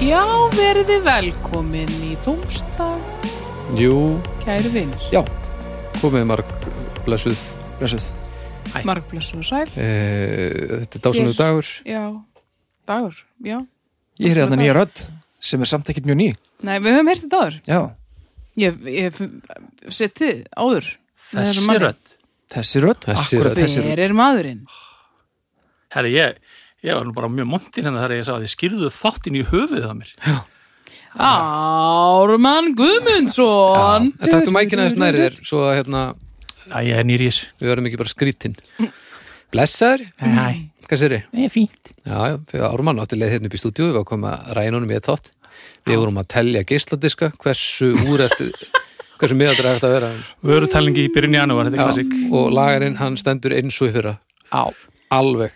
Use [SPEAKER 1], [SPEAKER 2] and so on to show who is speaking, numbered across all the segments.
[SPEAKER 1] Já, verið þið velkomin í tómstag,
[SPEAKER 2] Jú,
[SPEAKER 1] kæru vinnir.
[SPEAKER 3] Já,
[SPEAKER 2] komið marg blessuð
[SPEAKER 3] blessuð
[SPEAKER 2] Æ.
[SPEAKER 1] Margblessu og sæl.
[SPEAKER 2] e, Þetta er dásanum
[SPEAKER 1] Hér.
[SPEAKER 2] dagur
[SPEAKER 1] Já, dagur, já.
[SPEAKER 3] Ég heyrði þarna nýja rödd sem er samt ekkert mjög ný
[SPEAKER 1] Nei, við höfum heyrst þetta áður.
[SPEAKER 3] Já,
[SPEAKER 1] Ég, ég setið áður. með þessum
[SPEAKER 4] Þessi
[SPEAKER 1] manni.
[SPEAKER 4] rödd.
[SPEAKER 3] þessi rödd,
[SPEAKER 2] Þessi
[SPEAKER 3] akkurat
[SPEAKER 2] rödd.
[SPEAKER 3] þessi
[SPEAKER 1] Hver
[SPEAKER 3] rödd
[SPEAKER 1] er maðurinn?
[SPEAKER 4] Herri, ég, ég var nú bara mjög montin hennar þegar ég sá að þið skýrðu þáttinn í höfuðið að mér.
[SPEAKER 1] Ármann Guðmundsson.
[SPEAKER 2] En taktum Eh, mækina þess nærið þér Svo að hérna,
[SPEAKER 4] Æ, ég er nýr í þessu.
[SPEAKER 2] við verðum ekki bara skrítin Blessaður,
[SPEAKER 4] Æ,
[SPEAKER 2] hvað sér ég?
[SPEAKER 4] það er fínt.
[SPEAKER 2] Já, já, fyrir Ármann átti leið hérna upp í stúdíu Við varum að koma að rænunum í þetta þátt Við vorum að telja geisladiska Hversu úræstu, hversu miðaldra er þetta að vera
[SPEAKER 4] Vörutælingi í byrjun í janúar, þetta er klassik.
[SPEAKER 2] Og lagarinn, hann stendur eins og í fyrra
[SPEAKER 4] Á.
[SPEAKER 2] Alveg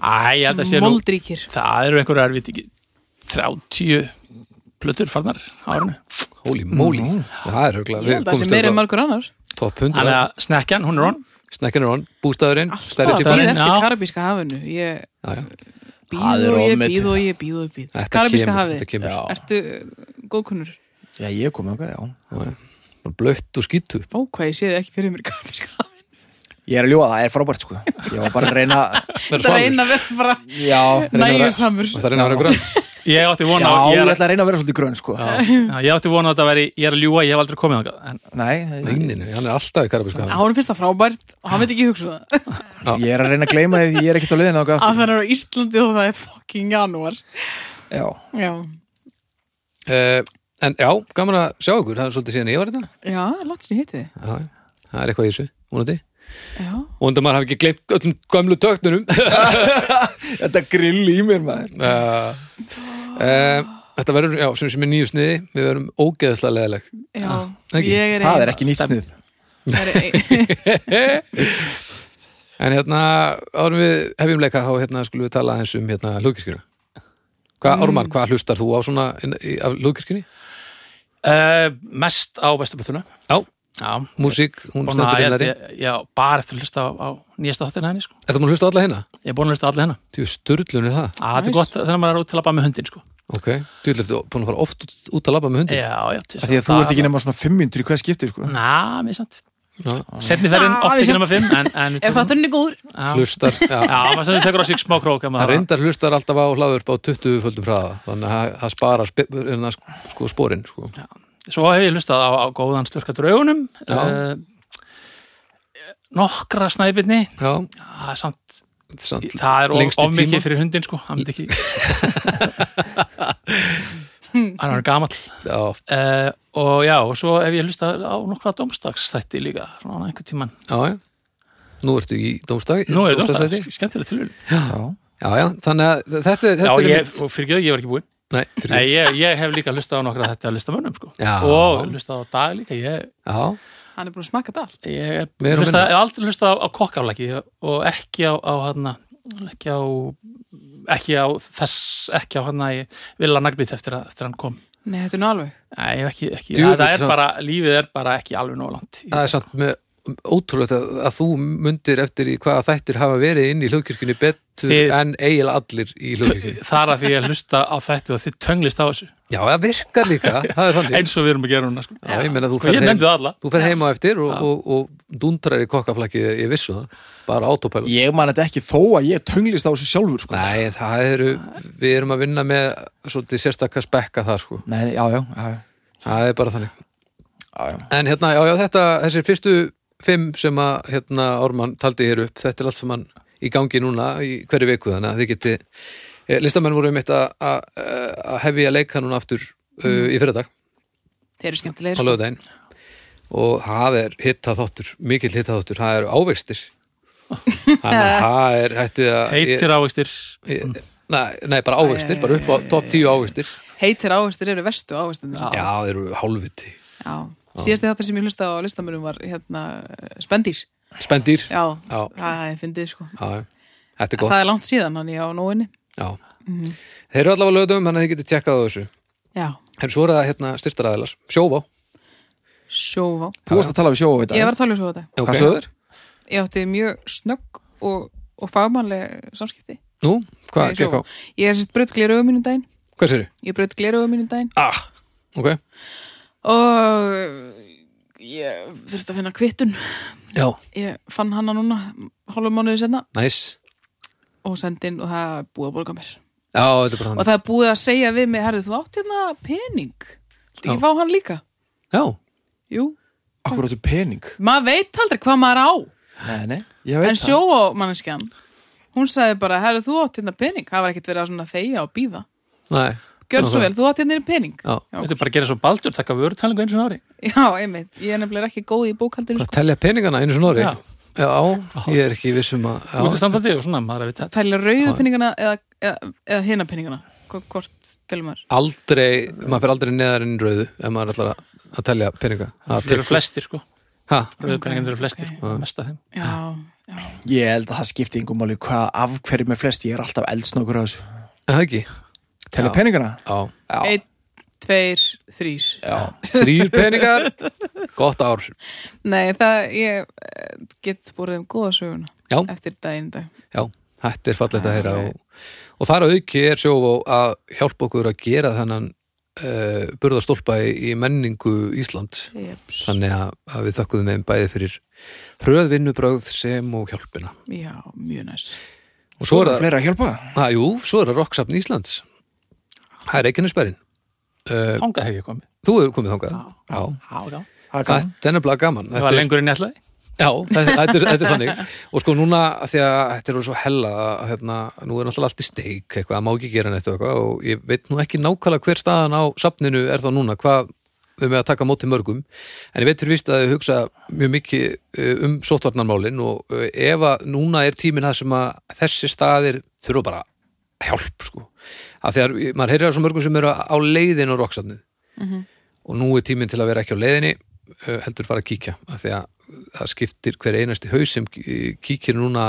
[SPEAKER 4] Æ, ég held að sé nú,
[SPEAKER 1] Moldríkir.
[SPEAKER 4] það eru einhverjar erfitt ekki 30 plötur farnar á árinu.
[SPEAKER 2] Holy moly, það er hugla
[SPEAKER 1] Ég held að það sé meira en margur annar.
[SPEAKER 2] Top
[SPEAKER 4] Þannig
[SPEAKER 2] 100,
[SPEAKER 4] að snekkjan, hún er on.
[SPEAKER 2] snekkinur on, bústæðurinn
[SPEAKER 1] Það
[SPEAKER 2] Stærri
[SPEAKER 1] er
[SPEAKER 2] típa
[SPEAKER 1] býð
[SPEAKER 4] típarinn,
[SPEAKER 1] eftir
[SPEAKER 4] já.
[SPEAKER 1] karabíska hafinu. Ég
[SPEAKER 2] Já, já.
[SPEAKER 3] Það
[SPEAKER 1] býð
[SPEAKER 3] er
[SPEAKER 1] og ég
[SPEAKER 3] ofmetið.
[SPEAKER 1] býð og ég býð og ég býð.
[SPEAKER 2] Þetta
[SPEAKER 1] Karabíska
[SPEAKER 2] kemur,
[SPEAKER 1] hafið.
[SPEAKER 2] þetta kemur.
[SPEAKER 3] Já.
[SPEAKER 1] Ertu góðkunnur?
[SPEAKER 3] Já, ég kom okkar, já
[SPEAKER 2] Já, já. blött og skýtu
[SPEAKER 1] Ó, hvað ég séð ekki fyrir mér í karabíska hafinu.
[SPEAKER 3] Ég er að ljúa, það er frábært sko Ég var bara að reyna
[SPEAKER 1] Það reyna að vera bara
[SPEAKER 3] Já,
[SPEAKER 1] nægjusamur.
[SPEAKER 2] það reyna að vera grönt
[SPEAKER 4] Ég átti
[SPEAKER 3] já,
[SPEAKER 4] vona,
[SPEAKER 3] ég ætla
[SPEAKER 4] ég, er-
[SPEAKER 3] að reyna að vera svolítið grönn sko
[SPEAKER 4] Já, ég átti vona að þetta veri, ég er að ljúa, ég hef aldrei komið þangað. En
[SPEAKER 3] Nei,
[SPEAKER 2] Neininu, hann er alltaf í karabíska hafinu
[SPEAKER 1] Hárum finnst það frábært og hann veit ekki hugsa um það.
[SPEAKER 3] ég er að reyna að gleyma því ég er ekkert á leiðin okkar
[SPEAKER 1] Að það er
[SPEAKER 3] aftur
[SPEAKER 1] á Íslandi og það er fucking janúar.
[SPEAKER 3] Já,
[SPEAKER 1] Já.
[SPEAKER 2] uh, En já, gaman að sjá ykkur, það er svolítið síðan ég var hérna. þetta
[SPEAKER 1] Já, lansin ég heiti þið.
[SPEAKER 2] Já, já, það er eitthvað í þessu, vonandi
[SPEAKER 1] Já.
[SPEAKER 2] Og undan maður hafi ekki gleymt öllum gömlu töknunum
[SPEAKER 3] þetta grill í mér maður
[SPEAKER 2] uh, uh, Þetta verður, já, sem sem er nýju sniði Við verðum ógeðslega leðileg
[SPEAKER 1] Já.
[SPEAKER 2] ekki.
[SPEAKER 1] Ah, Ég er
[SPEAKER 3] Það er ekki nýtt snið
[SPEAKER 1] Það er ein...
[SPEAKER 2] En hérna, árum við hefjum leika þá hérna skulum við tala eins um hérna hlugkirkjuna Hvað, Ármann, hvað hlustar þú á svona inn, í, af hlugkirkjunni?
[SPEAKER 4] uh, mest á bestu plötuna.
[SPEAKER 2] Já,
[SPEAKER 4] Já,
[SPEAKER 2] músík, hún
[SPEAKER 4] Búin að,
[SPEAKER 2] stendur
[SPEAKER 4] ég,
[SPEAKER 2] innari
[SPEAKER 4] ég, já, bara eftir að hlusta á, á nýjasta þáttina henni, sko.
[SPEAKER 2] Er það maður hlusta á alla hérna?
[SPEAKER 4] Ég er búin að hlusta á alla hennar.
[SPEAKER 2] Þú sturlunir það
[SPEAKER 4] Að þetta er
[SPEAKER 1] Nice.
[SPEAKER 4] gott þegar maður er út til að labba með hundin sko.
[SPEAKER 2] Ok, þú ert búin að fara oft út, út að labba með hundi
[SPEAKER 4] Já, já, til
[SPEAKER 3] Því að þú ert ekki nema svona 500 í hvað skipti sko
[SPEAKER 4] Ná, mér sant
[SPEAKER 2] yeah.
[SPEAKER 4] Setni ferðin
[SPEAKER 1] Ah,
[SPEAKER 4] oft
[SPEAKER 1] við
[SPEAKER 4] ekki
[SPEAKER 1] sem-
[SPEAKER 4] nema fimm En, en
[SPEAKER 1] Ef þátturinn er góður.
[SPEAKER 4] Já,
[SPEAKER 2] Hlustar, já
[SPEAKER 4] já maður sem þú tekur á sig smá krók ef
[SPEAKER 2] Það
[SPEAKER 4] maður-
[SPEAKER 2] reyndar hlustar alltaf á hlaður á 20 földum hraða Þannig að það- það spara spe, en það sk- sko spórin sko.
[SPEAKER 4] Svo hef ég lustað á, á góðan slurka draugunum
[SPEAKER 2] Já.
[SPEAKER 4] uh, Nokkra snæbirni
[SPEAKER 2] Já,
[SPEAKER 4] Já, samt
[SPEAKER 2] þetta er sant
[SPEAKER 4] Það er of,
[SPEAKER 2] Lengst í
[SPEAKER 4] of mikið
[SPEAKER 2] tíma.
[SPEAKER 4] fyrir hundin sko Hann myndi ekki Hann er gamall
[SPEAKER 2] Já,
[SPEAKER 4] uh, Og já, og svo hef ég lustað á nokkra domstagsþætti líka Svona einhvern tímann
[SPEAKER 2] já, já Nú ertu í dómstag
[SPEAKER 4] Nú er domstags,
[SPEAKER 2] dómstagsþætti.
[SPEAKER 4] skemmtilega tilhjörn
[SPEAKER 3] Já,
[SPEAKER 2] Já, já, þannig að þetta er
[SPEAKER 4] Já,
[SPEAKER 2] þetta er
[SPEAKER 4] ég, og fyrir ekki, ég var ekki búinn
[SPEAKER 2] Nei, fyrir,
[SPEAKER 4] Nei, ég, ég hef líka hlustað á nokkra þetta listamönnum sko.
[SPEAKER 2] Já.
[SPEAKER 4] og hlustað á dag líka ég,
[SPEAKER 2] Já,
[SPEAKER 1] Hann er búin að smaka þetta allt.
[SPEAKER 4] ég er
[SPEAKER 2] Meira og
[SPEAKER 4] hlustað,
[SPEAKER 2] minna.
[SPEAKER 4] hef aldrei hlustað á, á kokkaflæki og ekki á, á hana ekki á ekki á þess, ekki á hana ég vil að naglbýt eftir að eftir að hann kom
[SPEAKER 1] Nei, þetta er nú alveg.
[SPEAKER 4] Nei, ég hef ekki, ekki
[SPEAKER 2] Djú,
[SPEAKER 4] það er
[SPEAKER 2] samt.
[SPEAKER 4] bara, lífið er bara ekki alveg nóg langt
[SPEAKER 2] það er samt með ótrúlegt að, að þú mundir eftir í hvaða þættir hafa verið inn í hlugkirkjunni betur
[SPEAKER 4] Þið-
[SPEAKER 2] en eiginlega allir í hlugkirkjunni
[SPEAKER 4] þar að því ég hlusta á þetta og þið tönglist á þessu
[SPEAKER 2] Já, það virkar líka, það er þannig
[SPEAKER 4] eins og við erum að gera núna sko.
[SPEAKER 2] Já, ég meina þú
[SPEAKER 4] Og
[SPEAKER 2] ferð
[SPEAKER 4] ég
[SPEAKER 2] heim-
[SPEAKER 4] nefndi það alla
[SPEAKER 2] Þú fer heima eftir og, og, og dundrar í kokkaflakið, ég vissu það, bara autopilot.
[SPEAKER 3] ég man þetta ekki þó að ég tunglist á þessu sjálfur sko
[SPEAKER 2] Nei, en það eru, við erum að vinna með svolítið sérstakka spekka það sko,
[SPEAKER 3] Nei, já, já, já, já,
[SPEAKER 2] það er bara þannig.
[SPEAKER 3] já, já.
[SPEAKER 2] En hérna, já, já, þetta, þessir fyrstu fimm sem að, hérna, Ármann taldi hér upp, þetta er allt saman í gangi núna í hverju viku þannig að þið geti, eh, listamenn voru um eitt að að- að hefja leika núna aftur uh,
[SPEAKER 4] Mm.
[SPEAKER 2] í fyrirdag,
[SPEAKER 1] Þeir eru
[SPEAKER 2] á
[SPEAKER 1] skemmtilegir. sko.
[SPEAKER 2] lögudaginn og það er hitta þáttur, mikill hitta þáttur, það eru ávextir. Þannig að það er hættið að...
[SPEAKER 4] heitir ávegstir
[SPEAKER 2] Ég- Nei, nei, bara ávegstir, bara upp á top 10 ávegstir
[SPEAKER 1] Heitir áherslir eru verstu áherslir.
[SPEAKER 2] Já, þeir eru hálfviti
[SPEAKER 1] Já. Síðasti þáttur sem ég hlusta á listamönnum var hérna spendýr.
[SPEAKER 2] Spendýr, já,
[SPEAKER 1] Já.
[SPEAKER 2] Já.
[SPEAKER 1] Það er fyndið sko.
[SPEAKER 2] já. þetta er
[SPEAKER 1] Það
[SPEAKER 2] gott
[SPEAKER 1] er langt Mhm. síðan hann ég á nóinni.
[SPEAKER 2] já. Þeir eru allavega lögðum, þannig að þið getið tjekkað á þessu
[SPEAKER 1] Já.
[SPEAKER 2] En svo er það hérna styrtaræðilar, sjóvá
[SPEAKER 1] Sjóvá.
[SPEAKER 3] Þú varst að tala við sjóa í dag
[SPEAKER 1] Ég var að tala um svo þetta.
[SPEAKER 3] Hvað sögður?
[SPEAKER 1] Ég átti mjög snögg og, og fagmannleg samskipti.
[SPEAKER 2] Nú, hvað
[SPEAKER 1] Nei,
[SPEAKER 2] gekk á?
[SPEAKER 1] Sjóvá. Ég er sérst brödd glera auðum mínum um daginn
[SPEAKER 2] Hvað sér
[SPEAKER 1] Ég braut gleruðu mínu daginn
[SPEAKER 2] Ah, ok
[SPEAKER 1] og ég þurfti að finna kvittun.
[SPEAKER 2] Já,
[SPEAKER 1] Ég fann hana núna hálfum mánuði senna
[SPEAKER 2] næs nice.
[SPEAKER 1] og sendi inn og það er búið að borga mér.
[SPEAKER 2] Já, þetta er bara
[SPEAKER 1] Og
[SPEAKER 2] þannig
[SPEAKER 1] það er búið að segja við mig, herðu, þú átt hérna pening. Viltu
[SPEAKER 2] Já.
[SPEAKER 1] ekki fá hann líka?
[SPEAKER 2] Já,
[SPEAKER 1] Jú.
[SPEAKER 3] Akkur áttu pening
[SPEAKER 1] Maður veit aldrei hvað maður á.
[SPEAKER 3] Nei, nei, ég veit
[SPEAKER 1] en sjóamanneskjan, hún sagði bara, herðu, þú átt hérna pening. Það var ekkert verið að svona þegja og býða.
[SPEAKER 2] næ
[SPEAKER 1] Gjörð svo vel, þú átt hérna pening.
[SPEAKER 2] Já,
[SPEAKER 1] Já.
[SPEAKER 4] Þetta er bara að gera svo baldur, taka vörutælingu eins og ári
[SPEAKER 1] Já, einmitt. Ég er nefnilega ekki góð í sko. bókaldinu.
[SPEAKER 2] að telja peningana einu svona orði
[SPEAKER 4] Já.
[SPEAKER 2] Já, ég er ekki viss um að já.
[SPEAKER 4] Útistandandi og svona, maður er að vita
[SPEAKER 1] Tælja rauðu peningana eða, eða, eða hina peningana. Hvo- Hvort telur maður?
[SPEAKER 2] Aldrei, maður fer aldrei neðar inn í rauðu ef maður ætlar að, að telja peninga
[SPEAKER 4] Það eru flestir sko,
[SPEAKER 2] Ha,
[SPEAKER 4] rauðpenningarnir eru flestir, sko. mest af þeim
[SPEAKER 1] Já, já.
[SPEAKER 3] Ég held að það skipti yngum máli hvað af hverju með flest ég er alltaf eldsnokur á þessu
[SPEAKER 2] er það ekki?
[SPEAKER 3] Telja
[SPEAKER 2] Já.
[SPEAKER 3] peningana
[SPEAKER 2] Já
[SPEAKER 1] Einn, tveir, þrýr
[SPEAKER 3] Já,
[SPEAKER 2] Þrýr peningar, gott ár
[SPEAKER 1] Nei, það, ég eh, get búið um góða söguna
[SPEAKER 2] Já.
[SPEAKER 1] eftir daginn í dag
[SPEAKER 2] Já, þetta er fallegt að heyra og, og þar að auki er sjófó að hjálpa okkur að gera þennan uh, burðarstólpa í, í menningu Íslands
[SPEAKER 1] Jeps.
[SPEAKER 2] þannig að, að við þökkum þeim bæði fyrir hröðvinnubröð sem og hjálpina
[SPEAKER 1] Já, mjög næst
[SPEAKER 2] og svo er það,
[SPEAKER 3] fleira að hjálpa
[SPEAKER 2] að, jú, svo er það Rokksafn Íslands það er Reykjanesbærin uh,
[SPEAKER 4] Þangað hef ég komið
[SPEAKER 2] þú hefur komið þangað Já.
[SPEAKER 4] Já, já.
[SPEAKER 3] Það er gaman.
[SPEAKER 2] Þetta er nefnilega gaman
[SPEAKER 4] Það
[SPEAKER 2] Þetta
[SPEAKER 4] var
[SPEAKER 2] er-
[SPEAKER 4] lengur en ég ætlaði
[SPEAKER 2] Já, þetta, þetta, er, þetta er þannig og sko núna, af því að þetta er orðið svo hella að hérna, nú er náttúrulega allt í steik eitthvað, það má ekki gera neitt og eitthvað og ég veit nú ekki nákvæmlega hver staðan á safninu er þá núna, hvað þau með að taka á móti mörgum, en ég veit fyrir víst að þau hugsa mjög mikið eh, um sóttvarnarmálin og eh, ef að núna er tíminn það sem að þessi staðir þurfa bara hjálp sko, af því að maður heyrir að svo mörgum sem eru á leiðin og roksafnið og nú er tíminn til að vera ekki á leiðinni uh, heldur fara að kíkja af því að það skiptir hver einasti haus sem eh, kíkir núna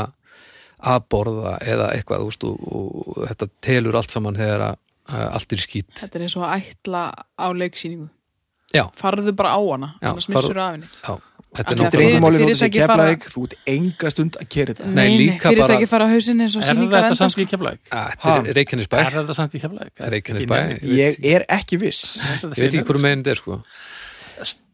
[SPEAKER 2] að borða eða eitthvað úst, og, og, og þetta telur allt saman þegar að, að allt er í skýt
[SPEAKER 1] Þetta er eins og að ætla á leiksýningu
[SPEAKER 2] Já,
[SPEAKER 1] Farðu bara á hana,
[SPEAKER 2] Já,
[SPEAKER 1] annars missur af henni
[SPEAKER 2] já, þetta er
[SPEAKER 1] Þetta
[SPEAKER 3] Skiptir
[SPEAKER 1] Fyrir-
[SPEAKER 2] náttúrulega
[SPEAKER 3] yngum máli þú ert í
[SPEAKER 1] fyrirtæki fara-
[SPEAKER 3] Keflavík Þú ert enga stund að kera þetta
[SPEAKER 2] Nei, líka bara-
[SPEAKER 1] fyrirtæki fara á hausinn eins og
[SPEAKER 4] Er
[SPEAKER 1] sýningar sko.
[SPEAKER 4] þetta
[SPEAKER 1] enda
[SPEAKER 4] samt í Keflæk?
[SPEAKER 2] Að Þetta
[SPEAKER 3] Ha?
[SPEAKER 2] er Reykjanesbæ
[SPEAKER 4] Er þetta samt í Keflæk?
[SPEAKER 2] Eh? Það er Reykjanesbæ Ég veit-
[SPEAKER 3] Ég er ekki viss
[SPEAKER 2] ég veit ekki hverju meginn þetta er sko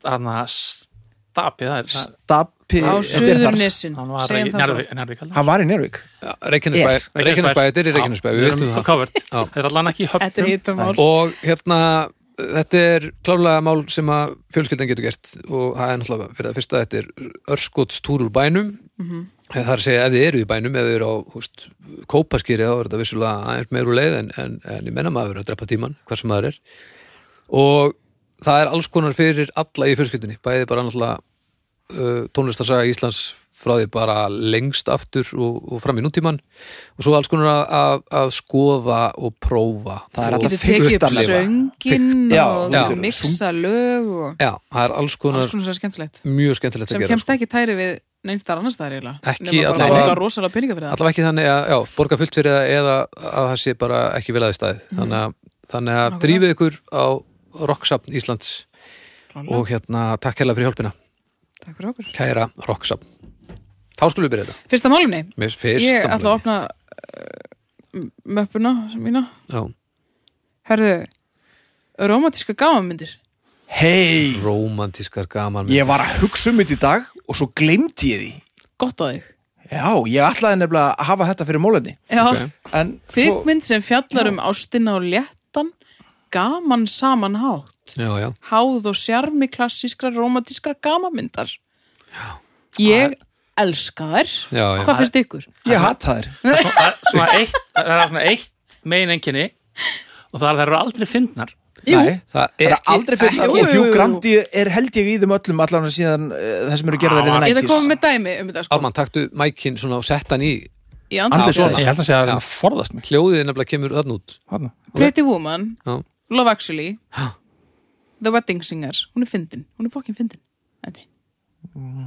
[SPEAKER 4] Þannig að stapið það er það-
[SPEAKER 3] Stapi
[SPEAKER 1] Á
[SPEAKER 3] Þetta er þar.
[SPEAKER 1] suðurnesin
[SPEAKER 4] Hann var
[SPEAKER 1] Segjum það
[SPEAKER 4] í
[SPEAKER 1] bara.
[SPEAKER 4] Njarðvík- Njarðvík held ég.
[SPEAKER 3] Hann var í Nervík
[SPEAKER 2] Já, Reykjanesbæ,
[SPEAKER 3] Er.
[SPEAKER 2] Reykjanesbæ, þetta er í Reykjanesbæ, við
[SPEAKER 4] Já,
[SPEAKER 2] veitum
[SPEAKER 4] erum
[SPEAKER 2] það
[SPEAKER 4] covered.
[SPEAKER 2] Já.
[SPEAKER 4] Þetta er allan ekki í
[SPEAKER 1] Þetta er
[SPEAKER 4] höfnum
[SPEAKER 1] hittamál
[SPEAKER 2] og hérna þetta er klárlega mál sem að fjölskyldan getur gert og það er náttúrulega fyrir það fyrsta þetta er örskotstúr úr bænum mm -hmm. það er að segja ef þið eru í bænum ef þið eru á húst, kópaskýri þá er þetta vissulega aðeins meir úr leið en, en, en ég menna maður er að drepa tíman hvað sem maður er og það er alls konar fyrir alla í fjölskyldinni bæði bara náttúrulega uh, tónlistarsaga Íslands frá því bara lengst aftur og, og fram í nútíman og svo alls konar að, að, að skoða og prófa
[SPEAKER 3] Það er
[SPEAKER 2] og
[SPEAKER 3] alltaf
[SPEAKER 1] Getur tekið upp
[SPEAKER 3] Fiktarlifa.
[SPEAKER 1] söngin
[SPEAKER 3] Já,
[SPEAKER 1] og
[SPEAKER 3] þú
[SPEAKER 1] þú
[SPEAKER 3] getur
[SPEAKER 1] miksa lög og
[SPEAKER 2] Já, það er alls konar,
[SPEAKER 1] alls konar sér skemmtilegt
[SPEAKER 2] mjög skemmtilegt
[SPEAKER 1] sem
[SPEAKER 2] að gera sko.
[SPEAKER 1] kemst ekki tæri við neinstar annars staðar eiginlega
[SPEAKER 2] Ekki
[SPEAKER 1] nema bara
[SPEAKER 2] allavega-
[SPEAKER 1] að borga rosalega peninga fyrir það
[SPEAKER 2] Allavega ekki þannig að, já, borga fullt fyrir það eða að það sé bara ekki viljaði staðið þannig, að, þannig að
[SPEAKER 1] Mhm. Nákvæmlega.
[SPEAKER 2] drífið ykkur á Rocksafn Íslands
[SPEAKER 1] Klárlega.
[SPEAKER 2] og hérna, takk hérlega fyrir hjálpina
[SPEAKER 1] Takk fyrir okkur
[SPEAKER 2] Kæra Rocksafn Þá skulum við byrja þetta
[SPEAKER 1] Fyrsta málumni,
[SPEAKER 2] Mér fyrst
[SPEAKER 1] ég ætla að opna uh, möppuna sem mína
[SPEAKER 2] Já,
[SPEAKER 1] Herðu, romantíska gámamyndir
[SPEAKER 3] Hei
[SPEAKER 2] rómantískar gaman
[SPEAKER 3] Ég var að hugsa um þetta í dag Og svo glemti ég því
[SPEAKER 1] Gott á þig
[SPEAKER 3] Já, ég ætlaði nefnilega að hafa þetta fyrir mólefni
[SPEAKER 1] Já,
[SPEAKER 2] Ok.
[SPEAKER 3] En svo
[SPEAKER 1] kvikmynd sem fjallar um ástina og léttan gaman saman hátt
[SPEAKER 2] Já, já,
[SPEAKER 1] háð og sjarmi klassískra romantískra gámamyndar Ég elska þær
[SPEAKER 2] já, já
[SPEAKER 1] Hvað finnst ykkur?
[SPEAKER 3] ég hata þér
[SPEAKER 4] Það er svona eitt, það er svona eitt megin enginni og það er að það eru aldrei fyndnar
[SPEAKER 1] Jú.
[SPEAKER 3] Nei,
[SPEAKER 2] Það
[SPEAKER 3] Það
[SPEAKER 2] er
[SPEAKER 3] er aldrei fyrir
[SPEAKER 1] ekki-
[SPEAKER 3] og
[SPEAKER 1] Jú, jú,
[SPEAKER 3] Hugh
[SPEAKER 1] jú.
[SPEAKER 3] Grant er, er held ég í þeim öllum allan síðan uh, það sem eru gerðar
[SPEAKER 4] Já,
[SPEAKER 3] í
[SPEAKER 4] hann-
[SPEAKER 1] Ég Ah, er að koma
[SPEAKER 3] nættis
[SPEAKER 1] með dæmi um þetta sko
[SPEAKER 2] Ármann, taktu mækin svona og sett hann í
[SPEAKER 1] Í
[SPEAKER 3] Andlit
[SPEAKER 1] andlitið.
[SPEAKER 3] svona.
[SPEAKER 4] Ég held að sé að það er að forðast mig
[SPEAKER 2] Hljóðið nefnilega kemur þarna út
[SPEAKER 4] Þarna.
[SPEAKER 1] Pretty Woman,
[SPEAKER 2] Já,
[SPEAKER 1] Love Actually
[SPEAKER 2] Ha.
[SPEAKER 1] The Wedding Singer, hún er fyndin hún er fokkin fyndin Þetta.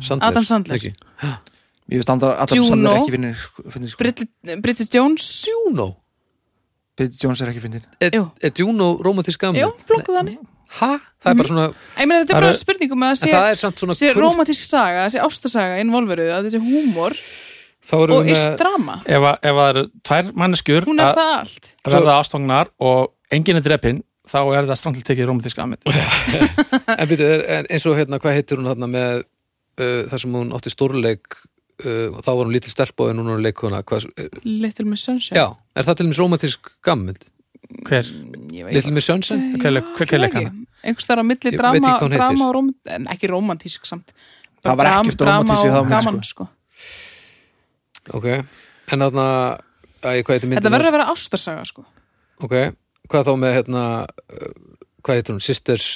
[SPEAKER 2] Sandler
[SPEAKER 1] Mm. Adam Sandler.
[SPEAKER 2] ekki?
[SPEAKER 3] Ég veist andar Adam
[SPEAKER 1] Juno.
[SPEAKER 3] Sandler er ekki finnir finnir sko
[SPEAKER 1] Bridget Bridget Jones
[SPEAKER 2] Juno
[SPEAKER 3] Bridget Jones er ekki finnir
[SPEAKER 2] Er,
[SPEAKER 1] Jú.
[SPEAKER 2] er Juno rómantísk gaman?
[SPEAKER 1] Já, flokkuð þannig
[SPEAKER 2] Hæ? Það
[SPEAKER 1] Mm.
[SPEAKER 2] er bara svona
[SPEAKER 1] Ég meina þetta
[SPEAKER 2] Mm. Það
[SPEAKER 1] er bara
[SPEAKER 2] eru-
[SPEAKER 1] spurningum að
[SPEAKER 2] En það
[SPEAKER 1] það
[SPEAKER 2] er samt svona
[SPEAKER 1] sé, sé
[SPEAKER 2] krútt-
[SPEAKER 1] romantísk saga, það sé ástasaga involveruð, að þetta sé húmor
[SPEAKER 2] Þá erum
[SPEAKER 1] og
[SPEAKER 2] við
[SPEAKER 1] ist
[SPEAKER 2] með
[SPEAKER 1] drama
[SPEAKER 4] Ef, að- ef að það eru tvær manneskjur
[SPEAKER 1] Hún er það allt
[SPEAKER 4] verða ástofnar og enginn er drepinn, þá er það strangt til tekið romantíska ammynd
[SPEAKER 2] En byrju, er, en eins og hérna, hvað heitir hún þarna með uh, þar sem hún átti stórleik uh, þá var hún lítil stelpa en hún er leikuna hvað, uh,
[SPEAKER 1] Little Miss Sunshine
[SPEAKER 2] Já, er það til dæmis romantísk gammynd?
[SPEAKER 4] hver,
[SPEAKER 1] Ég veit
[SPEAKER 2] Little Miss Sunshine?
[SPEAKER 1] Já,
[SPEAKER 4] Hver leik- hver- hver
[SPEAKER 1] ég veit
[SPEAKER 4] leik
[SPEAKER 1] ekki.
[SPEAKER 4] hana?
[SPEAKER 1] einhvers þar á milli
[SPEAKER 2] Ég veit
[SPEAKER 1] drama,
[SPEAKER 2] ekki hvað hún heitir.
[SPEAKER 1] drama og rom, en ekki romantísk samt
[SPEAKER 3] Það var
[SPEAKER 1] Dram-
[SPEAKER 3] ekkert
[SPEAKER 1] drama
[SPEAKER 3] rómantískt í þá
[SPEAKER 1] og
[SPEAKER 3] mynd,
[SPEAKER 1] gaman, sko.
[SPEAKER 2] Ok, en þarna að, hvað heitir myndin?
[SPEAKER 1] þetta verður að vera ástarsaga sko.
[SPEAKER 2] Ok, hvað þá með hérna, uh, hvað heitir hún, Sisters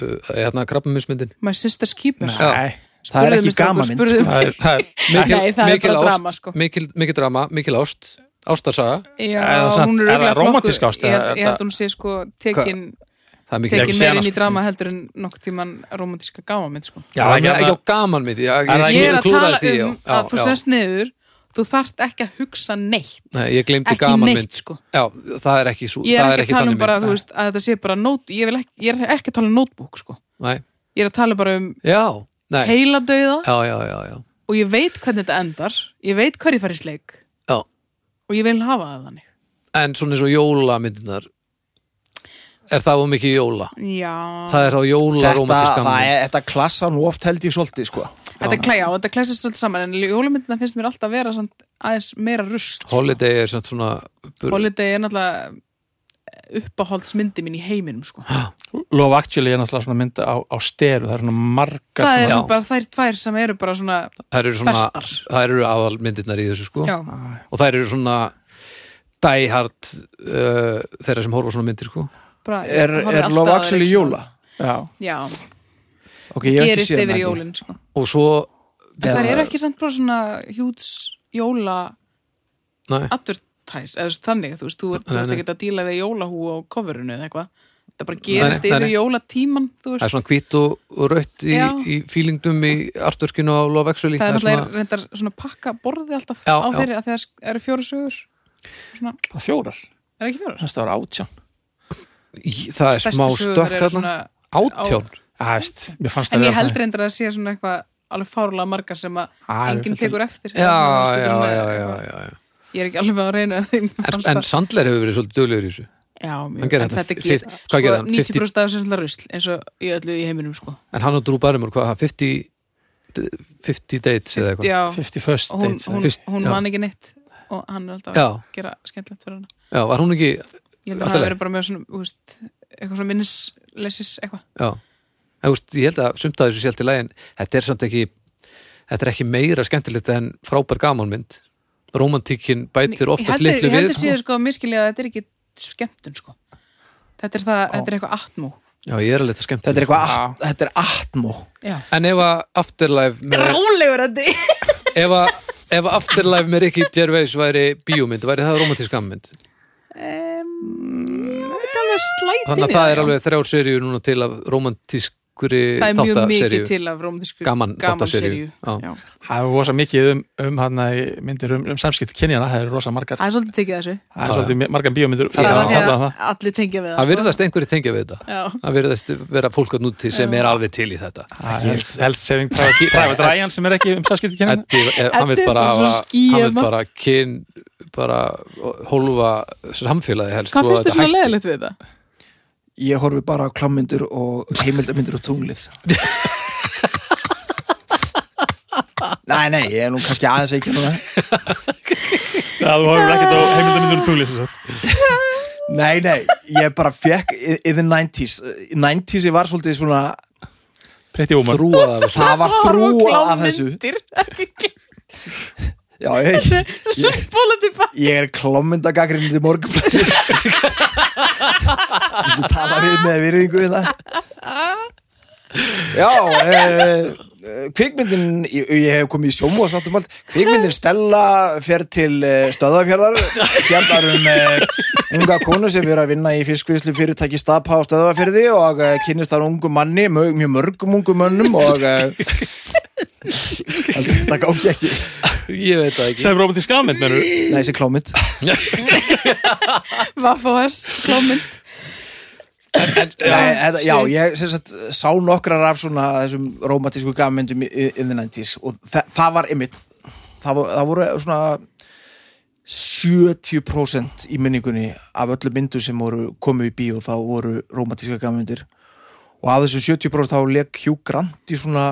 [SPEAKER 2] uh, hérna krabbuminsmyndin?
[SPEAKER 1] My Sister's Keeper
[SPEAKER 4] nei,
[SPEAKER 3] Það er
[SPEAKER 1] Spurðu
[SPEAKER 3] ekki
[SPEAKER 1] mig, strákur,
[SPEAKER 3] gaman mynd,
[SPEAKER 1] spurðu mig.
[SPEAKER 4] það er, það er
[SPEAKER 2] Mikil,
[SPEAKER 1] Nei, það er
[SPEAKER 2] mikil
[SPEAKER 1] bara
[SPEAKER 2] ást,
[SPEAKER 1] drama, sko.
[SPEAKER 2] mikil, mikil drama, mikil ást ástarsaga,
[SPEAKER 1] Já,
[SPEAKER 4] Er það samt-
[SPEAKER 1] hún er
[SPEAKER 4] er það
[SPEAKER 1] örugglega flokkuð-
[SPEAKER 4] rómantísk ást,
[SPEAKER 1] Ég,
[SPEAKER 4] eða er
[SPEAKER 1] ég held
[SPEAKER 4] það-
[SPEAKER 1] hún sé sko tekin,
[SPEAKER 2] það er mikil
[SPEAKER 4] ekki
[SPEAKER 1] tekin
[SPEAKER 4] séð hana,
[SPEAKER 1] meirinn í
[SPEAKER 4] sko.
[SPEAKER 1] drama heldur en nokkuð tíman romantíska gámamind sko.
[SPEAKER 4] Já, hérna
[SPEAKER 2] það
[SPEAKER 4] ekki
[SPEAKER 2] er ekki á
[SPEAKER 4] annað-
[SPEAKER 2] gaman mitt ég,
[SPEAKER 4] Er það
[SPEAKER 2] ég,
[SPEAKER 1] Ég er
[SPEAKER 2] ég
[SPEAKER 1] að tala
[SPEAKER 2] klúðraði því, já,
[SPEAKER 1] um
[SPEAKER 2] já,
[SPEAKER 1] að þú
[SPEAKER 2] já.
[SPEAKER 1] sest niður þú þarft ekki að hugsa neitt
[SPEAKER 2] Nei, ég glemdi
[SPEAKER 1] ekki
[SPEAKER 2] gaman
[SPEAKER 1] neitt
[SPEAKER 2] mynd
[SPEAKER 1] sko
[SPEAKER 2] Já, það er ekki, svo,
[SPEAKER 1] Ég
[SPEAKER 2] það
[SPEAKER 1] er ekki að tala um
[SPEAKER 2] þannig
[SPEAKER 1] bara, þú
[SPEAKER 2] mynd.
[SPEAKER 1] veist, að þetta sé bara nót, ég, vil ekki, ég er ekki að tala um notebook sko.
[SPEAKER 2] Nei,
[SPEAKER 1] Ég er að tala bara um
[SPEAKER 2] já, nei
[SPEAKER 1] heiladauða
[SPEAKER 2] Já, já, já, já,
[SPEAKER 1] og ég veit hvernig þetta endar ég veit hver ég fari í sleik
[SPEAKER 2] já
[SPEAKER 1] og ég vil hafa það þannig
[SPEAKER 2] En svona eins og jólamyndinar Er það var mikið jóla?
[SPEAKER 1] Já,
[SPEAKER 2] Það er þá jóla
[SPEAKER 3] Þetta,
[SPEAKER 2] romantísk
[SPEAKER 3] það
[SPEAKER 2] gaman
[SPEAKER 3] er, þetta klassa nú oft held ég svolítið sko.
[SPEAKER 1] þetta klæja og þetta klæsast svolítið saman en jólumyndina finnst mér alltaf vera samt, aðeins meira rust sko.
[SPEAKER 2] Holiday er svona, svona
[SPEAKER 1] Holiday er náttúrulega uppáhaldsmyndi mín í heiminum sko.
[SPEAKER 4] Love Actually er náttúrulega svona mynda á, á steru það er svona margar
[SPEAKER 1] það er
[SPEAKER 4] svona,
[SPEAKER 1] samt bara þær tvær sem eru bara svona
[SPEAKER 2] Það eru svona,
[SPEAKER 1] Bestar.
[SPEAKER 2] það eru aðalmyndirnar í þessu sko
[SPEAKER 1] já,
[SPEAKER 2] Og það eru svona Die hard uh, þeirra sem horfa á svona myndir sko
[SPEAKER 1] bara, ég
[SPEAKER 3] Er,
[SPEAKER 1] horfi
[SPEAKER 3] er
[SPEAKER 1] alltaf á
[SPEAKER 3] Love
[SPEAKER 1] þær,
[SPEAKER 3] Actually
[SPEAKER 1] ekki svona.
[SPEAKER 3] jóla?
[SPEAKER 4] já,
[SPEAKER 1] sko. já,
[SPEAKER 3] Ok, ég hef ekki
[SPEAKER 1] gerist
[SPEAKER 3] séð
[SPEAKER 1] yfir
[SPEAKER 3] hana, held ég.
[SPEAKER 1] jólin sko.
[SPEAKER 2] Og svo,
[SPEAKER 1] en
[SPEAKER 3] Eða-
[SPEAKER 1] þær eru ekki samt bara svona hjúts jóla
[SPEAKER 2] nei,
[SPEAKER 1] advertise, eða þú veist, þannig þú veist, þú ert þú
[SPEAKER 2] Nei,
[SPEAKER 1] ert
[SPEAKER 2] nei.
[SPEAKER 1] ekki að díla við jólahú á coverinu eða eitthvað, þetta bara
[SPEAKER 2] Nei,
[SPEAKER 1] gerist
[SPEAKER 2] nei,
[SPEAKER 1] yfir
[SPEAKER 2] nei.
[SPEAKER 1] jólatíman, þú
[SPEAKER 2] það er
[SPEAKER 1] veist
[SPEAKER 2] svona hvít og, og rautt í,
[SPEAKER 1] Já.
[SPEAKER 2] í fílingdum í artverkinu á Love Actually
[SPEAKER 1] það er
[SPEAKER 2] svona-
[SPEAKER 1] alltaf reyndar svona pakka borðið alltaf
[SPEAKER 2] Já,
[SPEAKER 1] á
[SPEAKER 2] já.
[SPEAKER 1] þeirri að þegar eru fjóru sögur svona,
[SPEAKER 4] bara fjórar
[SPEAKER 1] er ekki fjóru?
[SPEAKER 4] það var átján
[SPEAKER 2] Í- það er smá stökk þarna átján
[SPEAKER 4] Æ, veist, mér fannst
[SPEAKER 1] en
[SPEAKER 4] það
[SPEAKER 1] ég held reyndar að sé svona eitthvað alveg fárlega margar sem að
[SPEAKER 4] Æ,
[SPEAKER 1] enginn
[SPEAKER 4] þetta er-
[SPEAKER 1] tekur eftir
[SPEAKER 2] já,
[SPEAKER 1] Það er
[SPEAKER 2] já,
[SPEAKER 1] svona
[SPEAKER 2] já, já,
[SPEAKER 1] eitthvað-
[SPEAKER 2] já, já.
[SPEAKER 1] ég er ekki alveg á reynu
[SPEAKER 2] En, en Sandler hefur verið svolítið duglegur í þessu
[SPEAKER 1] já, mjög,
[SPEAKER 2] hann gerði
[SPEAKER 1] en
[SPEAKER 2] þetta
[SPEAKER 1] þetta
[SPEAKER 2] fi-
[SPEAKER 1] get
[SPEAKER 2] hvað
[SPEAKER 1] sko,
[SPEAKER 2] gerði hann? 50?
[SPEAKER 1] 90% af þessu rusl eins og í öllu í heiminum sko.
[SPEAKER 2] en hann og Drew Barrymore, hvað, 50 50 dates eða eitthvað
[SPEAKER 1] já,
[SPEAKER 4] 50 first
[SPEAKER 1] og hún,
[SPEAKER 4] dates
[SPEAKER 2] eh,
[SPEAKER 1] hún,
[SPEAKER 2] Fyrst-
[SPEAKER 1] hún
[SPEAKER 2] já.
[SPEAKER 1] man ekki neitt og hann er alltaf
[SPEAKER 2] Já.
[SPEAKER 1] að gera skemmtilegt fyrir hana
[SPEAKER 2] já, var hún ekki,
[SPEAKER 1] ég held
[SPEAKER 2] Allt í
[SPEAKER 1] að það
[SPEAKER 2] lagi.
[SPEAKER 1] verið bara með svona, þú veist, eitthvað svona minnislesis eitthvað
[SPEAKER 2] já en, þú veist, ég held að sumt að þessu sjálft í lægin þetta er samt ekki, þetta er ekki meira skemmtilegt en frábær gamanmynd romantíkin bætir oftast
[SPEAKER 1] ég
[SPEAKER 2] litlu
[SPEAKER 1] held
[SPEAKER 2] við
[SPEAKER 1] að séu sko miskilja að þetta er ekki skemmtun sko þetta er, það, þetta er eitthvað atmú
[SPEAKER 2] já, ég er alveg þetta skemmtilegt
[SPEAKER 3] Þetta er eitthvað,
[SPEAKER 4] Já.
[SPEAKER 3] att- þetta er atmo
[SPEAKER 1] já
[SPEAKER 2] en ef að Afterlife með,
[SPEAKER 1] Rólegur að þið
[SPEAKER 2] ef að, ef að Afterlife með Ricky Gervais væri bíómynd, væri það romantísk gamanmynd
[SPEAKER 1] um, Ég veit alveg slætið
[SPEAKER 2] þannig að það er alveg þrjár seríu núna til af romantískuri
[SPEAKER 1] Það er mjög mikið
[SPEAKER 2] þáttaseríu.
[SPEAKER 1] til af rómdísku
[SPEAKER 2] Gaman þáttaseríu. Já.
[SPEAKER 1] Já.
[SPEAKER 4] það er rosa mikið um, um hana, myndir um, um samskipti kynjana það er rosa margar
[SPEAKER 1] Það er svolítið tekið þessu
[SPEAKER 4] það er svolítið mi- margar bíómyndir
[SPEAKER 1] Það
[SPEAKER 4] þarna-
[SPEAKER 1] var því að
[SPEAKER 4] þarna-
[SPEAKER 1] allir tengja við
[SPEAKER 2] það
[SPEAKER 1] það sko.
[SPEAKER 2] virðast einhverju tengja við þetta
[SPEAKER 1] Já.
[SPEAKER 2] það virðast vera fólk að núti sem er alveg til í þetta
[SPEAKER 4] Það er helst- helst sefing Private Ryan sem er ekki um samskipti kynjana
[SPEAKER 2] Eddi, eh, hann
[SPEAKER 1] Eddi
[SPEAKER 2] vil
[SPEAKER 1] er
[SPEAKER 2] bara
[SPEAKER 1] bara svo
[SPEAKER 2] hafa, hann vil
[SPEAKER 1] skýjama.
[SPEAKER 2] bara kyn bara hólfa samfélagi helst svo
[SPEAKER 1] Hvað finnst þið
[SPEAKER 2] þetta
[SPEAKER 1] svona
[SPEAKER 2] hætti.
[SPEAKER 1] leðilegt við það?
[SPEAKER 3] Ég horfi bara á klámyndur og heimildamindur og tunglið Nei, nei, ég er nú kannski aðeins ekki núna
[SPEAKER 4] það þú horfum ekkert á heimildamindur og túlis
[SPEAKER 3] Nei, nei, ég bara fekk yfir 90s 90s ég var svolítið svona
[SPEAKER 4] pretty woman
[SPEAKER 2] þrúað af þessu
[SPEAKER 3] það var þrúa af þessu
[SPEAKER 1] Svo
[SPEAKER 3] Já, ég,
[SPEAKER 1] spóla tilbaka
[SPEAKER 3] ég er klámyndagagrinn til morgunflæsis Þú veist að tala við með virðingu í það Já, eh, kvikmyndin ég, ég hef komið í sjómu og sáttum allt kvikmyndin Stella fer til eh, stöðafjörðar fjarnar um eh, unga konu sem er að vinna í fiskvislu fyrirtæki Stapa á stöðafjörði og eh, kynnist þar ungu manni mjög, mjög mörgum ungu mönnum og eh, þetta gangi ekki
[SPEAKER 2] ég veit það ekki
[SPEAKER 4] sem Rómandi Skamend menur
[SPEAKER 3] Nei, þessi klámynd
[SPEAKER 1] Vaffáers, klómynd
[SPEAKER 3] Nei, þetta, já,
[SPEAKER 1] shit.
[SPEAKER 3] ég sem sagt, sá nokkrar af svona þessum romantísku gammyndum in the 90s og þa það var ymmit það, vo- það voru svona 70% í minningunni af öllu myndu sem voru komið í bíó þá voru romantíska gammyndir og af þessu 70% þá leik Hugh Grant í svona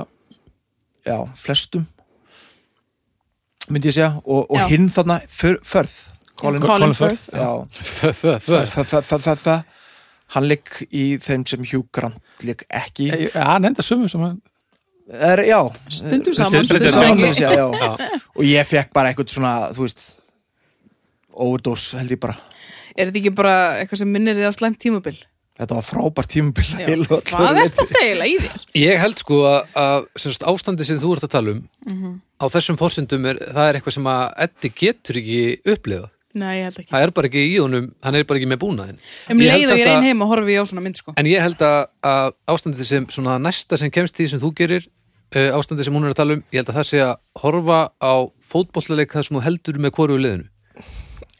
[SPEAKER 3] já, flestum myndi ég segja
[SPEAKER 1] Já.
[SPEAKER 3] og, og hinn þarna för, förð Colin,
[SPEAKER 1] Colin
[SPEAKER 4] Colin
[SPEAKER 1] Firth.
[SPEAKER 4] Firth.
[SPEAKER 3] já,
[SPEAKER 2] Fö, fö, fö.
[SPEAKER 3] F- f- f- f- f- hann leik í þeim sem Hugh Grant leik ekki
[SPEAKER 4] Ég- hann enda sömu sem hann
[SPEAKER 3] er, já,
[SPEAKER 1] Stundum saman, stundum
[SPEAKER 4] Stundum saman.
[SPEAKER 1] saman.
[SPEAKER 3] já, já. og ég fekk bara eitthvað svona þú veist overdose held ég bara
[SPEAKER 1] Er þetta ekki bara eitthvað sem minnir þið á slæmt tímabil?
[SPEAKER 3] þetta var frábært tímabil
[SPEAKER 1] Já.
[SPEAKER 3] heil og öllu
[SPEAKER 1] Hvað er
[SPEAKER 3] leyti.
[SPEAKER 1] þetta eiginlega í þér?
[SPEAKER 2] Ég held sko að, að sem sagt, ástandi sem þú ert að tala um
[SPEAKER 1] Mhm.
[SPEAKER 2] á þessum forsendum er, það er eitthvað sem að Eddi getur ekki upplifað
[SPEAKER 1] Nei, ég held ekki.
[SPEAKER 2] það er bara ekki í honum, hann er bara ekki með búnaðin
[SPEAKER 1] Um
[SPEAKER 2] Ég held
[SPEAKER 1] leið og ég er
[SPEAKER 2] samt að-
[SPEAKER 1] einn heima horfi ég á svona mynd, sko.
[SPEAKER 2] En ég held að, að ástandið sem svona það næsta sem kemst því sem þú gerir uh, ástandið sem hún er að tala um, ég held að það sé að horfa á fótbollaleik þar sem þú heldur með hvoru liðinu.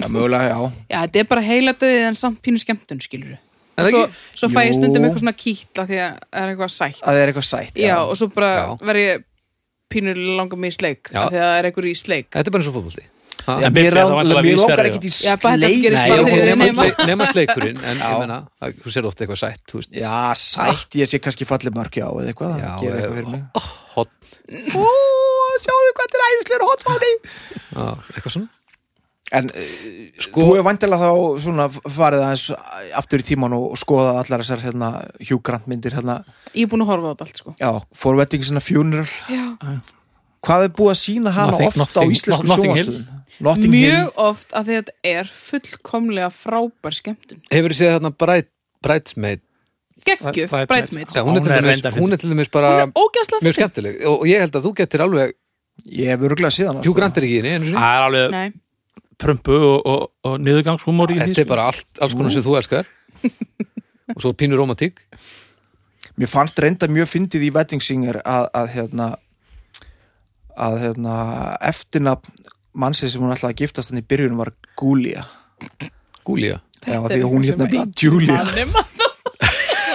[SPEAKER 3] já, mögulega, já
[SPEAKER 1] Já, þetta er bara heila döðið en samt pínu skemmtun, skilur við.
[SPEAKER 2] Er það
[SPEAKER 1] Svo,
[SPEAKER 2] ekki?
[SPEAKER 1] svo fæ ég
[SPEAKER 3] Jú.
[SPEAKER 1] stundum eitthvað svona kýtla því að það er eitthvað sætt.
[SPEAKER 3] að það er eitthvað sætt
[SPEAKER 1] Já, og svo bara
[SPEAKER 2] Já.
[SPEAKER 1] verð ég pínu langa mig í sleik,
[SPEAKER 2] Já.
[SPEAKER 1] af því að það er eitthvað í sleik.
[SPEAKER 2] Þetta er bara eins og fótbolli. Ha?
[SPEAKER 3] Já,
[SPEAKER 4] Biblía
[SPEAKER 3] mér,
[SPEAKER 4] þá
[SPEAKER 3] rá,
[SPEAKER 4] væntanlega
[SPEAKER 3] mér
[SPEAKER 4] vísar,
[SPEAKER 3] langar
[SPEAKER 4] já.
[SPEAKER 3] ekkit í
[SPEAKER 1] Já, bara þetta
[SPEAKER 3] sleik
[SPEAKER 1] gerist
[SPEAKER 2] Nei,
[SPEAKER 1] bara
[SPEAKER 2] ok,
[SPEAKER 1] þegar ég er
[SPEAKER 2] nema,
[SPEAKER 1] nema.
[SPEAKER 2] sleik, nema sleikurinn en
[SPEAKER 3] Já.
[SPEAKER 2] ég menna, þú sér ofta eitthvað sætt þú veist.
[SPEAKER 3] já, sætt, ég sé kannski fallið mörg já, eða eitthvað,
[SPEAKER 2] Já,
[SPEAKER 3] það
[SPEAKER 2] eh,
[SPEAKER 3] gerir eitthvað fyrir mig
[SPEAKER 2] oh, hot,
[SPEAKER 3] ó, sjáðu hvað þetta er æðislegur hotfáni
[SPEAKER 2] á, eitthvað svona
[SPEAKER 3] en eh,
[SPEAKER 4] Sko-
[SPEAKER 3] þú er vantilega þá svona farið aðeins aftur í tíman og skoða allar þessar hérna Hugh Grant myndir hérna,
[SPEAKER 1] Ég er búin að horfa á þetta allt, sko.
[SPEAKER 3] já, For Wedding sinna Funeral
[SPEAKER 1] Já.
[SPEAKER 3] hvað er búið að sína hana
[SPEAKER 4] Nothing-
[SPEAKER 3] oft
[SPEAKER 4] nothing-
[SPEAKER 3] á íslensku
[SPEAKER 4] Notting Hill.
[SPEAKER 3] sjónastöðun Notting Hill,
[SPEAKER 1] Mjög oft að þetta er fullkomlega frábær skemmtun.
[SPEAKER 2] Hefur þið séð þarna Bright, Brightmaid
[SPEAKER 1] Gekkjuð,
[SPEAKER 4] Bridesmaids.
[SPEAKER 1] Bridesmaids.
[SPEAKER 2] Já, hún, er
[SPEAKER 4] Hún
[SPEAKER 2] til
[SPEAKER 4] er
[SPEAKER 2] dæmis-
[SPEAKER 4] reyndar
[SPEAKER 2] hún er til dæmis
[SPEAKER 1] Hún
[SPEAKER 2] bara
[SPEAKER 1] er ógæslega
[SPEAKER 2] mjög skemmtileg og, og ég held að þú getur alveg
[SPEAKER 3] ég hef örgulega síðan
[SPEAKER 2] Hugh Grant er ekki í henni einu sinni.
[SPEAKER 4] það er alveg
[SPEAKER 1] Nei,
[SPEAKER 4] prömpu og, og, og niðurgangshúmór í því
[SPEAKER 2] Þetta er
[SPEAKER 4] sko.
[SPEAKER 2] bara allt, alls konar sem þú elskar og svo pínur romantík
[SPEAKER 3] mér fannst reynda mjög fyndið í Wedding Singer að, að hérna að hérna eftirnafn mannsið sem hún ætlaði að giftast hann í byrjunum var Gúlia
[SPEAKER 2] Gúlía
[SPEAKER 3] já
[SPEAKER 1] Þetta
[SPEAKER 3] því
[SPEAKER 1] er
[SPEAKER 3] að hún
[SPEAKER 1] eitthvað sem
[SPEAKER 3] hérna bara
[SPEAKER 1] enginn
[SPEAKER 3] Julia
[SPEAKER 1] mannum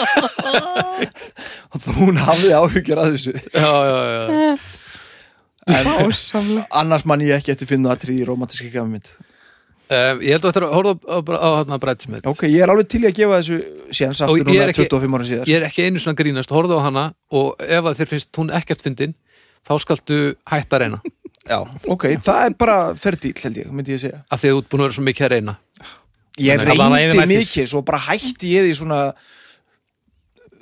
[SPEAKER 3] og hún hafði áhyggjur að þessu
[SPEAKER 2] já, já, já.
[SPEAKER 1] Fásamlega
[SPEAKER 3] annars mann ég ekki eftir finna aðtrið í romantíska gammynd
[SPEAKER 2] Um, ég held að þetta að horfa á, á, á hérna Bridesmaid
[SPEAKER 3] ok, ég er alveg til í að gefa þessu séns
[SPEAKER 2] Og
[SPEAKER 3] aftur
[SPEAKER 2] ég er
[SPEAKER 3] núna
[SPEAKER 2] ekki-
[SPEAKER 3] 25 ára síðar
[SPEAKER 2] ég er ekki einu svona grínast, horfa á hana og ef að þér finnst hún ekkert fyndin þá skaltu hætta að reyna
[SPEAKER 3] já, ok, það er bara ferdýl held ég, myndi ég segja
[SPEAKER 2] af því að þú ert búin að vera svo mikið að reyna
[SPEAKER 3] ég
[SPEAKER 4] Þannig að allan
[SPEAKER 3] reyndi
[SPEAKER 4] að eyðileggis-
[SPEAKER 3] mikið svo bara hætti ég því svona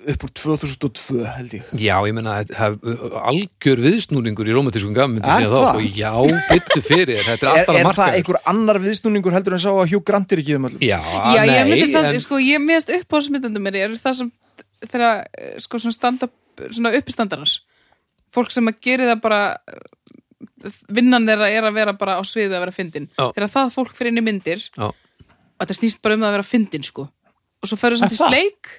[SPEAKER 3] upp úr 2002 held ég
[SPEAKER 2] já, ég meina, þetta hef- algjör viðsnúningur í romantískum gammyndum
[SPEAKER 3] Er
[SPEAKER 2] síðan þá
[SPEAKER 3] það?
[SPEAKER 2] og já, byttu fyrir þér, þetta er
[SPEAKER 3] er,
[SPEAKER 2] alltaf að
[SPEAKER 3] er
[SPEAKER 2] marka
[SPEAKER 3] það einhver annar viðsnúningur heldur en sá að Hugh Grant er ekki í þeim öllum
[SPEAKER 2] já,
[SPEAKER 1] Já,
[SPEAKER 2] nei,
[SPEAKER 1] ég myndi samt,
[SPEAKER 2] en,
[SPEAKER 1] sko, ég meðast uppáhaldsmyndandum er er það sem þegar, eh, sko, svona standa svona uppistandarar fólk sem að gera það bara eh, vinnan þeirra er að vera bara á sviðu að vera fyndin,
[SPEAKER 2] Já.
[SPEAKER 1] þegar það fólk fyrir inn í myndir
[SPEAKER 2] já,
[SPEAKER 1] og þetta snýst bara um það að vera fyndin, sko og svo ferðu samt
[SPEAKER 4] Er
[SPEAKER 1] í
[SPEAKER 4] það?
[SPEAKER 1] sleik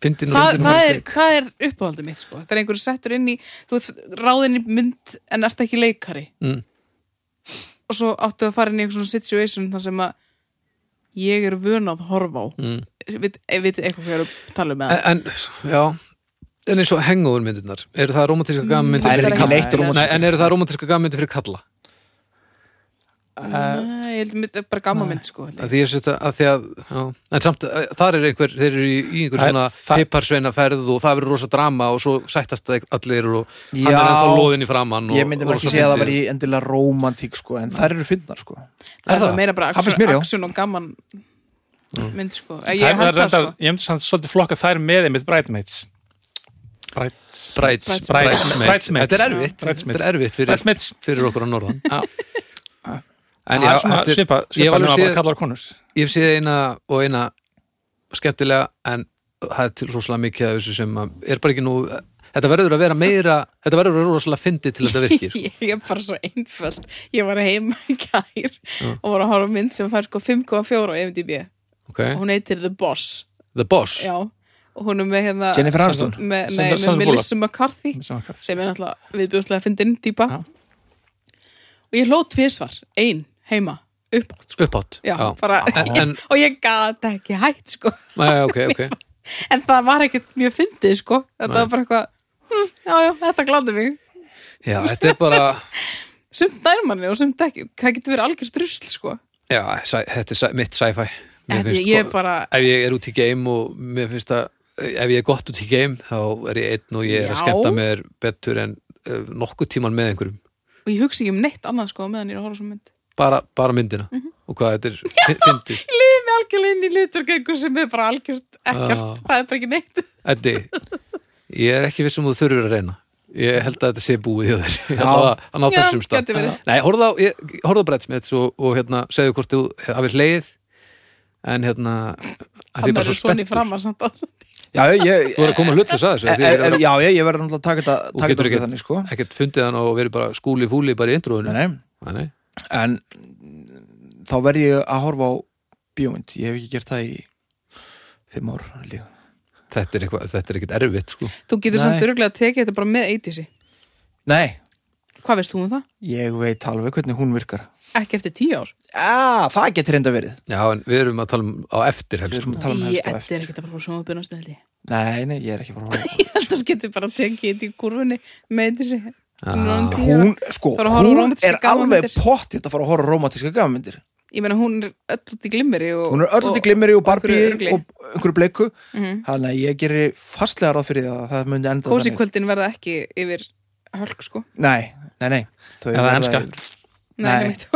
[SPEAKER 2] fyndin
[SPEAKER 1] það,
[SPEAKER 2] fyndin-
[SPEAKER 1] það, er, það er uppáhaldið mitt, sko þegar einhverju settur inn í, þú veit, ráðin í mynd en ert ekki leikari
[SPEAKER 2] Mm.
[SPEAKER 1] og svo áttu að fara inn í einhver svona situation þar sem að ég er vön að horfa á mm. við, við eitthvað hvað ég er að tala um með það
[SPEAKER 2] en, en, já en eins og hengover myndirnar, eru það romantíska
[SPEAKER 1] Mm,
[SPEAKER 2] gammyndir
[SPEAKER 3] Það er
[SPEAKER 2] fyrir
[SPEAKER 3] ekki
[SPEAKER 2] kalla?
[SPEAKER 3] neitt
[SPEAKER 2] Nei,
[SPEAKER 3] romantíska
[SPEAKER 2] en eru það romantíska gammyndir fyrir kalla?
[SPEAKER 1] Nei, ég held að þetta er bara gamma mynd sko held
[SPEAKER 2] að
[SPEAKER 1] ég.
[SPEAKER 2] því ég setja að því að já, en samt eh, þar er einhver þeir eru í, í einhver
[SPEAKER 4] Það er-
[SPEAKER 2] svona
[SPEAKER 4] það-
[SPEAKER 2] piparsveinaferð og það verður rosa drama og svo sættast það allir og hann
[SPEAKER 3] Já.
[SPEAKER 2] er ennþá loðin í framann og,
[SPEAKER 3] ég myndi nú ekki
[SPEAKER 2] rosa
[SPEAKER 3] segja að það
[SPEAKER 2] fyndið.
[SPEAKER 3] var í endilega romantík sko, en þær eru finnar sko.
[SPEAKER 1] það er
[SPEAKER 2] það?
[SPEAKER 1] bara meira bara
[SPEAKER 3] Það finnst mér, já.
[SPEAKER 1] aksjón og gamman mynd sko Eh,
[SPEAKER 4] Þær-
[SPEAKER 1] ég held
[SPEAKER 4] reyndar-
[SPEAKER 1] það sko
[SPEAKER 4] ég myndi samt svolítið flokka þær með einmitt Bridesmaids Brides-
[SPEAKER 2] Brides,
[SPEAKER 1] Brides-
[SPEAKER 2] Bridesmaids.
[SPEAKER 4] Bridesmaids.
[SPEAKER 2] þetta er erfitt
[SPEAKER 4] Bridesmaids.
[SPEAKER 2] þetta er erfitt fyrir,
[SPEAKER 4] Bridesmaids
[SPEAKER 2] fyrir okkur á norðan
[SPEAKER 4] Já.
[SPEAKER 2] en
[SPEAKER 4] Það
[SPEAKER 2] já,
[SPEAKER 4] er svona
[SPEAKER 2] þetta er-
[SPEAKER 4] svipa,
[SPEAKER 2] ég hef
[SPEAKER 4] svipa
[SPEAKER 2] alveg
[SPEAKER 4] nú að
[SPEAKER 2] séð-
[SPEAKER 4] bara kallar konur
[SPEAKER 2] ég hef séð eina og eina skemmtilega en það er til rosalega mikið af þessu sem að- er bara ekki nú þetta verður að vera meira þetta verður að vera rosalega fyndið til að þetta virkir sko.
[SPEAKER 1] ég er bara svo einföld ég var heima í kær og var að horfa á mynd sem fær sko 5,4 á IMDb og
[SPEAKER 2] okay.
[SPEAKER 1] hún heitir The Boss
[SPEAKER 2] The Boss
[SPEAKER 1] Já, og hún er með hérna
[SPEAKER 3] Jennifer Aniston
[SPEAKER 1] með,
[SPEAKER 4] Sandra-
[SPEAKER 1] nei,
[SPEAKER 4] Sandra
[SPEAKER 1] með
[SPEAKER 4] Bullock.
[SPEAKER 1] Melissa McCarthy
[SPEAKER 4] Sem að-
[SPEAKER 1] sem er náttúrulega viðbjóðslega fyndin típa
[SPEAKER 4] Já.
[SPEAKER 1] og ég hlóð tvísvar, ein heima upp,
[SPEAKER 2] upphátt
[SPEAKER 1] já, bara
[SPEAKER 2] En- en-
[SPEAKER 1] og ég gata ekki hætt sko
[SPEAKER 2] Nei, ok, ok
[SPEAKER 1] en það var ekkert mjög fyndið sko þetta var bara eitthvað, hm, já já, þetta gláði mig
[SPEAKER 2] Já, þetta er bara
[SPEAKER 1] sumt nærmanni og sumt ekki það getur verið algjörst rusl sko
[SPEAKER 2] Já, sæ, þetta er sæ, mitt sci-fi Mér
[SPEAKER 1] en
[SPEAKER 2] finnst
[SPEAKER 1] ég er
[SPEAKER 2] sko-
[SPEAKER 1] bara
[SPEAKER 2] Ef ég er út í game og mér finnst að ef ég er gott út í game þá er ég einn og ég er að
[SPEAKER 1] Já.
[SPEAKER 2] skemmta mér betur en uh, nokkuð tíman með einhverjum
[SPEAKER 1] og ég hugsa ekki um neitt annað sko á meðan ég er að horfa á svona mynd
[SPEAKER 2] bara, bara myndina
[SPEAKER 1] Mhm.
[SPEAKER 2] og hvað þetta er fi- fyndið
[SPEAKER 1] ég lifi með algjörlega inn í liturgengu sem er bara algjörst ekkert,
[SPEAKER 2] Já.
[SPEAKER 1] það er bara ekki neitt
[SPEAKER 2] Eddi, ég er ekki viss um að þú þurfur að reyna ég held að þetta sé búið hjá þér Allavega, hann á
[SPEAKER 1] Já,
[SPEAKER 2] þessum stað
[SPEAKER 1] gæti verið.
[SPEAKER 2] Nei, horfðu á, ég- horfðu á brettsmits og, og hérna, segðu hvort þú hafið hleið en hérna að því
[SPEAKER 1] hann
[SPEAKER 2] bara
[SPEAKER 1] verður
[SPEAKER 2] svo
[SPEAKER 1] svona í
[SPEAKER 2] spenntur
[SPEAKER 1] framar samt að
[SPEAKER 3] Já, ég, ég,
[SPEAKER 2] þú er að koma hlutlis að þessu
[SPEAKER 3] e,
[SPEAKER 1] Eh,
[SPEAKER 2] því
[SPEAKER 3] e,
[SPEAKER 2] ég er
[SPEAKER 3] e, já, ég, ég verður náttúrulega að taka þetta
[SPEAKER 2] Þú
[SPEAKER 3] taka
[SPEAKER 2] getur
[SPEAKER 3] þetta
[SPEAKER 2] ekki-
[SPEAKER 3] þannig, sko
[SPEAKER 2] að- ekkert fundið hann og verið bara skúli fúli bara í
[SPEAKER 3] Nei,
[SPEAKER 2] intróinu
[SPEAKER 3] nei,
[SPEAKER 2] Nei, nei.
[SPEAKER 3] en mm, þá verð ég að horfa á bíómynd, ég hef ekki gert það í fimm ár, held ég
[SPEAKER 2] þetta er eitthvað- þetta er ekkert erfitt sko.
[SPEAKER 1] þú getur
[SPEAKER 3] Nei.
[SPEAKER 1] samt öruglega að tekið þetta bara með 80
[SPEAKER 3] Nei,
[SPEAKER 1] hvað veist þú um það?
[SPEAKER 3] ég veit alveg hvernig hún virkar
[SPEAKER 1] ekki eftir 10 ár
[SPEAKER 3] Já, það getur reynda verið
[SPEAKER 2] já, en við erum að tala um á eftir
[SPEAKER 3] Við
[SPEAKER 2] helst
[SPEAKER 3] erum
[SPEAKER 2] sko.
[SPEAKER 3] að tala um
[SPEAKER 1] ég
[SPEAKER 3] helst á
[SPEAKER 1] þetta
[SPEAKER 3] eftir
[SPEAKER 1] er ekki bara svona uppið næstu held ég
[SPEAKER 3] Nei, nei, ég er ekki bara að horfa á-
[SPEAKER 1] ég held að það getur bara að tekið þetta í kurfunni með 80
[SPEAKER 2] Ah.
[SPEAKER 3] Hún, sko,
[SPEAKER 1] Fara að horfa á
[SPEAKER 3] hún
[SPEAKER 1] rómantískar
[SPEAKER 3] er alveg
[SPEAKER 1] gamanmyndir.
[SPEAKER 3] pottitt að fara að horfa á romantíska gafmyndir
[SPEAKER 1] ég meina hún er öll út í glimmeri og,
[SPEAKER 3] Hún er öll til
[SPEAKER 1] og-
[SPEAKER 3] glimmeri og
[SPEAKER 1] og einhverju
[SPEAKER 3] barbíi
[SPEAKER 1] rugli.
[SPEAKER 3] og einhverju bleiku
[SPEAKER 1] Mhm.
[SPEAKER 3] Þannig að ég gerir fastlega ráð fyrir það að það myndi enda
[SPEAKER 1] kósi
[SPEAKER 3] þannig
[SPEAKER 1] kvöldin verða ekki yfir hölk sko
[SPEAKER 3] Nei, nei, nei Þau
[SPEAKER 4] Eða
[SPEAKER 3] verða-
[SPEAKER 4] enska.
[SPEAKER 3] Nei.
[SPEAKER 1] Nei, einmitt.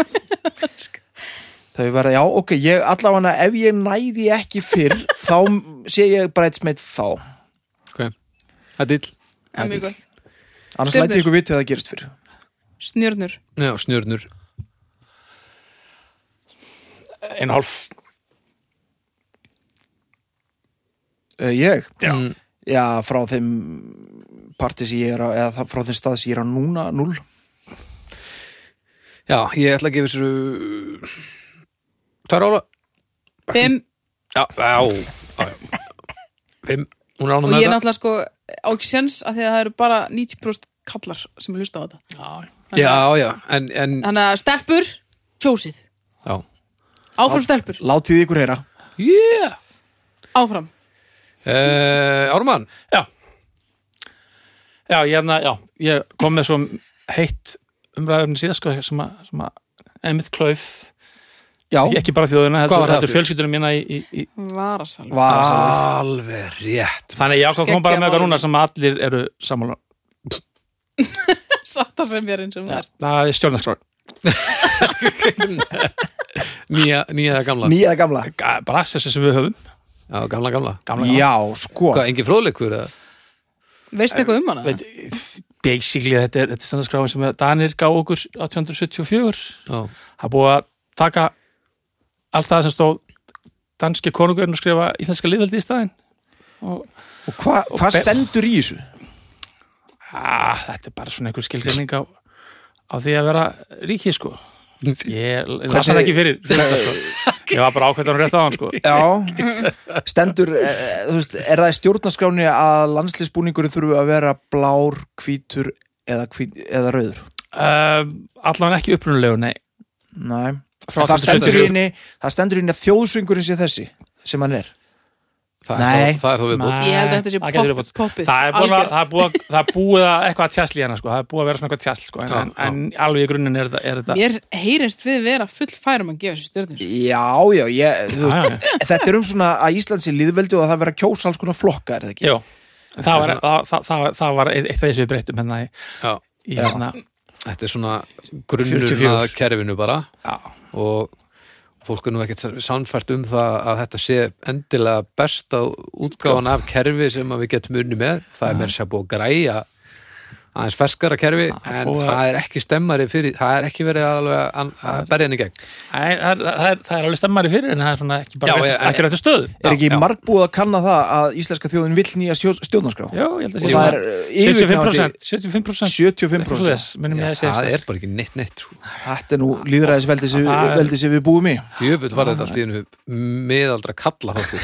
[SPEAKER 3] Þau verða, já, ok, ég allavega ef ég næði ekki fyrr þá sé ég brætsmeitt þá
[SPEAKER 2] okay. það er dill
[SPEAKER 1] Það er mjög gott.
[SPEAKER 3] annars
[SPEAKER 1] Stjörnur.
[SPEAKER 3] læti ég ykkur vitið að það gerist fyrr
[SPEAKER 1] Snjörnur
[SPEAKER 2] já, snjörnur
[SPEAKER 4] Einu hálf
[SPEAKER 3] uh, Ég?
[SPEAKER 4] Já.
[SPEAKER 2] Mm.
[SPEAKER 3] Já, frá þeim parti sem ég er á, eða það- frá þeim stað sem ég er á núna, null
[SPEAKER 2] já, ég ætla að gefa þessu tvær ála
[SPEAKER 1] Fimm,
[SPEAKER 2] já, já, já. Fimm, hún er ánum
[SPEAKER 1] og
[SPEAKER 2] með
[SPEAKER 1] ég
[SPEAKER 2] þetta
[SPEAKER 1] náttúrulega sko á ekki sens að því að það eru bara 90% kallar sem hlusta á þetta
[SPEAKER 4] Já,
[SPEAKER 2] já, já, en, en
[SPEAKER 1] Þannig að stelpur, kjósið
[SPEAKER 2] já.
[SPEAKER 1] Áfram stelpur,
[SPEAKER 3] Látið ykkur heyra
[SPEAKER 2] Yeah.
[SPEAKER 1] áfram
[SPEAKER 2] Uh, Ármann
[SPEAKER 4] Já Já, ég, hérna, já, ég kom með svo heitt umræðurinn síðan sko, sem að, sem að einmitt klauf,
[SPEAKER 3] Já,
[SPEAKER 4] ekki bara þjóðuna
[SPEAKER 2] Hvað var
[SPEAKER 4] heldur,
[SPEAKER 2] það
[SPEAKER 4] heldur
[SPEAKER 2] aftur?
[SPEAKER 4] fjölskyldunum mína í, í, í
[SPEAKER 1] Varasalva
[SPEAKER 3] var ah.
[SPEAKER 2] alveg rétt
[SPEAKER 4] þannig ég ákvað að koma bara
[SPEAKER 1] Geggjað
[SPEAKER 4] með
[SPEAKER 1] mál.
[SPEAKER 4] eitthvað núna sem að allir eru sammála um.
[SPEAKER 1] Sata sem ég er eins og það er
[SPEAKER 4] það er stjórnarskrár,
[SPEAKER 2] nýja, nýja eða gamla
[SPEAKER 3] Nýja eða gamla
[SPEAKER 4] Ga- bara þessi sem við höfum
[SPEAKER 2] já, gamla, gamla
[SPEAKER 4] gamla,
[SPEAKER 3] Já, sko
[SPEAKER 2] hvað, engin fróðleikur eða?
[SPEAKER 1] Veistu eitthvað um hana?
[SPEAKER 4] Veit, basically þetta er, þetta er stjórnarskráin sem að Danir gá okkur 1874
[SPEAKER 2] já,
[SPEAKER 4] það er búið að taka allt það sem stóð danski konungurinn og skrifa íslenska liðaldi í staðinn og
[SPEAKER 3] Og hva, hvað
[SPEAKER 4] be-
[SPEAKER 3] stendur í þessu?
[SPEAKER 4] Ah, þetta er bara svona einhver skilgreining á, á því að vera ríki sko ég las það ekki fyrir, fyrir þetta, sko. ég var bara ákveðan rétt á hann sko
[SPEAKER 3] Já, stendur e, e, þú veist, er það í stjórnaskráni að landslisbúningur þurfu að vera blár, hvítur eða, hvít, eða rauður
[SPEAKER 4] um, allan ekki upprunulegu, nei
[SPEAKER 3] Nei,
[SPEAKER 4] Frá
[SPEAKER 3] En það
[SPEAKER 4] 1874.
[SPEAKER 3] stendur í henni það stendur í henni að þjóðsöngurinn sé þessi sem hann er
[SPEAKER 2] það
[SPEAKER 3] Nei.
[SPEAKER 2] er þá, það er þá viðbútt
[SPEAKER 1] Ég held að þetta sé
[SPEAKER 4] það getur
[SPEAKER 1] popp-
[SPEAKER 4] verið
[SPEAKER 1] poppið
[SPEAKER 4] það er búið að,
[SPEAKER 1] algjört.
[SPEAKER 4] það er búið að, það er búið að eitthvað að tjásli hérna sko, það er búið að vera svona eitthvað tjásl sko, en,
[SPEAKER 2] Já,
[SPEAKER 4] en,
[SPEAKER 2] já.
[SPEAKER 4] en alveg í grunninn er, þetta- er þetta
[SPEAKER 1] Mér heyrist við vera full færum að gefa þessu stjörnur
[SPEAKER 3] Já, já, ég, þú, veist, þetta er um svona að Íslands er líðveldi og að það vera að kjósa alls konar flokka, er það ekki?
[SPEAKER 4] Jú, en það, var, það, það, það, það var eitt af þessu við breyttum hérna í,
[SPEAKER 2] Já,
[SPEAKER 4] í hérna
[SPEAKER 2] þetta er svona grunnur
[SPEAKER 4] 44.
[SPEAKER 2] að kerfinu bara
[SPEAKER 4] já,
[SPEAKER 2] og fólk er nú ekkert sannfært um það að þetta sé endilega besta útgáfan
[SPEAKER 4] Sko.
[SPEAKER 2] af kerfi sem að við getum unni með það er mér sér búið að græja aðeins ferskara kerfi
[SPEAKER 4] það er
[SPEAKER 2] en
[SPEAKER 4] búið að-
[SPEAKER 2] það er ekki stemmari fyrir það er ekki verið alveg að- að berja henni gegn
[SPEAKER 4] Æ, það, er, það, er, það er alveg stemmari fyrir en það er svona ekki bara
[SPEAKER 2] Já,
[SPEAKER 4] rétt,
[SPEAKER 2] ég-
[SPEAKER 4] ekki rættu stöðu
[SPEAKER 3] Er ekki margbúið að kanna það að íslenska þjóðin vill nýja stjórn- stjórnarskrá?
[SPEAKER 4] Já, ég held að
[SPEAKER 3] Og
[SPEAKER 4] sé
[SPEAKER 3] það er uh, yfirnátti
[SPEAKER 4] 75% 75%
[SPEAKER 3] 75%
[SPEAKER 4] minnum
[SPEAKER 2] Já,
[SPEAKER 4] ég að segja
[SPEAKER 2] það er bara ekki neitt neitt sko.
[SPEAKER 3] Þetta er nú líðræðisveldi sem,
[SPEAKER 4] Það er-
[SPEAKER 3] veldi sem við búum í
[SPEAKER 2] djöfull var þetta allt í einu miðaldra kalla þáttu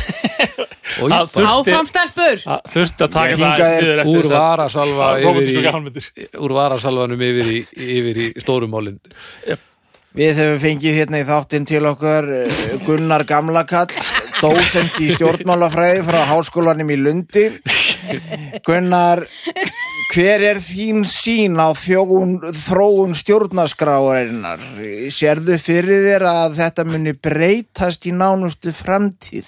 [SPEAKER 2] og ég
[SPEAKER 4] Það
[SPEAKER 2] bara
[SPEAKER 4] þurfti-
[SPEAKER 1] Áfram stelpur
[SPEAKER 4] Það þurfti að taka
[SPEAKER 3] Ég
[SPEAKER 4] það
[SPEAKER 3] hingað er
[SPEAKER 4] niður eftir
[SPEAKER 2] úr
[SPEAKER 4] þess að
[SPEAKER 2] varasalva
[SPEAKER 4] Það er
[SPEAKER 2] yfir
[SPEAKER 4] romantísku
[SPEAKER 2] í,
[SPEAKER 4] gamanmyndir.
[SPEAKER 2] úr varasalvanum yfir í, yfir í stórumálin
[SPEAKER 3] Við hefum fengið hérna í þáttinn til okkar eh, Gunnar Gamlakall, dósend í stjórnmálafræði frá háskólanum í Lundi. Gunnar Hver er þín sín á þjón, þróun stjórnarskráarinnar? Sérðu fyrir þér að þetta muni breytast í nánustu framtíð?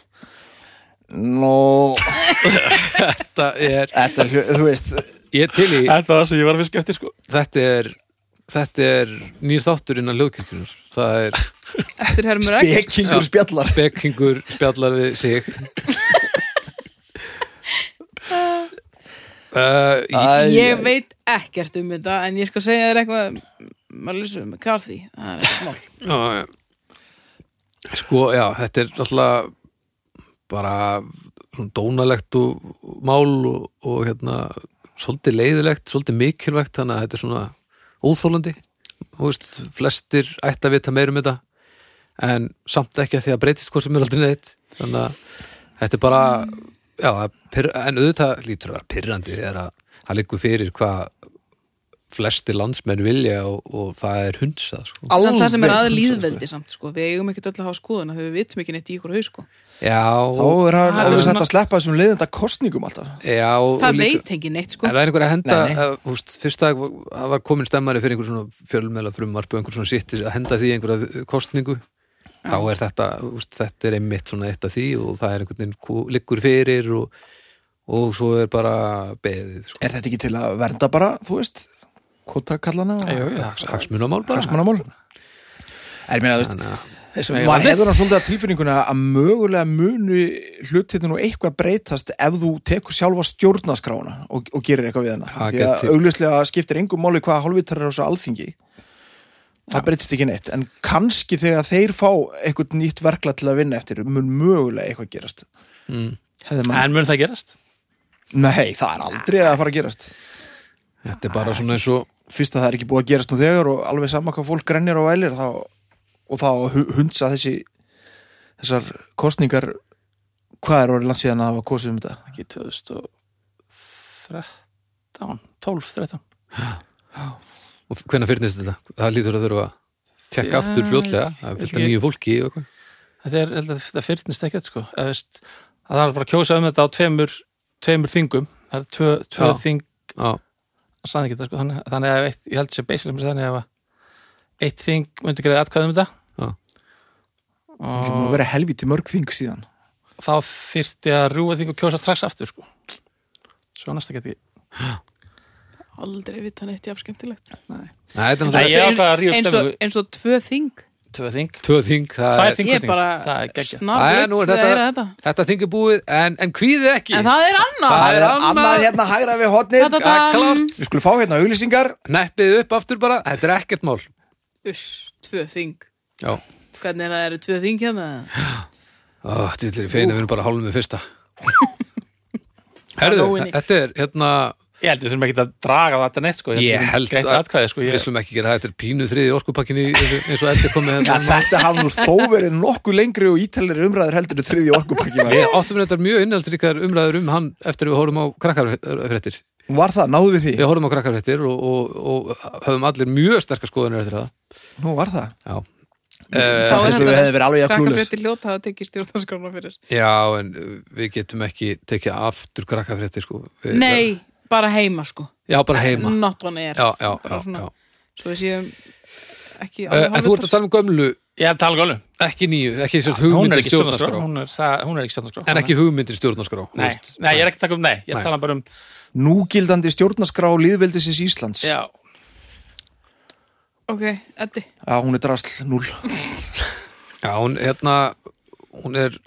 [SPEAKER 3] Nú,
[SPEAKER 2] Þetta er,
[SPEAKER 3] þetta, hljó- þú veist,
[SPEAKER 2] ég er til í
[SPEAKER 4] er það sem ég var að fiska eftir sko
[SPEAKER 2] þetta er, þetta er nýr þáttur innan lögkirkjunar það er
[SPEAKER 1] eftir Hermur Egg
[SPEAKER 3] bekingur spjallar.
[SPEAKER 2] bekingur spjallar við sig uh,
[SPEAKER 3] Æ,
[SPEAKER 1] Ég veit ekkert um þetta en ég skal segja þér eitthvað um- maður lýsum með Carthy það er ekkert mál.
[SPEAKER 2] Já, já. Sko, já, þetta er alltaf bara svona dónalegt og og mál og, og hérna svolítið leiðilegt, svolítið mikilvægt þannig að þetta er svona óþólandi þú veist, flestir ætti að vita meir um þetta en samt ekki að því að breytist hvort sem er aldrei neitt þannig að þetta er bara já, það er pirr- en auðvitað lítur að vera pyrrandi þegar að það liggur fyrir hvað flesti landsmenn vilja og, og það er hunsað sko.
[SPEAKER 1] samt það sem er að
[SPEAKER 3] Alveg.
[SPEAKER 1] líðveldi samt sko við eigum ekkert öll að hafa skoðuna þegar við vitum ekki neitt í ykkur haug sko
[SPEAKER 2] Já,
[SPEAKER 3] Þá er hann
[SPEAKER 4] Það er
[SPEAKER 3] alveg
[SPEAKER 4] svona-
[SPEAKER 3] sætt að sleppa þessum leiðenda kostningum alltaf.
[SPEAKER 2] já og
[SPEAKER 1] það
[SPEAKER 2] líka-
[SPEAKER 1] veit ekki neitt
[SPEAKER 2] En
[SPEAKER 1] sko
[SPEAKER 2] það er einhver að henda,
[SPEAKER 3] Nei, nei.
[SPEAKER 2] að, þú veist, fyrst að það var komin stemmari fyrir einhver svona fjölmeila frumvarp og einhver svona sittis að henda því í einhverja kostningu þá er þetta, þú veist, þetta er einmitt svona eitt af því og það er einhvern veginn kú- liggur fyrir og, og svo er bara beðið, sko,
[SPEAKER 3] Er þetta ekki til að vernda bara, þú veist, kvotakallana?
[SPEAKER 4] Jú, jú,
[SPEAKER 2] Hags- hagsmunamál bara
[SPEAKER 3] Hagsmunamál? Er mér að, þú veist,
[SPEAKER 2] Þannig að-
[SPEAKER 4] þeir sem eiga
[SPEAKER 3] maður
[SPEAKER 4] landið.
[SPEAKER 3] hefur hann svolítið að tilfinninguna að mögulega muni hlutinu nú eitthvað breytast ef þú tekur sjálfa stjórnaskrána og, og gerir eitthvað við hana
[SPEAKER 2] Ha,
[SPEAKER 3] því að
[SPEAKER 2] gæti.
[SPEAKER 3] augljóslega skiptir engum máli hvað hálfvitar er á þessu alþingi það breytist ekki neitt en kannski þegar þeir fá eitthvað nýtt verkla til að vinna eftir mun mögulega eitthvað gerast
[SPEAKER 2] Mm.
[SPEAKER 3] Hefði maður-
[SPEAKER 4] en mun það gerast
[SPEAKER 3] Nei, það er aldrei að fara að gerast
[SPEAKER 2] þetta er bara svona eins og
[SPEAKER 3] fyrst að það er ekki búið að gerast nú þegar og alveg sama hvað fólk grennir og vælir þá, og þá hu- hundsa þessi þessar kostningar hvað er orðið langt síðan að hafa kosið um þetta
[SPEAKER 4] ekki 2013 12, 13
[SPEAKER 2] og hvenær fyrnist þetta, það lítur að þurfa að tekka
[SPEAKER 4] Já,
[SPEAKER 2] aftur fljótlega, það er fyllt af
[SPEAKER 4] ekki.
[SPEAKER 2] nýju fólki og eitthvað
[SPEAKER 4] þetta er, held að þetta fyrtnist ekkert sko eða veist, að það er bara að kjósa um þetta á tveimur tveimur þingum, það er tvö, tvö
[SPEAKER 2] Já.
[SPEAKER 4] þing
[SPEAKER 2] Já,
[SPEAKER 4] hann sagði ekki þetta sko, þannig, þannig að ef eitt, ég held sér basically með þannig að eitt þing myndi greiði atkvæði um
[SPEAKER 2] Já.
[SPEAKER 4] þetta
[SPEAKER 3] það er búin að
[SPEAKER 4] og
[SPEAKER 3] vera helviti mörg þing síðan
[SPEAKER 4] þá þyrfti að rúa þing og kjósa strax aftur sko svo næsta geti
[SPEAKER 1] aldrei vita neitt jafn skemmtilegt
[SPEAKER 2] Nei, þetta er
[SPEAKER 4] Nei,
[SPEAKER 2] náttúrulega
[SPEAKER 4] ég ákvað að rífa
[SPEAKER 1] eins og,
[SPEAKER 4] stemmingu.
[SPEAKER 1] eins og tvö þing
[SPEAKER 4] tvö þing
[SPEAKER 2] tvö þing, það
[SPEAKER 4] Tvær
[SPEAKER 2] er
[SPEAKER 4] þing-
[SPEAKER 1] ég er
[SPEAKER 4] Þingkosningar.
[SPEAKER 1] bara
[SPEAKER 4] Það er geggjað.
[SPEAKER 2] Jæja, nú
[SPEAKER 1] snarvitt
[SPEAKER 2] er
[SPEAKER 1] þegar
[SPEAKER 2] þetta-
[SPEAKER 1] þetta... þetta
[SPEAKER 2] Þetta þing er búið, en, en kvíðið ekki
[SPEAKER 1] en það er annað
[SPEAKER 2] Það er annað-
[SPEAKER 3] hérna hægra við hotnið
[SPEAKER 1] Þetta-
[SPEAKER 2] Það er klárt
[SPEAKER 3] við skulum fá hérna auglýsingar
[SPEAKER 2] Neppið upp aftur bara, þetta er ekkert mál
[SPEAKER 1] uss, tvö þing
[SPEAKER 2] Já, Eh,
[SPEAKER 1] hvernig er það eru tvö þing hérna
[SPEAKER 2] dýllir í feina, við erum bara hálfum við fyrsta Herðu,
[SPEAKER 1] Halloween.
[SPEAKER 2] þetta er hérna
[SPEAKER 4] ég held við þurfum ekki að draga þetta neitt sko
[SPEAKER 2] Ég held
[SPEAKER 4] greiði
[SPEAKER 2] að-
[SPEAKER 4] atkvæði sko
[SPEAKER 2] Við
[SPEAKER 4] ég,
[SPEAKER 2] slum ekki gera það, þetta er pínu þriði orkupakkinni eins og eftir komið
[SPEAKER 3] ja,
[SPEAKER 2] hérna.
[SPEAKER 3] þetta hafði nú þó verið nokkuð lengri og ítalir umræður heldur en þriði orkupakki var.
[SPEAKER 2] Við áttum þetta mjög innhaldríkar umræður um hann eftir að við horfum á krakkarfréttir
[SPEAKER 3] var það, náðu við því
[SPEAKER 2] Við horfum á krakkarfréttir og, og, og höfum allir mjög sterkar skoðunir eftir það Eh,
[SPEAKER 3] nú var það
[SPEAKER 2] Já,
[SPEAKER 1] þá
[SPEAKER 3] fannst eins og við hefðum verið alveg jafn clueless.
[SPEAKER 1] krakkafréttir ljóta að teki stjórnarskrána fyrir
[SPEAKER 2] Já en uh, við getum ekki tekið aftur krakkarfréttir sko. Við-
[SPEAKER 1] nei, bara heima sko
[SPEAKER 2] Já, bara heima
[SPEAKER 1] not on air
[SPEAKER 2] Já, já,
[SPEAKER 1] Bara
[SPEAKER 2] já,
[SPEAKER 1] svona-
[SPEAKER 2] já.
[SPEAKER 1] svo við séum ekki
[SPEAKER 2] Uh, En þú ert að tala um gömlu
[SPEAKER 4] ég er að tala gólu
[SPEAKER 2] ekki nýju, ekki sem sagt
[SPEAKER 4] hún er
[SPEAKER 2] hugmyndir
[SPEAKER 4] ekki stjórnarskrá
[SPEAKER 2] stjórnarskrá
[SPEAKER 4] hún er, það- hún er ekki stjórnarskrá
[SPEAKER 2] en ekki hugmyndir stjórnarskrá þú
[SPEAKER 4] nei,
[SPEAKER 2] veist.
[SPEAKER 4] nei, ég er ekki að taka um nei ég
[SPEAKER 2] Nei.
[SPEAKER 4] tala bara um
[SPEAKER 3] núgildandi stjórnarskrá líðveldisins Íslands
[SPEAKER 4] já,
[SPEAKER 1] ok, Eddi
[SPEAKER 3] að hún er drasl 0
[SPEAKER 2] Já, hún, hérna, hún er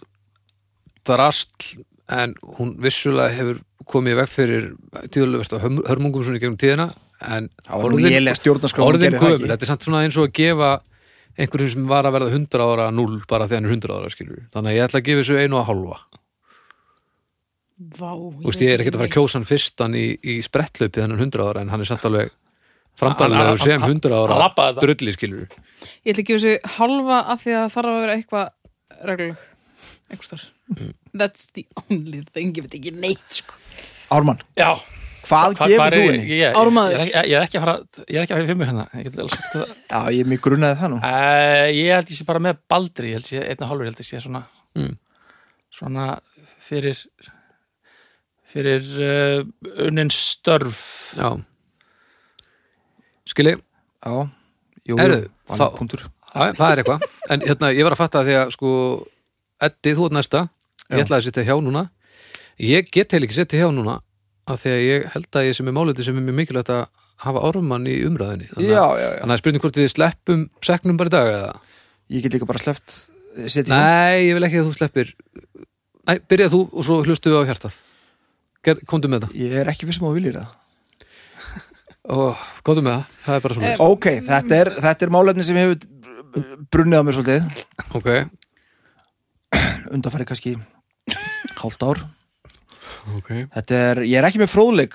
[SPEAKER 2] drastl en hún vissulega hefur komið í veg fyrir tíðulegversta hörmungum svona í gegnum tíðina en
[SPEAKER 3] Það var nú léleg stjórnarskrá, hún
[SPEAKER 2] orðin
[SPEAKER 3] gerði það
[SPEAKER 2] gömur,
[SPEAKER 3] ekki.
[SPEAKER 2] þetta er samt svona eins og að gefa einhverjum sem var að verða 100 ára 0 bara því hann er 100 ára skilur við. þannig að ég ætla að gefa þessu einu og að hálfa
[SPEAKER 1] Vá,
[SPEAKER 2] Þú veist, ég er ekkert að fara að kjósa hann fyrst hann í, í sprettlaupi þannig 100 ára en hann er samt alveg frambarlegur
[SPEAKER 4] Hann- hann-
[SPEAKER 2] sem 100
[SPEAKER 4] hann
[SPEAKER 2] ára
[SPEAKER 4] labbaði þetta.
[SPEAKER 2] drulli skilur við.
[SPEAKER 1] Ég ætla að gefa þessu halva af því að það þarf að vera eitthvað regluleg einhvers þar
[SPEAKER 2] Mm.
[SPEAKER 1] That's the only thing, ég veit ekki neitt sko.
[SPEAKER 3] Ármann,
[SPEAKER 4] já
[SPEAKER 3] hvað,
[SPEAKER 4] Hva- hvar
[SPEAKER 3] gefur þú
[SPEAKER 4] er-
[SPEAKER 3] henni?
[SPEAKER 4] ég- ég-
[SPEAKER 1] Ármaður.
[SPEAKER 4] ég er ekki- ég er ekki að fara ég er ekki að fara í fimmu hérna ég get alveg sagt það
[SPEAKER 3] Já, ég mig grunaði það nú
[SPEAKER 4] Uh, ég held ég sé bara með Baldri ég held ég sé einn og hálfur, ég held ég sé svona
[SPEAKER 2] Mm.
[SPEAKER 4] svona fyrir fyrir uh, unnin störf
[SPEAKER 2] já skilji,
[SPEAKER 3] Já, jú,
[SPEAKER 2] Heyrðu,
[SPEAKER 3] vann
[SPEAKER 2] þá-
[SPEAKER 3] punktur.
[SPEAKER 2] já, það er eitthvað en hérna, ég var að fatta því að sko Eddi, þú ert næsta, ég
[SPEAKER 3] Já.
[SPEAKER 2] ætlaði að setja hjá núna ég get heil ekki setja hjá núna af því að ég held að ég sem er máliti sem er mjög mikilvægt að hafa ormann í umræðinni þannig,
[SPEAKER 3] Já,
[SPEAKER 2] að-
[SPEAKER 3] já, já.
[SPEAKER 2] þannig að spurning hvort við sleppum seknum bara í dag eða?
[SPEAKER 3] Ég get líka bara sleppt eh, setja
[SPEAKER 2] Nei, ég vil ekki að þú sleppir Nei, byrja þú og svo hlustu við á hjartað Ger, Komdu með það
[SPEAKER 3] Ég er ekki vissum að þú viljir það.
[SPEAKER 2] Ó,
[SPEAKER 3] Oh.
[SPEAKER 2] Komdu með það, það er bara svona
[SPEAKER 3] Ok, þetta er, þetta er málefni sem hefur brunnið á mér svolítið.
[SPEAKER 2] Ok,
[SPEAKER 3] Undarfæri kannski hálft ár.
[SPEAKER 2] ok
[SPEAKER 3] Þetta er, ég er ekki með fróðleik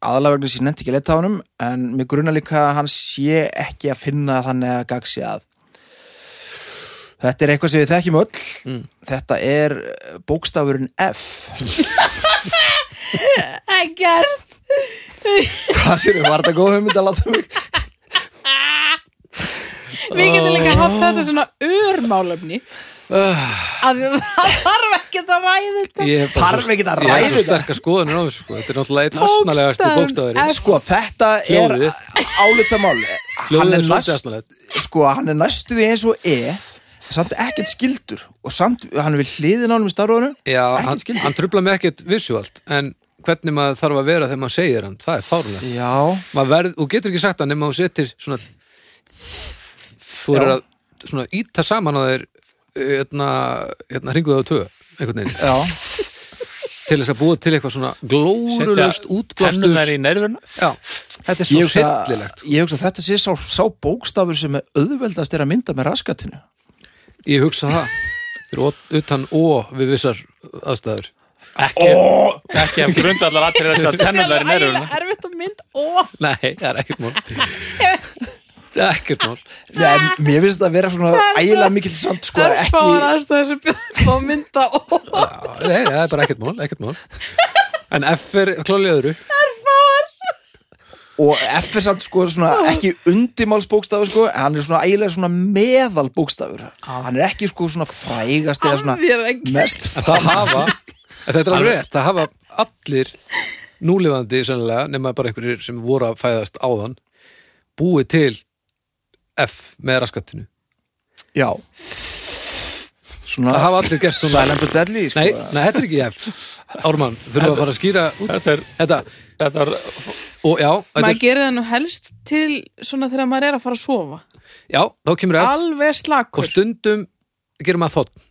[SPEAKER 3] aðalega vegna sér nefnt ekki að leta á honum en mér grunna líka að hann sé ekki að finna þannig að gagsi að Þetta er eitthvað sem við þekkjum öll Þetta er uh, bókstafurinn F
[SPEAKER 1] Ekkert
[SPEAKER 3] Hvað sér þið, var þetta góð hugmynd að láta mig?
[SPEAKER 1] Við getum líka haft þetta svona örmálefni að það þarf ekki að ræða þetta
[SPEAKER 2] Ég hef bara
[SPEAKER 3] Þarf
[SPEAKER 2] svo-
[SPEAKER 3] ekki að
[SPEAKER 2] Ég
[SPEAKER 3] ræða
[SPEAKER 2] hef svo
[SPEAKER 3] þetta.
[SPEAKER 2] sterkar skoðunir á þessu sko. Þetta er náttúrulega einn asnalegasti
[SPEAKER 1] Bókstafurinn
[SPEAKER 2] bókstafari
[SPEAKER 1] F.
[SPEAKER 3] Sko, þetta er
[SPEAKER 2] Hljóðið.
[SPEAKER 3] álitamál
[SPEAKER 2] Hljóðið
[SPEAKER 3] Hann
[SPEAKER 2] er
[SPEAKER 3] er
[SPEAKER 2] svolítið
[SPEAKER 3] næst
[SPEAKER 2] asnalegt
[SPEAKER 3] sko, hann er næstu því eins og E samt ekkert skildur og samt, hann er við hliðin á hann í starfóðinu
[SPEAKER 2] Já,
[SPEAKER 3] Ekkert
[SPEAKER 2] hann,
[SPEAKER 3] skyldur.
[SPEAKER 2] hann trubla mig ekkert visuált En hvernig maður þarf að vera þegar maður segir hann Það er fárlega
[SPEAKER 3] Já,
[SPEAKER 2] verð, Þú getur ekki sagt hann nema þú setir svona Þú er
[SPEAKER 3] Já.
[SPEAKER 2] að svona íta saman á þeir hérna, hérna hringuðu á tvö einhvern veginn
[SPEAKER 3] já
[SPEAKER 2] til þess að búa til eitthvað svona
[SPEAKER 4] setja
[SPEAKER 2] glórulöst útblástur
[SPEAKER 4] tennunar í nervuna
[SPEAKER 2] Já, þetta er
[SPEAKER 3] Ég
[SPEAKER 2] svo
[SPEAKER 3] hugsa,
[SPEAKER 2] sillilegt
[SPEAKER 3] ég hugsa að þetta sé sá, sá bókstafur sem er auðveldast er að mynda með raskatinu
[SPEAKER 2] Ég hugsa það fyrir ot- utan ó við vissar aðstæður
[SPEAKER 4] ekki, ekki að grunda allar allir þess að tennunar
[SPEAKER 1] Það
[SPEAKER 4] í
[SPEAKER 1] er
[SPEAKER 4] nervuna
[SPEAKER 1] ægilega erfitt að mynd
[SPEAKER 2] Sko,
[SPEAKER 1] og
[SPEAKER 2] Nei, það er ekkert mál Það er ekkert mál
[SPEAKER 3] Já, en mér finnst þetta að vera svona
[SPEAKER 1] Það er
[SPEAKER 3] ægilega
[SPEAKER 1] bara-
[SPEAKER 3] mikill samt sko ekki
[SPEAKER 1] örfáar aðstæður sem bjóðum á mynda og
[SPEAKER 2] Já, Nei, það er bara ekkert mál, ekkert mál En F er klálega öðru
[SPEAKER 3] og F er samt sko svona ekki undimáls bókstafur sko en hann er svona ægilega svona meðal bókstafur hann er ekki sko svona frægast eða svona
[SPEAKER 1] alveg ekki
[SPEAKER 3] mest
[SPEAKER 2] En það hafa, en þetta er alveg rétt Það hafa allir núlifandi sennilega, nema bara einhverjir sem voru að fæðast áðan búið til F með raskattinu
[SPEAKER 3] já
[SPEAKER 2] Það
[SPEAKER 3] svona
[SPEAKER 2] hafa allir gert svona
[SPEAKER 3] silent but deadly sko
[SPEAKER 2] Nei, nei, þetta er ekki F Ármann, þurfum við að fara að skýra út
[SPEAKER 4] þetta er,
[SPEAKER 2] Þetta,
[SPEAKER 4] þetta er
[SPEAKER 2] og já, þetta
[SPEAKER 1] Maður
[SPEAKER 2] er,
[SPEAKER 1] gerir það nú helst til svona þegar maður er að fara að sofa
[SPEAKER 2] já, þá kemur F
[SPEAKER 1] Alveg
[SPEAKER 2] og
[SPEAKER 1] slakur
[SPEAKER 2] stundum gerir maður þótt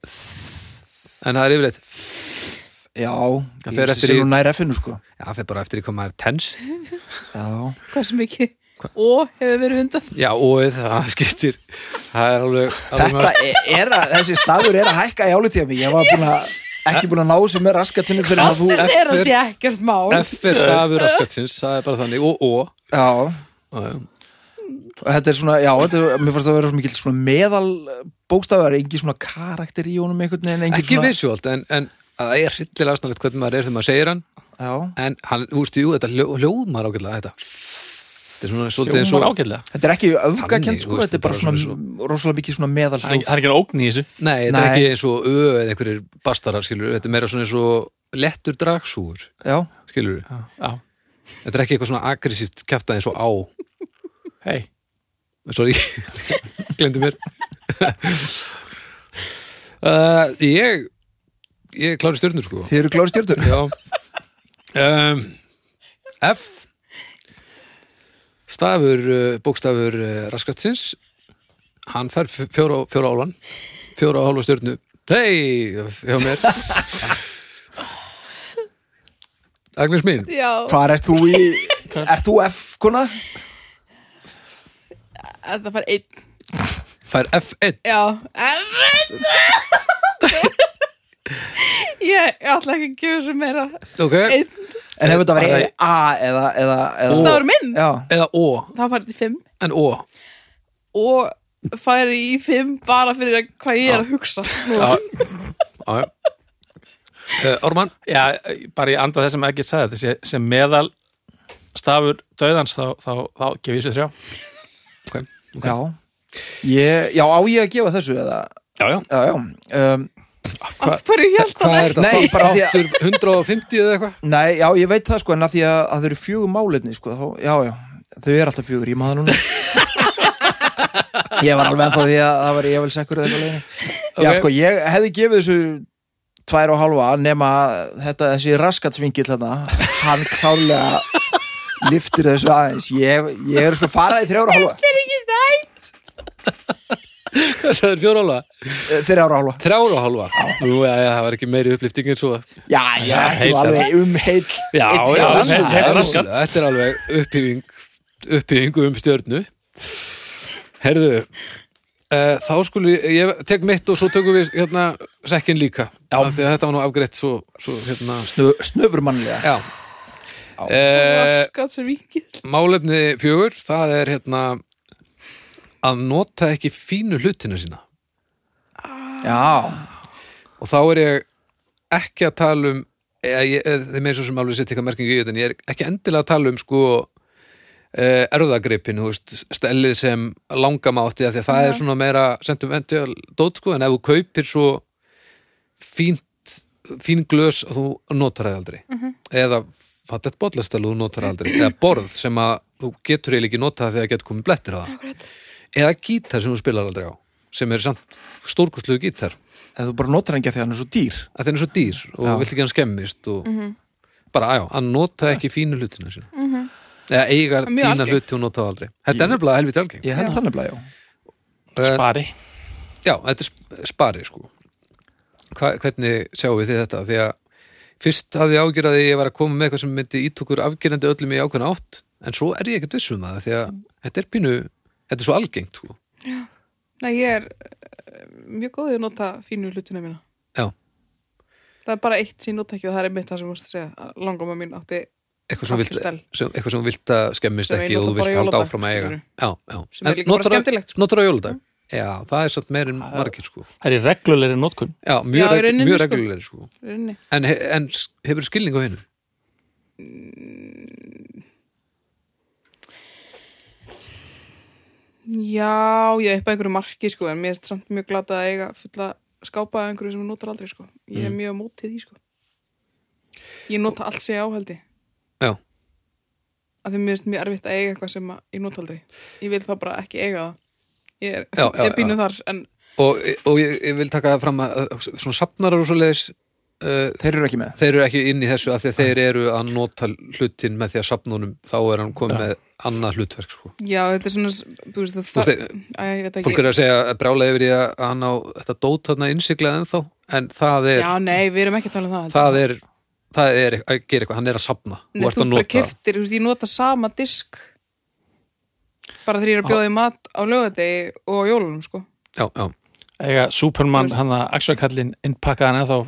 [SPEAKER 2] En það er yfirleitt Já,
[SPEAKER 3] já
[SPEAKER 2] Það
[SPEAKER 3] ég
[SPEAKER 2] fer
[SPEAKER 3] sé
[SPEAKER 2] eftir
[SPEAKER 3] sé
[SPEAKER 2] í-
[SPEAKER 3] nú nær F-inu sko
[SPEAKER 2] það fyrir bara eftir í hvað maður er tens
[SPEAKER 3] já
[SPEAKER 1] Hversu mikið og hefur verið undan
[SPEAKER 2] Já, og það skiptir Það er alveg, alveg
[SPEAKER 3] Þetta er- er að, þessi stafur er að hækka í álitíða mig Ég var búin að, ekki búin að ná þessu með raskatinu fyrir að þú
[SPEAKER 1] Það er að
[SPEAKER 2] F er-
[SPEAKER 1] sé ekkert mál
[SPEAKER 2] F er stafur raskattsins, það er bara þannig Og, og
[SPEAKER 3] Já,
[SPEAKER 2] Já, já.
[SPEAKER 3] og þetta er svona, já, þetta er, mér fannst það að vera svo mikil svona meðal bókstafar Engi svona karakter í honum einhvern veginn engin
[SPEAKER 2] Ekki
[SPEAKER 3] svona,
[SPEAKER 2] visuált, en, en það er hryllilega snarlegt hvernig maður er þegar maður segir hann
[SPEAKER 3] Já,
[SPEAKER 2] En hann, þú veist, jú, þetta hljó- hljómar ágætlega þetta Þetta er svona svolítið eins
[SPEAKER 4] hljómar
[SPEAKER 2] og
[SPEAKER 4] ágætlega
[SPEAKER 3] þetta er ekki öfgakent
[SPEAKER 2] Þannig, þú
[SPEAKER 3] sko
[SPEAKER 2] veist,
[SPEAKER 3] Þetta er bara svona, rosalega mikið svona meðal
[SPEAKER 4] það er ekki- það er ekki að ógn í þessu
[SPEAKER 2] Nei, þetta er
[SPEAKER 3] Nei.
[SPEAKER 2] ekki eins og ö eða einhverjir bastarar, skilur Þetta er meira svona eins og lettur dragsúr,
[SPEAKER 3] Já,
[SPEAKER 2] skilur
[SPEAKER 4] já,
[SPEAKER 2] Þetta er ekki eitthvað svona aggressíft kjafta eins og á
[SPEAKER 4] hei
[SPEAKER 2] Sorry, glemdi mér uh, Ég Ég klári stjörnur, sko
[SPEAKER 3] þið eru klári stjörnur
[SPEAKER 2] Já um, F Stafur, uh, bókstafur uh, raskatsins Hann fær f- fjóra, fjóra álan Fjóra og hálfa stjörnu Hei, hjá mér Agnes mín
[SPEAKER 1] Já,
[SPEAKER 3] Hvar ert þú í, ert þú F kona?
[SPEAKER 1] það fær einn
[SPEAKER 2] Fær F1
[SPEAKER 1] Já Ég ætla ekki að gefa þessu meira
[SPEAKER 2] Ok,
[SPEAKER 1] Einn
[SPEAKER 3] En hefur þetta verið
[SPEAKER 2] Bara-
[SPEAKER 3] A eða, eða, eða
[SPEAKER 1] Bókstafur minn?
[SPEAKER 3] Já,
[SPEAKER 2] eða Ó
[SPEAKER 1] Það fær í fimm
[SPEAKER 2] En Ó
[SPEAKER 1] Og fær í fimm bara fyrir að hvað ég er að hugsa
[SPEAKER 2] Já, já, já. Uh, Orman,
[SPEAKER 4] Já, bara ég anda þess sem ekki sagði þetta sé- sem meðal stafur döðans þá, þá, þá gef ég þessu þrjá
[SPEAKER 2] okay.
[SPEAKER 3] já Ég, já, á ég að gefa þessu eða
[SPEAKER 2] já, já,
[SPEAKER 3] Já, já um,
[SPEAKER 1] af hverju hjálpa
[SPEAKER 2] Hvað er
[SPEAKER 1] það?
[SPEAKER 2] þetta?
[SPEAKER 3] Nei,
[SPEAKER 2] Þá-
[SPEAKER 3] bara því að-
[SPEAKER 2] Þáttur 150 eða eitthvað?
[SPEAKER 3] Nei, já, ég veit það sko, en að því að, að þau eru fjögur málefni, sko, þá, já, já, þau eru alltaf fjögur, ég maður núna. ég var alveg ennþá því að það var ég vel sekkur eða eitthvað leiðinu. Já,
[SPEAKER 2] Ok.
[SPEAKER 3] sko, ég hefði gefið þessu tvær og halva nema að þetta, þessi raskatsvingill þarna, hann klálega liftir þessu aðeins. Ég, ég er sko farað í þrjára og halva,
[SPEAKER 2] Það er fjóra hálfa
[SPEAKER 3] þrjára og halva.
[SPEAKER 2] Þrjára og hálfa? Nú, já, já, það var ekki meiri upplifting en svo
[SPEAKER 3] Já, já, þetta var alveg um heil.
[SPEAKER 2] Já,
[SPEAKER 3] einn
[SPEAKER 2] já,
[SPEAKER 3] heilan
[SPEAKER 2] þetta
[SPEAKER 3] hluta.
[SPEAKER 2] er
[SPEAKER 4] raskat.
[SPEAKER 2] alveg- þetta er alveg upphýfing upphýfing um stjörnu Herðu uh, þá skulle ég, ég tek mitt og svo tökum við hérna sekkin líka já. af því að þetta var nú afgreitt svo, svo hérna,
[SPEAKER 3] Snö- Snöfurmannlega.
[SPEAKER 2] já Eh,
[SPEAKER 1] Raskat sem vikið.
[SPEAKER 2] málefni fjögur, það er hérna að nota ekki fínu hlutina sína
[SPEAKER 3] Já,
[SPEAKER 2] og þá er ég ekki að tala um eða ég- eða þeim er svo sem alveg sitt eitthvað merkingu í þetta en ég er ekki endilega að tala um sko eh, erfðagreipin, þú veist, stellið sem langam átti af því að það er svona meira sentimental dót sko en ef þú kaupir svo fínt, fín glös og þú notar það aldrei eða fattet bollastall og þú notar það aldrei eða borð sem að þú getur eiginlega ekki notað þegar getur komið blettir á það eða gítar sem þú spilar aldrei á sem er samt stórkostlegu gítar
[SPEAKER 3] eða þú bara notar hann ekki að því að hann er svo dýr.
[SPEAKER 2] að það er svo dýr og
[SPEAKER 3] Já.
[SPEAKER 2] vilt ekki að hann skemmist og
[SPEAKER 1] Mhm.
[SPEAKER 2] bara ajá, að nota ekki fínu hlutina sína eða eiga
[SPEAKER 1] Mjög
[SPEAKER 2] fína
[SPEAKER 1] algengt.
[SPEAKER 2] hluti og nota þá aldrei þetta er nefnilega helviti algengt
[SPEAKER 3] Ég held þannig blæjó
[SPEAKER 2] yeah.
[SPEAKER 4] Spari.
[SPEAKER 2] já, þetta er sp- spari sko Hva, hvernig sjáum við þið þetta því að fyrst hafði ég ágjur að ég var að koma með eitthvað sem myndi ítokur afgerandi öllum í ákveðna átt en svo er ég ekkert viss um það því að þetta er pínu, þetta er svo algengt sko.
[SPEAKER 1] Nei, ég er eh, mjög góðið að nota fínu hlutina mína.
[SPEAKER 2] já,
[SPEAKER 1] Það er bara eitt sem ég nota ekki og það er mitt það sem múst að segja. að Langóma mín átti
[SPEAKER 2] eitthvað sem þú vilt,
[SPEAKER 1] Kaffistell.
[SPEAKER 2] sem, eitthvað sem þú vilt að skemmist
[SPEAKER 1] Sem ég
[SPEAKER 2] ekki og
[SPEAKER 1] nota
[SPEAKER 2] þú vilt
[SPEAKER 1] bara
[SPEAKER 2] halda
[SPEAKER 1] jóladag,
[SPEAKER 2] áfram að eiga
[SPEAKER 1] skilurðu.
[SPEAKER 2] já, já.
[SPEAKER 1] Sem er
[SPEAKER 2] En
[SPEAKER 1] líka bara
[SPEAKER 2] notarðu-
[SPEAKER 1] skemmtilegt, sko.
[SPEAKER 2] notarðu á jóladag já, það er satt meir en margir sko
[SPEAKER 4] Það er reglulegri notkun.
[SPEAKER 2] já,
[SPEAKER 1] Já,
[SPEAKER 2] mjög,
[SPEAKER 1] í
[SPEAKER 2] reg,
[SPEAKER 1] rauninni,
[SPEAKER 2] mjög
[SPEAKER 1] sko.
[SPEAKER 2] reglulegri sko
[SPEAKER 1] rinni.
[SPEAKER 2] en, he- en s- hefur skilning á hennu
[SPEAKER 1] Já, ég er upp að einhverju marki sko, en mér er samt mjög glatað að eiga fulla skápa af einhverju sem ég notar aldrei sko. Ég
[SPEAKER 2] Mm.
[SPEAKER 1] er mjög mótið því sko. Ég nota allt sem ég áhaldi.
[SPEAKER 2] já,
[SPEAKER 1] Af því mér finnst mjög erfitt að eiga eitthvað sem að ég nota aldrei. Ég vil þá bara ekki eiga það. Ég er,
[SPEAKER 2] Já, já,
[SPEAKER 1] ég er pínu
[SPEAKER 2] já.
[SPEAKER 1] þar, en
[SPEAKER 2] og, og ég, ég vil taka það fram að að svona safnarar og svo leiðis uh,
[SPEAKER 3] Þeir eru ekki með
[SPEAKER 2] þeir eru ekki inn í þessu af því að þeir eru að nota hlutin með því að safnunum þá er hann komið með annað hlutverk sko
[SPEAKER 1] já, þetta er svona, þú veist,
[SPEAKER 2] Þú
[SPEAKER 1] það,
[SPEAKER 2] veist,
[SPEAKER 1] Æ, ég veit
[SPEAKER 2] fólk
[SPEAKER 1] ekki.
[SPEAKER 2] er að segja að brjála yfir í að hann á þetta dót þarna innsiklað ennþá en það er
[SPEAKER 1] Já, nei, við erum ekki að tala um það.
[SPEAKER 2] það er, það er að gera eitthvað, hann er að sapna
[SPEAKER 1] Nei,
[SPEAKER 2] og ert
[SPEAKER 1] þú
[SPEAKER 2] að
[SPEAKER 1] bara
[SPEAKER 2] nota kift.
[SPEAKER 1] keftir, þú veist, ég nota sama disk bara þegar ég er að bjóða í mat á lögadegi og á jólunum, sko.
[SPEAKER 2] já, já,
[SPEAKER 4] Ega
[SPEAKER 1] Þú
[SPEAKER 4] Superman,
[SPEAKER 1] veist-
[SPEAKER 4] hann að Axelkallin innpakkaðan eða þá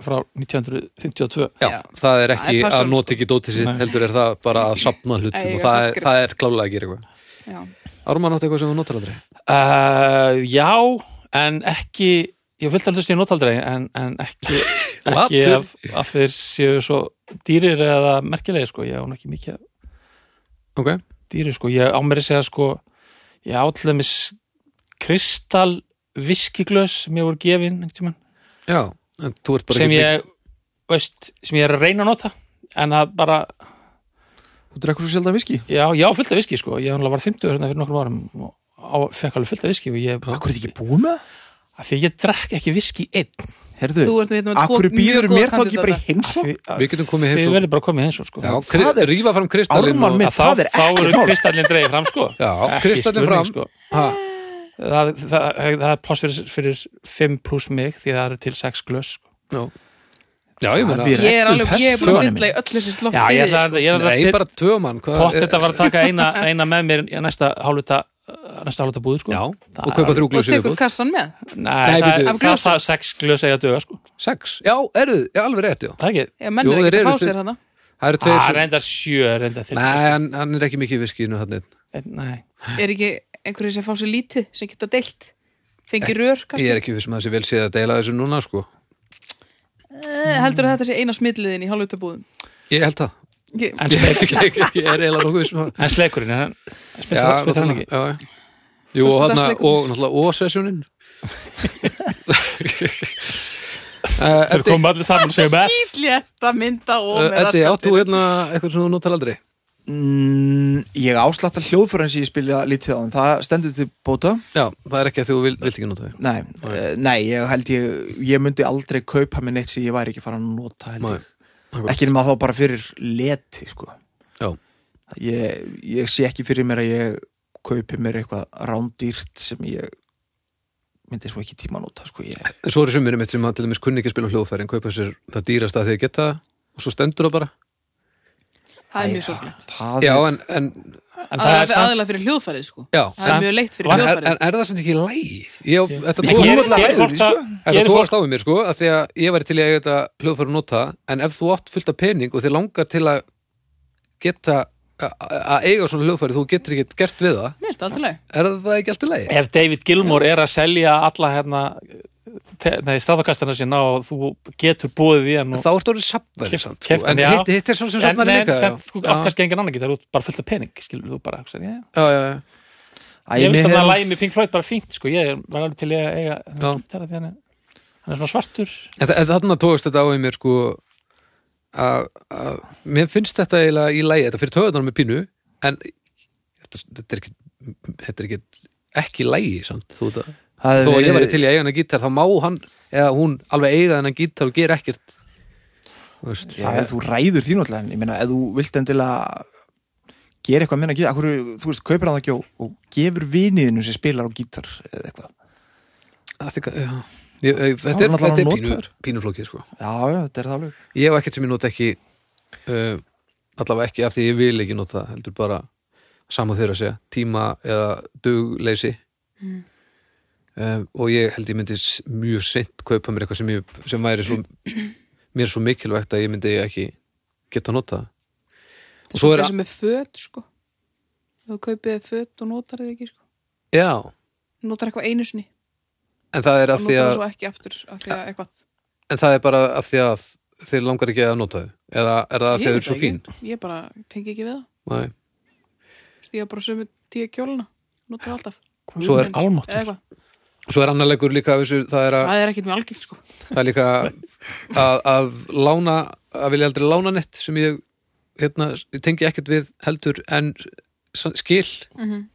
[SPEAKER 4] frá 1952.
[SPEAKER 2] já,
[SPEAKER 1] Já.
[SPEAKER 2] það er
[SPEAKER 1] Það
[SPEAKER 2] ekki
[SPEAKER 1] er passar,
[SPEAKER 2] að nota ekki dótið sitt,
[SPEAKER 4] Nei.
[SPEAKER 2] heldur er það bara að sapna hlutum
[SPEAKER 1] Eiga
[SPEAKER 2] og það er,
[SPEAKER 1] sitt
[SPEAKER 2] það er klálega að gera eitthvað
[SPEAKER 1] Já.
[SPEAKER 2] Ármann átti eitthvað sem þú notar aldrei
[SPEAKER 4] Uh, já, en ekki, ég vildi alveg að ég nota aldrei, en, en ekki, ekki
[SPEAKER 2] Latur.
[SPEAKER 4] af, af þeir séu svo dýrir eða merkilegir, sko. Ég á nú ekki mikið af
[SPEAKER 2] ok,
[SPEAKER 4] dýrir, sko. Ég á mér að segja, sko, ég á til dæmis kristal viskiglös sem ég voru gefin, einhvern tímann.
[SPEAKER 2] já, en þú ert bara
[SPEAKER 4] sem
[SPEAKER 2] ekki
[SPEAKER 4] ég veist, sem ég er að reyna að nota en það bara,
[SPEAKER 3] Þú drekkur svo sjaldan viski
[SPEAKER 4] já, já, fullt af viski sko ég hann var 50 hérna fyrir nokkrum árum og á, fekk alveg fullt af viski og ég,
[SPEAKER 3] Akkur er þið ekki búið með það?
[SPEAKER 4] að því að ég drekk ekki viski einn,
[SPEAKER 3] Herðu,
[SPEAKER 1] Þú ert með hérna
[SPEAKER 3] akkur býður mér þá ekki bara í
[SPEAKER 4] Af
[SPEAKER 3] heimsók?
[SPEAKER 4] því að-
[SPEAKER 2] Við getum komið í
[SPEAKER 4] þið
[SPEAKER 2] heimsókn.
[SPEAKER 4] verður bara komið heimsók sko
[SPEAKER 2] já,
[SPEAKER 4] Að
[SPEAKER 2] kri,
[SPEAKER 3] það er-
[SPEAKER 2] rífa fram kristallin
[SPEAKER 3] Ármann minn.
[SPEAKER 4] þá,
[SPEAKER 3] það er
[SPEAKER 4] þá
[SPEAKER 3] ekkert
[SPEAKER 4] eru
[SPEAKER 3] mál.
[SPEAKER 4] kristallin dreigir fram sko
[SPEAKER 2] já,
[SPEAKER 4] Ekki
[SPEAKER 2] kristallin
[SPEAKER 4] spurning,
[SPEAKER 2] fram
[SPEAKER 4] sko.
[SPEAKER 2] ha,
[SPEAKER 4] það, það, það er pláss fyrir, fyrir 5 pluss mig því það eru til 6 glös sko.
[SPEAKER 2] já. já, ég
[SPEAKER 3] Það
[SPEAKER 2] meina
[SPEAKER 3] er-
[SPEAKER 1] Ég er alveg, ég er búin
[SPEAKER 3] Þessu-
[SPEAKER 1] að fylla í öll þessi slokk
[SPEAKER 4] já, ég
[SPEAKER 1] fyrir
[SPEAKER 4] ætla
[SPEAKER 1] þig,
[SPEAKER 4] að, ég ætla
[SPEAKER 2] Nei,
[SPEAKER 4] til
[SPEAKER 2] bara tvö mann hvað
[SPEAKER 4] pott
[SPEAKER 2] er-
[SPEAKER 4] þetta var að taka eina, eina með mér í næsta hálfuta næsta hálfuta búður sko
[SPEAKER 2] já,
[SPEAKER 4] Það
[SPEAKER 2] og
[SPEAKER 4] er
[SPEAKER 2] kaupa
[SPEAKER 4] alveg-
[SPEAKER 2] þrjú
[SPEAKER 1] sko. Og
[SPEAKER 2] glösi
[SPEAKER 1] tekur kassan með.
[SPEAKER 4] Nei,
[SPEAKER 2] Nei,
[SPEAKER 4] það,
[SPEAKER 2] bíddu.
[SPEAKER 4] er-
[SPEAKER 1] Af
[SPEAKER 4] það,
[SPEAKER 1] glösum?
[SPEAKER 4] það er sex glös eiga döga sko.
[SPEAKER 2] sex, já, eruð, já, alveg rétt já.
[SPEAKER 4] Það er ekki
[SPEAKER 1] Já, menn
[SPEAKER 2] Jú,
[SPEAKER 1] er
[SPEAKER 2] þeir
[SPEAKER 1] ekki að
[SPEAKER 2] eru
[SPEAKER 1] fá
[SPEAKER 2] þeir-
[SPEAKER 1] sér hana.
[SPEAKER 2] það eru
[SPEAKER 4] Það
[SPEAKER 2] tveir sem-
[SPEAKER 4] reyndar sjö reyndar til
[SPEAKER 2] nei, hann, hann er ekki mikið í viskinu þannig
[SPEAKER 4] En- Eh, Nei.
[SPEAKER 1] Er ekki einhverju sem fá sér lítið, sem geta deilt?
[SPEAKER 3] Eh,
[SPEAKER 1] Fengi rör,
[SPEAKER 2] ég
[SPEAKER 1] kannski?
[SPEAKER 2] er ekki við sem að þessi vel séð að deila þessu núna sko.
[SPEAKER 1] Eh, Heldur að þetta sé eina smidliðin í hálfutabúðum?
[SPEAKER 2] ég held það
[SPEAKER 1] Ég-
[SPEAKER 4] En,
[SPEAKER 2] ég,
[SPEAKER 4] sleik,
[SPEAKER 2] ég, ég er eiginlega nokkuð sem að
[SPEAKER 4] en sleikurinn hann-
[SPEAKER 2] Já,
[SPEAKER 4] Spyrir spyrir hann
[SPEAKER 2] náttúrulega,
[SPEAKER 4] ekki
[SPEAKER 2] já, já. Jú, og hann og náttúrulega
[SPEAKER 1] Föstudagsleikurinn.
[SPEAKER 2] og sessjónin
[SPEAKER 4] Þeir
[SPEAKER 2] Eh, Eddi, eh,
[SPEAKER 4] komum allir saman og segjum F
[SPEAKER 1] Skýtlétta mynda og með
[SPEAKER 2] Eddi átt þú hérna eitthvað sem þú notar aldrei?
[SPEAKER 3] Mm, ég áslatta hljóðfæran sem ég spila lítið á en það stendur til bóta
[SPEAKER 2] Já, það er ekki að þú vil- vilt ekki nota þau
[SPEAKER 3] nei, eh, nei ég held ég ég myndi aldrei kaupa mér neitt sem ég væri ekki farin að nota held
[SPEAKER 2] Nei,
[SPEAKER 3] ég.
[SPEAKER 2] akkurat.
[SPEAKER 3] ekki nema þá bara fyrir leti sko.
[SPEAKER 2] Já.
[SPEAKER 3] ég, ég sé ekki fyrir mér að ég kaupi mér eitthvað rándýrt sem ég myndi svo ekki tíma að nota sko. ég,
[SPEAKER 2] En Svo eru sumir mitt sem að til dæmis kunni ekki að spila á hljóðfæri en kaupa sér það dýrasta þegar geta það og svo stendur það bara
[SPEAKER 1] Það er
[SPEAKER 3] Æ,
[SPEAKER 1] mjög sorglegt.
[SPEAKER 3] það
[SPEAKER 2] Já,
[SPEAKER 3] er,
[SPEAKER 2] en, en,
[SPEAKER 4] En
[SPEAKER 1] Aðalega
[SPEAKER 4] það er
[SPEAKER 1] fyrir,
[SPEAKER 4] samt
[SPEAKER 1] aðalega fyrir hljóðfærið sko.
[SPEAKER 2] já,
[SPEAKER 1] Það er
[SPEAKER 4] Samt-
[SPEAKER 1] mjög leitt fyrir
[SPEAKER 2] en, en,
[SPEAKER 1] hljóðfærið.
[SPEAKER 2] er það samt ekki í lægi? Ég, þetta
[SPEAKER 3] Þú
[SPEAKER 4] Ég-
[SPEAKER 3] ert
[SPEAKER 2] tók-
[SPEAKER 3] náttúrulega
[SPEAKER 4] ég-
[SPEAKER 3] ræður því,
[SPEAKER 4] fólk að-
[SPEAKER 3] sko.
[SPEAKER 2] þetta
[SPEAKER 4] ég- fólk-
[SPEAKER 2] tókast á við mér sko að því að ég væri til í að þetta hljóðfæri og nota en ef þú átt fullt af pening og þið langar til að geta a- a- að eiga svona hljóðfæri þú getur ekki gert við það
[SPEAKER 1] Mér finnst það alltaf leið.
[SPEAKER 2] er það ekki alltaf lægi?
[SPEAKER 4] Ef David Gilmore er að selja alla hérna te- Nei, staðakastana sína og þú getur búið í hann og
[SPEAKER 2] Þá ertu orðið safnari
[SPEAKER 4] Keypt-
[SPEAKER 2] samt sko.
[SPEAKER 4] keypt hann,
[SPEAKER 2] en
[SPEAKER 4] já.
[SPEAKER 2] hitt, hitt er svo sem
[SPEAKER 4] En
[SPEAKER 2] safnari
[SPEAKER 4] en
[SPEAKER 2] líka já.
[SPEAKER 4] samt, sko,
[SPEAKER 2] Já.
[SPEAKER 4] átt kannski engin annan geta, þú ert bara fullt af pening skilur þú bara, hugsa, ég
[SPEAKER 2] Já, já, já.
[SPEAKER 3] Æ, mér
[SPEAKER 4] Ég finnst að það
[SPEAKER 3] hefur-
[SPEAKER 4] lægi með Pink Floyd bara fínt sko, ég er- var alveg til ég að eiga
[SPEAKER 2] Já.
[SPEAKER 4] hann gítara því hann er, hann er svona svartur
[SPEAKER 2] En þa- en þarna tókast þetta á í mér sko að, að mér finnst þetta eiginlega í lægi, þetta fyrir töðunar með pínu en þetta, þetta er ekki þetta er ekki ekki lægi samt, þú veit að
[SPEAKER 3] það
[SPEAKER 2] þó
[SPEAKER 3] er
[SPEAKER 2] að ég
[SPEAKER 3] verið-
[SPEAKER 2] væri til í að eiga hennar gítar þá má hann eða hún alveg eiga hennar gítar og gera ekkert Þú veist,
[SPEAKER 3] Já, ef þú ræður því náttúrulega, en ég meina, ef þú vilt endilega gera eitthvað minna gítar, akkur, þú veist, kaupir hann það ekki og, og gefur viniðinu sem spilar á gítar eða eitthvað.
[SPEAKER 2] að því að- já. Ég- ég- þetta er,
[SPEAKER 3] Þá er hann
[SPEAKER 2] þetta er
[SPEAKER 3] allan
[SPEAKER 2] pínu,
[SPEAKER 3] notaður.
[SPEAKER 2] pínuflókið sko
[SPEAKER 3] Já, já, þetta er það alveg.
[SPEAKER 2] ég hef ekkert sem ég nota ekki uh, allavega ekki af því ég vil ekki nota heldur bara saman þeirra að segja tíma eða dugleysi Mm. um, og ég held ég myndi s- mjög seint kaupa mér eitthvað sem, ég, sem væri svo mér svo mikilvægt að ég myndi ekki geta nota og svo er
[SPEAKER 1] Það sem er föt sko. Þú kaupið þér föt og notar þið ekki sko.
[SPEAKER 2] já,
[SPEAKER 1] Notar eitthvað einu sinni.
[SPEAKER 2] en það er
[SPEAKER 1] og
[SPEAKER 2] af því
[SPEAKER 1] Notar það
[SPEAKER 2] að
[SPEAKER 1] svo ekki aftur. Af því að eitthvað.
[SPEAKER 2] en það er bara af því að þeir langar ekki að nota þau eða er það af því að þau
[SPEAKER 1] Ég
[SPEAKER 2] eru
[SPEAKER 1] veit
[SPEAKER 2] svo fín
[SPEAKER 1] ekki. Ég bara tengi ekki við það.
[SPEAKER 2] Nei.
[SPEAKER 1] Þú veist, Ég er bara sömu tíu kjóluna. Notar það alltaf.
[SPEAKER 2] Svo er-
[SPEAKER 1] Eða
[SPEAKER 4] almáttur
[SPEAKER 1] eitthvað.
[SPEAKER 2] og svo er annarlegur líka af þessu, það er að
[SPEAKER 1] Það er ekkert mjög algengt sko.
[SPEAKER 2] það er líka að, að lána að vilja aldrei lána nett sem ég hérna, ég tengi ekkert við heldur en s- skil
[SPEAKER 1] Mhm.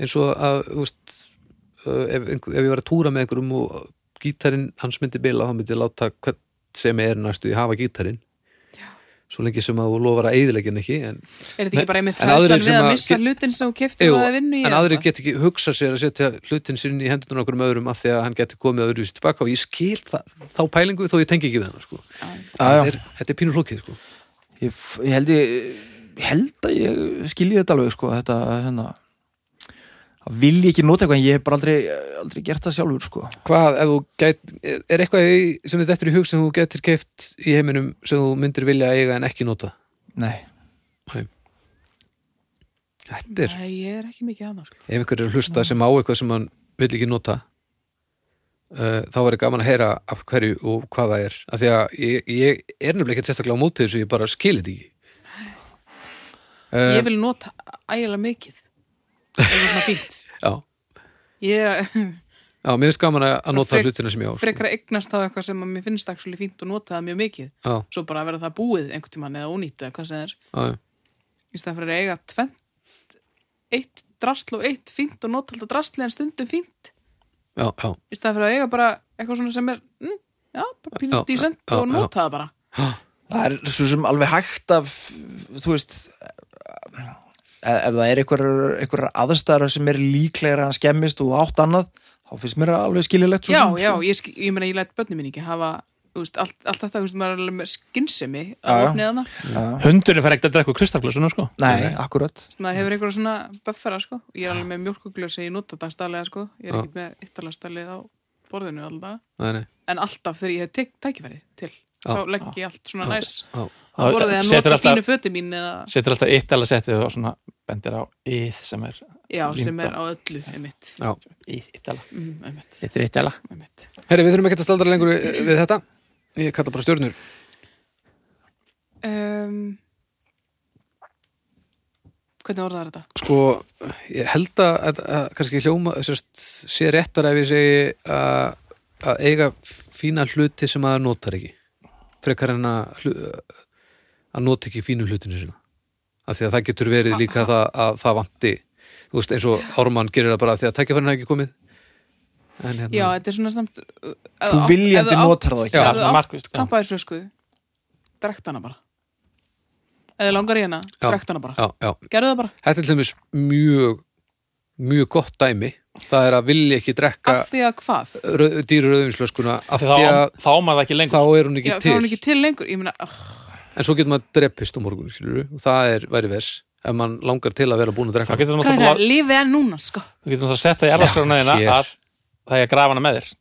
[SPEAKER 2] eins og að þú veist, uh, ef, einhver, ef ég var að túra með einhverjum og gítarinn hans myndi bila þá myndi ég láta hvern sem er næstu í hafa gítarinn svo lengi sem að þú lofar að eyðilegin ekki en,
[SPEAKER 1] Er þetta
[SPEAKER 2] Nei,
[SPEAKER 1] ekki bara einmitt
[SPEAKER 2] en aðrir
[SPEAKER 1] hræðslan
[SPEAKER 2] sem
[SPEAKER 1] við að
[SPEAKER 2] að
[SPEAKER 1] missa
[SPEAKER 2] get-
[SPEAKER 1] hlutin sem þú keftir
[SPEAKER 2] Jú,
[SPEAKER 1] og það vinnu í?
[SPEAKER 2] en
[SPEAKER 1] eða
[SPEAKER 2] aðrir
[SPEAKER 1] eitthvað?
[SPEAKER 2] get ekki hugsa sér að setja hlutin sinni í hendunar okkur um öðrum af því að hann geti komið öðruvísi tilbaka og ég skil það, þá pælingu þó ég tengi ekki við hann sko.
[SPEAKER 3] Já,
[SPEAKER 2] þetta
[SPEAKER 3] já,
[SPEAKER 2] er, þetta er pínur flókið sko.
[SPEAKER 3] ég, f- ég held ég, ég held að ég skilji þetta alveg, sko, þetta, hérna, að vilja ekki nota eitthvað, en ég hef bara aldrei, aldrei gert það sjálfur, sko.
[SPEAKER 2] hvað ef þú gæt er eitthvað í, sem þetta eftir í hug sem þú getur keift í heiminum sem þú myndir vilja eiga en ekki nota
[SPEAKER 3] Nei.
[SPEAKER 2] Æ. þetta er,
[SPEAKER 1] Nei, ég er ekki mikið sko. annars.
[SPEAKER 2] ef einhver er að hlusta sem á eitthvað sem hann vil ekki nota uh, þá væri gaman að heyra af hverju og hvað það er af því að ég, ég er nefnilega ekkert sérstaklega á móti þessu ég bara skil þetta ekki
[SPEAKER 1] Ég
[SPEAKER 2] uh,
[SPEAKER 1] vil nota ægilega mikið. Það er svona fínt.
[SPEAKER 2] já,
[SPEAKER 1] Ég er
[SPEAKER 2] já, sko. mér finnst gaman að, að nota
[SPEAKER 1] Frek-
[SPEAKER 2] hlutina sem ég á sko.
[SPEAKER 1] frekar að eignast þá eitthvað sem að mér finnst actually fínt og nota það mjög mikið.
[SPEAKER 2] já,
[SPEAKER 1] Svo bara verða það búið einhvern tímann eða ónýtt eða hvað sem það er.
[SPEAKER 2] já, já.
[SPEAKER 1] Í stæðan fyrir að eiga tvent, eitt drasl og eitt fínt og nota alltaf drasli en stundum fínt.
[SPEAKER 2] já, já,
[SPEAKER 1] Í stæðan fyrir að eiga bara eitthvað svona sem er, mm, já, bara
[SPEAKER 2] Já,
[SPEAKER 1] pílur dísent
[SPEAKER 2] já,
[SPEAKER 1] og
[SPEAKER 2] já.
[SPEAKER 1] nota það bara.
[SPEAKER 3] Það er svo sem alveg hægt af, þú veist, e, ef, ef það er einhverjar einhver aðstæðar sem er líklegra að hann skemmist og átt annað, þá finnst mér það alveg skiljilegt.
[SPEAKER 1] Já, já,
[SPEAKER 2] sko.
[SPEAKER 1] ég, sk- ég meina ég læt börnum minn ekki hafa, þú veist, allt, allt þetta, þú veist, maður er alveg með skinnsemi að
[SPEAKER 3] Já, já.
[SPEAKER 1] opnið hana.
[SPEAKER 3] já.
[SPEAKER 4] Hundurinn fær ekkert að drekka kristallglasuna sko
[SPEAKER 3] Nei, akkurat.
[SPEAKER 1] Þú veist, maður hefur einhverja svona buffera sko ég er alveg með mjölkuglösi í notadagstallega sko ég er
[SPEAKER 2] Já.
[SPEAKER 1] ekkert með yttarlastallega á borðinu alltaf
[SPEAKER 2] Nei, nei.
[SPEAKER 1] en alltaf þegar ég hef tek, tækifæri til þá legg ég allt svona næs
[SPEAKER 2] já.
[SPEAKER 1] á borðið að
[SPEAKER 4] Setur
[SPEAKER 1] nota
[SPEAKER 4] alltaf-
[SPEAKER 1] fínu föti mín eða,
[SPEAKER 4] Setur alltaf eitt alveg settið og svona bendir á íð sem er
[SPEAKER 1] já, sem
[SPEAKER 4] Linda.
[SPEAKER 1] er á öllu einmitt,
[SPEAKER 2] já.
[SPEAKER 4] íð alveg
[SPEAKER 1] mm, einmitt,
[SPEAKER 4] Þetta er eitt alveg
[SPEAKER 1] einmitt.
[SPEAKER 2] herri, við þurfum ekki að staldra lengur við, við þetta ég kalla bara stjörnur
[SPEAKER 1] Um, hvernig orðar þetta?
[SPEAKER 2] sko, ég held að, að, að kannski hljóma sérst, sé réttar ef ég segi að, að eiga fína hluti sem maður notar ekki frekar en að hlu, að nota ekki fínu hlutinu sína af því að það getur verið
[SPEAKER 1] Ah,
[SPEAKER 2] líka það að það vanti, þú veist, eins og Ármann gerir það bara af því að tækifærin er ekki komið en hérna,
[SPEAKER 1] Já, þetta er svona samt uh, ef
[SPEAKER 3] Þú
[SPEAKER 1] átt-
[SPEAKER 3] viljandi
[SPEAKER 1] ef þú átt-
[SPEAKER 3] notar það ekki.
[SPEAKER 1] ef
[SPEAKER 4] Já,
[SPEAKER 1] þú
[SPEAKER 4] svona
[SPEAKER 1] átt
[SPEAKER 4] markvisst, já.
[SPEAKER 1] Kampaði flösku Drekt hana bara Eða langar í hana,
[SPEAKER 2] Já.
[SPEAKER 1] drekt hana bara
[SPEAKER 2] já, já
[SPEAKER 1] Gerðu það bara,
[SPEAKER 2] þetta er til dæmis mjög mjög gott dæmi, það er að vilja ekki drekka
[SPEAKER 1] af því að hvað
[SPEAKER 2] rauð, dýru rauðvinslöskuna af
[SPEAKER 4] þá,
[SPEAKER 2] því að
[SPEAKER 4] þá á maður það ekki
[SPEAKER 2] þá
[SPEAKER 4] lengur
[SPEAKER 2] er hún ekki
[SPEAKER 1] Já, þá
[SPEAKER 2] til
[SPEAKER 1] er hún ekki til lengur Ég meina, oh,
[SPEAKER 2] en svo getur maður dreppist á morgun skilur, og það er væri vers ef mann langar til að vera búin að
[SPEAKER 4] þá
[SPEAKER 2] drekka
[SPEAKER 4] getur þú náttúrulega
[SPEAKER 1] krakkar, lífið er núna, sko
[SPEAKER 4] Þú getur náttúrulega að setja í erðaskránaðina
[SPEAKER 2] hér.
[SPEAKER 4] að það er að grafa hana með þér.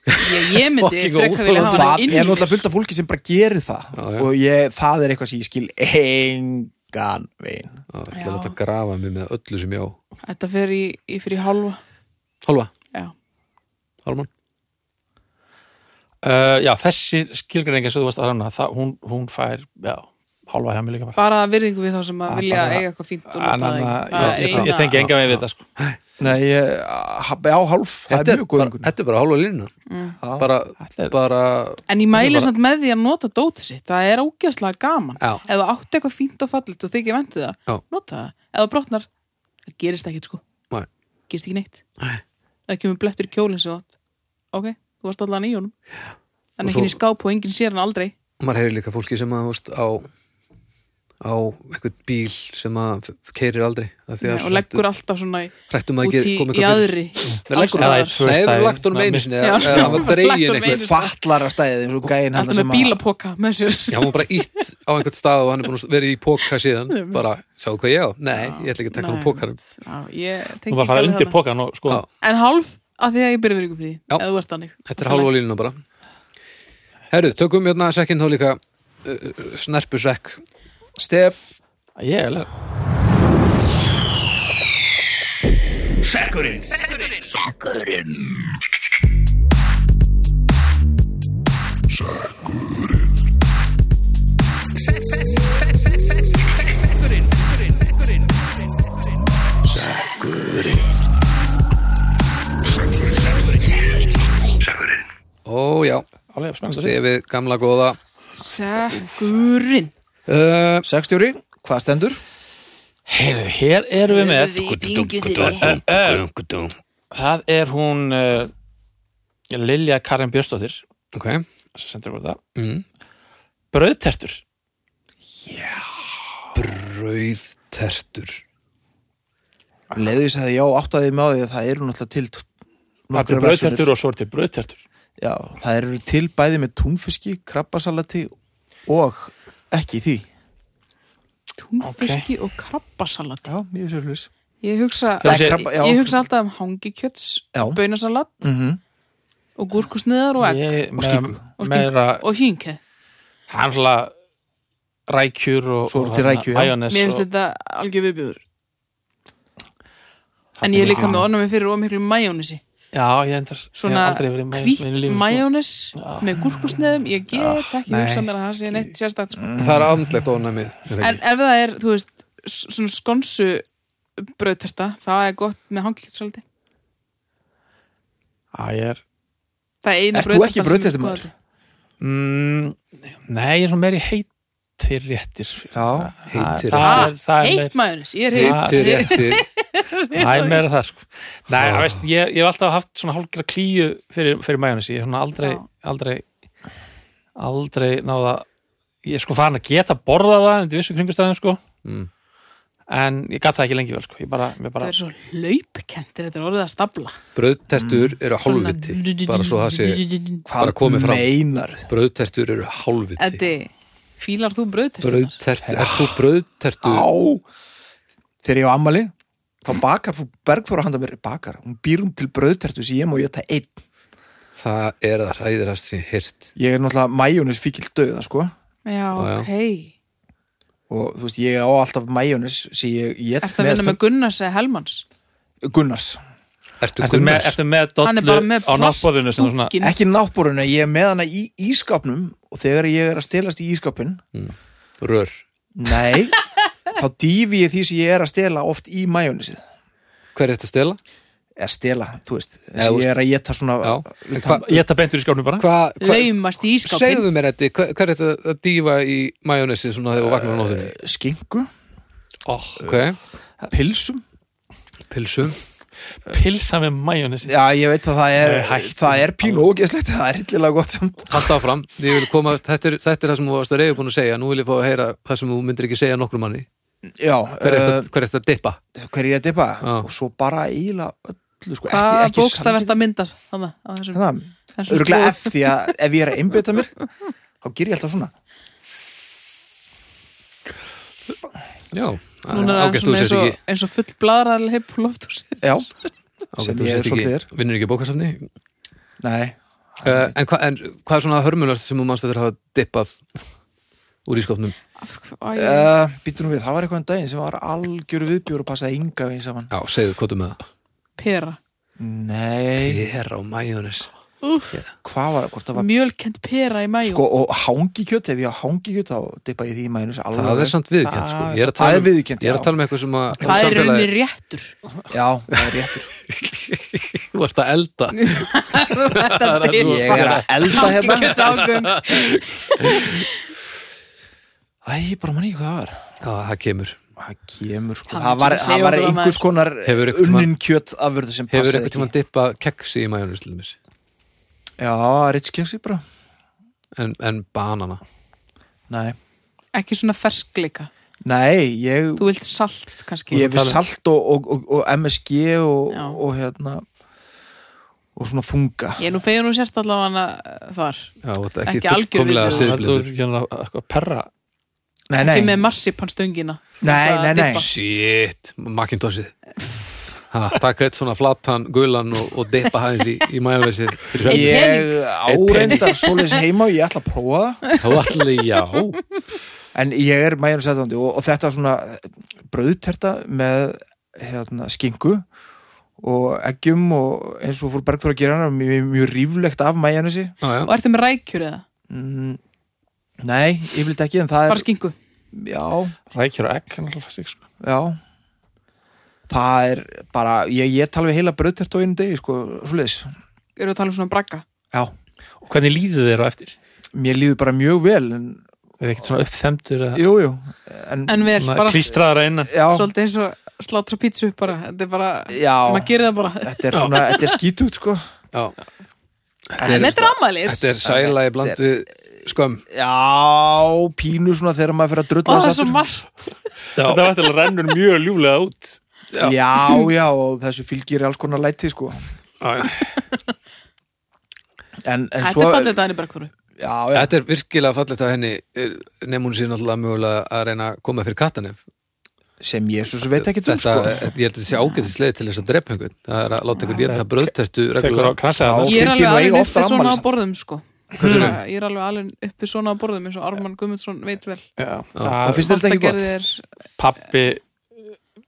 [SPEAKER 1] Ég, ég myndi
[SPEAKER 2] Fucking
[SPEAKER 1] frekka vilja
[SPEAKER 2] óþolandi.
[SPEAKER 1] hafa
[SPEAKER 3] það
[SPEAKER 1] hana inn
[SPEAKER 3] er náttúrulega fullt af fólki sem bara gerir það
[SPEAKER 2] Já, já.
[SPEAKER 3] og ég, það er eitthvað sem ég skil engan veginn
[SPEAKER 2] Já, ég ætla
[SPEAKER 1] Já.
[SPEAKER 2] að láta grafa mig með öllu sem ég á
[SPEAKER 1] Þetta fer í, í fyrir hálfa
[SPEAKER 2] Hálfa,
[SPEAKER 1] Já,
[SPEAKER 2] Hálman
[SPEAKER 4] Uh, já, þessi skilgreininga sem þú varst að ranna, það, hún, hún fær, já, hálfa hjá mig líka bara.
[SPEAKER 1] bara virðingu við þá sem að
[SPEAKER 4] Ah,
[SPEAKER 1] vilja
[SPEAKER 4] bara-
[SPEAKER 1] eiga eitthvað fínt og nota
[SPEAKER 4] Anna,
[SPEAKER 1] það
[SPEAKER 4] anna,
[SPEAKER 1] ekki.
[SPEAKER 4] ég,
[SPEAKER 1] Það
[SPEAKER 4] ég, ég
[SPEAKER 1] er
[SPEAKER 4] tengi
[SPEAKER 1] eina-
[SPEAKER 4] enga með við þetta, sko.
[SPEAKER 3] Nei, ég, á hálf, það
[SPEAKER 2] þetta
[SPEAKER 3] er
[SPEAKER 2] er,
[SPEAKER 3] mjög
[SPEAKER 2] bara,
[SPEAKER 3] góðingun
[SPEAKER 2] þetta er bara hálfa lína bara,
[SPEAKER 4] Þetta er-
[SPEAKER 2] bara
[SPEAKER 1] En ég mæli
[SPEAKER 2] bara-
[SPEAKER 1] samt með því að nota dótið sitt Það er ógjastlega gaman
[SPEAKER 2] Já.
[SPEAKER 1] Ef þú átt eitthvað fínt og fallit og þykir ventu það
[SPEAKER 2] Já.
[SPEAKER 1] Nota það, ef þú brotnar Það gerist ekkit sko,
[SPEAKER 2] Nei.
[SPEAKER 1] gerist ekki neitt
[SPEAKER 2] Nei.
[SPEAKER 1] Það kemur blettur í kjólinn sem þú átt Ok, þú varst allan í honum Þannig
[SPEAKER 2] Og
[SPEAKER 1] ekki
[SPEAKER 2] svo-
[SPEAKER 1] í skáp og enginn sér hann aldrei
[SPEAKER 2] maður heyri líka fólki sem að þú veist, á, á einhvern bíl sem að keirir aldrei af því
[SPEAKER 1] Nei,
[SPEAKER 2] að
[SPEAKER 1] og leggur alltaf svona í-
[SPEAKER 2] hrættum að
[SPEAKER 1] út í,
[SPEAKER 2] gera- koma
[SPEAKER 1] í
[SPEAKER 2] eitthvað fyrir
[SPEAKER 1] aðri
[SPEAKER 2] Nei, leggur
[SPEAKER 4] Eða
[SPEAKER 1] Alls
[SPEAKER 4] í
[SPEAKER 1] staðar.
[SPEAKER 4] tvö
[SPEAKER 2] Nei,
[SPEAKER 4] stæði.
[SPEAKER 2] við lagtum um
[SPEAKER 4] Ná,
[SPEAKER 2] einu
[SPEAKER 4] mér-
[SPEAKER 2] sinni
[SPEAKER 1] Já,
[SPEAKER 2] eða eða hann var
[SPEAKER 1] lagt honum
[SPEAKER 2] dregin
[SPEAKER 1] einu
[SPEAKER 2] eitthvað
[SPEAKER 1] sinni.
[SPEAKER 3] Fatlara stæðið eins og gæinn hann
[SPEAKER 1] Alltaf með
[SPEAKER 3] sem að
[SPEAKER 1] bílapoka með sér
[SPEAKER 2] Já, hann var bara ítt á einhvern stað og hann er búin að vera í póka síðan
[SPEAKER 1] Nei.
[SPEAKER 2] bara, sjáðu hvað ég á? Nei, ég ætla ekki að taka hérna. hann
[SPEAKER 1] Nei.
[SPEAKER 2] úr pókanum
[SPEAKER 1] Já, ég tengi
[SPEAKER 4] Þú bara fara
[SPEAKER 1] ekki alveg
[SPEAKER 4] undir
[SPEAKER 1] þarna.
[SPEAKER 4] pokan og sko,
[SPEAKER 2] Já.
[SPEAKER 1] En hálf, af því að ég byrja verið ykkur frí
[SPEAKER 2] Já.
[SPEAKER 1] Ef þú ert þannig
[SPEAKER 2] Þetta er hálfa línuna bara Herru, tökum hérna sekkin þá líka uh, snerpu sekk
[SPEAKER 3] Stef,
[SPEAKER 4] ég er leið.
[SPEAKER 2] Ó já,
[SPEAKER 4] Alveg spennast að segja.
[SPEAKER 2] stefið gamla góða
[SPEAKER 1] Sækurinn
[SPEAKER 2] uh,
[SPEAKER 3] 60 hvað stendur?
[SPEAKER 4] Heyrðu, hér erum við með, það er hún uh, Lilja Karin Björstóttir,
[SPEAKER 2] Ok,
[SPEAKER 4] sem sendur okkur það.
[SPEAKER 2] Mm.
[SPEAKER 4] Brauðtertur.
[SPEAKER 2] brauðtertur
[SPEAKER 3] Leðu ég sagði já, áttaði með á því að það eru náttúrulega til t-
[SPEAKER 4] Það
[SPEAKER 3] nokkrar
[SPEAKER 4] er brauðtertur og svo er til brauðtertur.
[SPEAKER 3] versjónir. Já, það eru til bæði með túnfiski, krabbasalati og ekki í því
[SPEAKER 1] Túnfiski og krabbasalat
[SPEAKER 3] Já, mjög sérlis
[SPEAKER 1] Ég hugsa,
[SPEAKER 4] Það sé-
[SPEAKER 1] ég, ég hugsa alltaf um hangikjöts
[SPEAKER 3] Já.
[SPEAKER 1] Bönasalat
[SPEAKER 3] mm
[SPEAKER 1] og gúrkusniðar og egg
[SPEAKER 4] Ég-
[SPEAKER 3] Og skinku.
[SPEAKER 4] með-
[SPEAKER 1] Og skinku.
[SPEAKER 4] Meira,
[SPEAKER 1] Og hínkeð
[SPEAKER 4] það er svona rækjur og
[SPEAKER 3] Svo eru til rækjur, já.
[SPEAKER 4] Æjónes
[SPEAKER 1] Mér finnst þetta algjör viðbjöður En ég er líka með ornum fyrir og miklu majónisi
[SPEAKER 4] Já, ég endar
[SPEAKER 1] Svona hvít
[SPEAKER 4] mayo
[SPEAKER 1] majónis með gúrkusniðum Ég get ekki
[SPEAKER 2] nei.
[SPEAKER 1] hugsa mér að það sé neitt sérstakt sko.
[SPEAKER 2] Það er andlegt ónæmið er
[SPEAKER 1] En
[SPEAKER 2] ekki?
[SPEAKER 1] ef það er, þú veist, s- svona skonsu brauðterta, það er gott með hangikjötsalati.
[SPEAKER 4] Já, ég er
[SPEAKER 1] Það er eina
[SPEAKER 3] Ert þú
[SPEAKER 1] brauðtertan
[SPEAKER 3] ekki
[SPEAKER 1] sem ég
[SPEAKER 3] brauðtertumaður?
[SPEAKER 1] skoðaði.
[SPEAKER 4] mm, Nei, ég er svona meiri heitir réttir
[SPEAKER 3] Já,
[SPEAKER 2] heitir
[SPEAKER 4] Það er-
[SPEAKER 1] Ah,
[SPEAKER 4] það er
[SPEAKER 1] Heitt
[SPEAKER 4] meir-
[SPEAKER 1] maðurins, ég er heitt.
[SPEAKER 2] Heitir réttir
[SPEAKER 4] Það er meira það sko Nei,
[SPEAKER 2] Já.
[SPEAKER 4] það veist, ég, ég hef alltaf haft svona hálfgra klíu fyrir, fyrir majónesi Ég er svona aldrei,
[SPEAKER 1] Já.
[SPEAKER 4] aldrei aldrei náða Ég er sko farin að geta borða það undir vissu kringustæðum sko
[SPEAKER 2] Mm.
[SPEAKER 4] En ég gat það ekki lengi vel sko Ég bara, ég
[SPEAKER 1] Það
[SPEAKER 4] bara
[SPEAKER 1] er svo hlaupkentir, þetta er orðið að stapla.
[SPEAKER 2] Brauðtertur eru
[SPEAKER 1] Svona-
[SPEAKER 2] hálfviti bara svo það sé Bara komið fram.
[SPEAKER 3] meinar
[SPEAKER 2] Brauðtertur eru hálfviti
[SPEAKER 1] Eddi, fílar þú brauðtertunar?
[SPEAKER 2] Brauðtertur, er þú brauðtertur?
[SPEAKER 3] Á, þegar ég á ammali þá bakar frú Bergþóra handa mér bakar, hún býr hún til brauðtertu sem ég má ég það einn
[SPEAKER 2] Það er það hræðirast sem ég hirt
[SPEAKER 3] ég er náttúrulega majónis fíkil döða sko
[SPEAKER 1] Já,
[SPEAKER 2] já.
[SPEAKER 1] ok.
[SPEAKER 3] og þú veist, ég á alltaf majónis sem ég get
[SPEAKER 1] Ertu að vinna með Gunnars eða Helmans?
[SPEAKER 3] Gunnars
[SPEAKER 2] Ertu
[SPEAKER 4] Ertu með,
[SPEAKER 2] Gunnars?
[SPEAKER 4] ertu með
[SPEAKER 1] Hann er bara
[SPEAKER 4] dollu
[SPEAKER 1] með
[SPEAKER 4] á náttborðinu sem svona
[SPEAKER 1] plastdúkinn.
[SPEAKER 3] ekki náttbúruna, ég er með hana í ískapnum og þegar ég er að stelast í ískapin
[SPEAKER 2] Rör
[SPEAKER 3] nei, þá dýfi ég því sem ég er að stela oft í majónisið
[SPEAKER 2] Hver er þetta að stela?
[SPEAKER 3] eða stela, þú veist
[SPEAKER 2] Já, þú
[SPEAKER 3] þessi ég er að geta svona
[SPEAKER 2] Já. En hva-
[SPEAKER 4] Ég ætta bentur í skjárnum bara
[SPEAKER 2] Hvað, hva,
[SPEAKER 1] laumast í ískapin
[SPEAKER 2] segðu mér þetta, hver, hver er þetta að dýfa í majónesi svona þegar þú vaknar á nóðunni?
[SPEAKER 3] Eh, skingu,
[SPEAKER 4] oh,
[SPEAKER 2] Ok,
[SPEAKER 3] pilsum
[SPEAKER 2] pilsum,
[SPEAKER 4] Pilsa með majónesi
[SPEAKER 3] já, ég veit að það er,
[SPEAKER 2] Eh,
[SPEAKER 4] Nei, hættu.
[SPEAKER 3] það er pínu ógeðslegt það er hillilega gott samt
[SPEAKER 2] halda áfram, ég vil koma, þetta er, þetta er það sem þú varst að reyja búin að segja, nú vil ég fá að heyra það sem þú myndir ekki segja nokkrum manni.
[SPEAKER 3] já,
[SPEAKER 2] Hver er
[SPEAKER 3] eh,
[SPEAKER 2] þetta, hver er þetta að dippa?
[SPEAKER 3] hver er ég að dipa
[SPEAKER 2] Já.
[SPEAKER 3] og svo bara eiginlega öllu sko,
[SPEAKER 1] hvaða
[SPEAKER 3] ekki, ekki
[SPEAKER 1] bókstaf er þetta myndast þannig á þessum,
[SPEAKER 3] það,
[SPEAKER 1] þessum
[SPEAKER 3] örgulega F
[SPEAKER 1] slóð?
[SPEAKER 3] því að ef ég er að einbytta mér þá ger ég alltaf svona
[SPEAKER 2] Já,
[SPEAKER 1] núna er hann
[SPEAKER 2] ágætt, þú
[SPEAKER 1] svona eins
[SPEAKER 2] sést
[SPEAKER 1] og,
[SPEAKER 2] ekki,
[SPEAKER 1] eins og full bladrar heip lofthúsi
[SPEAKER 3] já, sem
[SPEAKER 2] ágætt, þú
[SPEAKER 3] ég er
[SPEAKER 2] sést ekki,
[SPEAKER 3] svolítið er.
[SPEAKER 2] vinnur ekki bókastafni.
[SPEAKER 3] nei,
[SPEAKER 2] Uh, en, hva, en hvað er svona hörmulast sem þú manst eftir að hafa dippað úr í skopnum?
[SPEAKER 1] Æ,
[SPEAKER 3] uh, býtum við, það var eitthvað en daginn sem var algjöru viðbjör og passaði ynga við saman
[SPEAKER 2] Já, segðu, hvað með það?
[SPEAKER 1] pera,
[SPEAKER 3] nei,
[SPEAKER 2] Hér á majónis.
[SPEAKER 3] hvað var, hvort það var
[SPEAKER 1] mjölkend pera í mæjum
[SPEAKER 3] sko, og hangikjöt, ef ég á hangikjöt þá dippa ég því í mæjunus alveg
[SPEAKER 2] Það er samt viðkjönd, sko. Ég er að
[SPEAKER 3] það
[SPEAKER 2] tala
[SPEAKER 3] er
[SPEAKER 2] um-
[SPEAKER 3] viðurkennt,
[SPEAKER 2] Ég er
[SPEAKER 3] já.
[SPEAKER 2] að tala um eitthvað sem að
[SPEAKER 1] það er
[SPEAKER 2] samfélagið-
[SPEAKER 1] raunni réttur
[SPEAKER 3] já, það er réttur
[SPEAKER 2] Þú ert að elda
[SPEAKER 1] þú ert að
[SPEAKER 3] ég er að elda hérna
[SPEAKER 1] águm
[SPEAKER 3] æ, bara manni ekki hvað það var
[SPEAKER 2] Já, það kemur
[SPEAKER 3] það kemur, sko,
[SPEAKER 1] Hann
[SPEAKER 3] það var,
[SPEAKER 1] kemur
[SPEAKER 3] það
[SPEAKER 1] segjum
[SPEAKER 3] var einhvers
[SPEAKER 1] maður.
[SPEAKER 3] konar
[SPEAKER 2] Hefur einhvern tímann-
[SPEAKER 3] unnin kjöt afurðu sem
[SPEAKER 2] Hefur
[SPEAKER 3] passaði
[SPEAKER 2] eitthvað tímann dippað keksi í majónis til dæmis
[SPEAKER 3] já, ritskjöksi bara
[SPEAKER 2] en, en banana
[SPEAKER 3] nei,
[SPEAKER 1] ekki svona ferskleika,
[SPEAKER 3] nei, ég
[SPEAKER 1] þú vilt salt kannski
[SPEAKER 3] ég hef
[SPEAKER 2] tala-
[SPEAKER 3] salt og, og, og, og MSG
[SPEAKER 1] um-
[SPEAKER 3] og,
[SPEAKER 1] Já.
[SPEAKER 3] og hérna og svona þunga
[SPEAKER 1] ég er nú fegin og sért allavega uh, þar
[SPEAKER 2] Já, þú ert ekki,
[SPEAKER 1] Ekki
[SPEAKER 2] ekki
[SPEAKER 1] algjör
[SPEAKER 2] fullkomlega
[SPEAKER 1] viðbjóður.
[SPEAKER 4] Það er
[SPEAKER 2] siðblindur
[SPEAKER 4] ekki að eitthvað perra
[SPEAKER 3] nei, nei,
[SPEAKER 1] ekki með
[SPEAKER 3] nei,
[SPEAKER 1] marsipanstöngina
[SPEAKER 3] nei, nei.
[SPEAKER 1] Dippa.
[SPEAKER 2] Shit, Macintoshið ha, Takk eitt svona flatan, gulan og, og dippa hæðins í, í majónisið fyrir
[SPEAKER 1] Einn
[SPEAKER 2] svefninn.
[SPEAKER 3] ég
[SPEAKER 1] pening.
[SPEAKER 3] áreindar svoleiðis heima og ég ætla að prófa það
[SPEAKER 2] Þá allir, já
[SPEAKER 3] en ég er mæjunum sætandi og, og þetta svona eh, brauðterta með hérna, skingu og eggjum og eins og fór Bergþóra að gera hana mjög, mjög ríflegt af mæjunusi
[SPEAKER 2] Já, já.
[SPEAKER 1] og ertu með rækjur eða,
[SPEAKER 3] mm, nei, ég vildi ekki en það
[SPEAKER 1] bara
[SPEAKER 3] er,
[SPEAKER 1] skingu
[SPEAKER 3] já,
[SPEAKER 4] Rækjur og egg hann er alltaf sig, sko.
[SPEAKER 3] Já Það er bara, ég, ég tala við heila bröðtert á einu degi, sko, svoleiðis
[SPEAKER 1] eru að tala um svona bragga
[SPEAKER 3] Já,
[SPEAKER 4] Og hvernig líðið þeir á eftir?
[SPEAKER 3] mér líður bara mjög vel en,
[SPEAKER 4] Er það ekkert svona uppþemdur eða
[SPEAKER 3] Jú, jú En,
[SPEAKER 1] en vel,
[SPEAKER 4] svona
[SPEAKER 1] bara
[SPEAKER 4] klístraðar að innan?
[SPEAKER 3] já,
[SPEAKER 1] svolítið eins og slátra pítsu upp bara, þetta er bara, maður
[SPEAKER 3] já
[SPEAKER 1] gerir það bara
[SPEAKER 3] Þetta er svona, þetta er skítut, sko
[SPEAKER 2] já
[SPEAKER 1] en þetta er ammælis,
[SPEAKER 2] Þetta er sæla í bland við skömm
[SPEAKER 3] Já, pínu svona þegar maður fyrir að
[SPEAKER 1] og
[SPEAKER 3] drulla
[SPEAKER 1] það er
[SPEAKER 3] þessu
[SPEAKER 1] svo margt
[SPEAKER 4] Þetta var eftir að rennur mjög ljúflega út.
[SPEAKER 3] aftur. Já, já, og þessu fylgir alls konar læti, sko
[SPEAKER 2] Já, já.
[SPEAKER 3] En, en
[SPEAKER 1] þetta
[SPEAKER 3] svo,
[SPEAKER 1] er fallið dæni Bergþóru
[SPEAKER 3] já, já,
[SPEAKER 2] Þetta er virkilega fallegt af henni nefn hún sér náttúrulega mögulega að reyna að koma fyrir kattanef
[SPEAKER 3] sem ég svo sem veit ekki um,
[SPEAKER 2] Þetta,
[SPEAKER 3] sko
[SPEAKER 2] ég held að þetta sé ágætislega til þess að drepa einhvern Það er að láta einhvern ég þetta bröðtertu
[SPEAKER 4] Tekur á
[SPEAKER 2] reglulega
[SPEAKER 3] Já.
[SPEAKER 4] krasa
[SPEAKER 1] ég er
[SPEAKER 3] fylgir nú
[SPEAKER 1] alveg
[SPEAKER 3] eiga
[SPEAKER 1] alveg
[SPEAKER 3] oftar
[SPEAKER 1] uppi svona á
[SPEAKER 3] afmælis.
[SPEAKER 1] borðum sko svona, ég er alveg alveg uppi svona á borðum eins og Ármann Guðmundsson veit vel
[SPEAKER 3] Og
[SPEAKER 4] það.
[SPEAKER 3] finnst þér þetta ekki gott?
[SPEAKER 1] Maltagerði er,
[SPEAKER 4] Pappi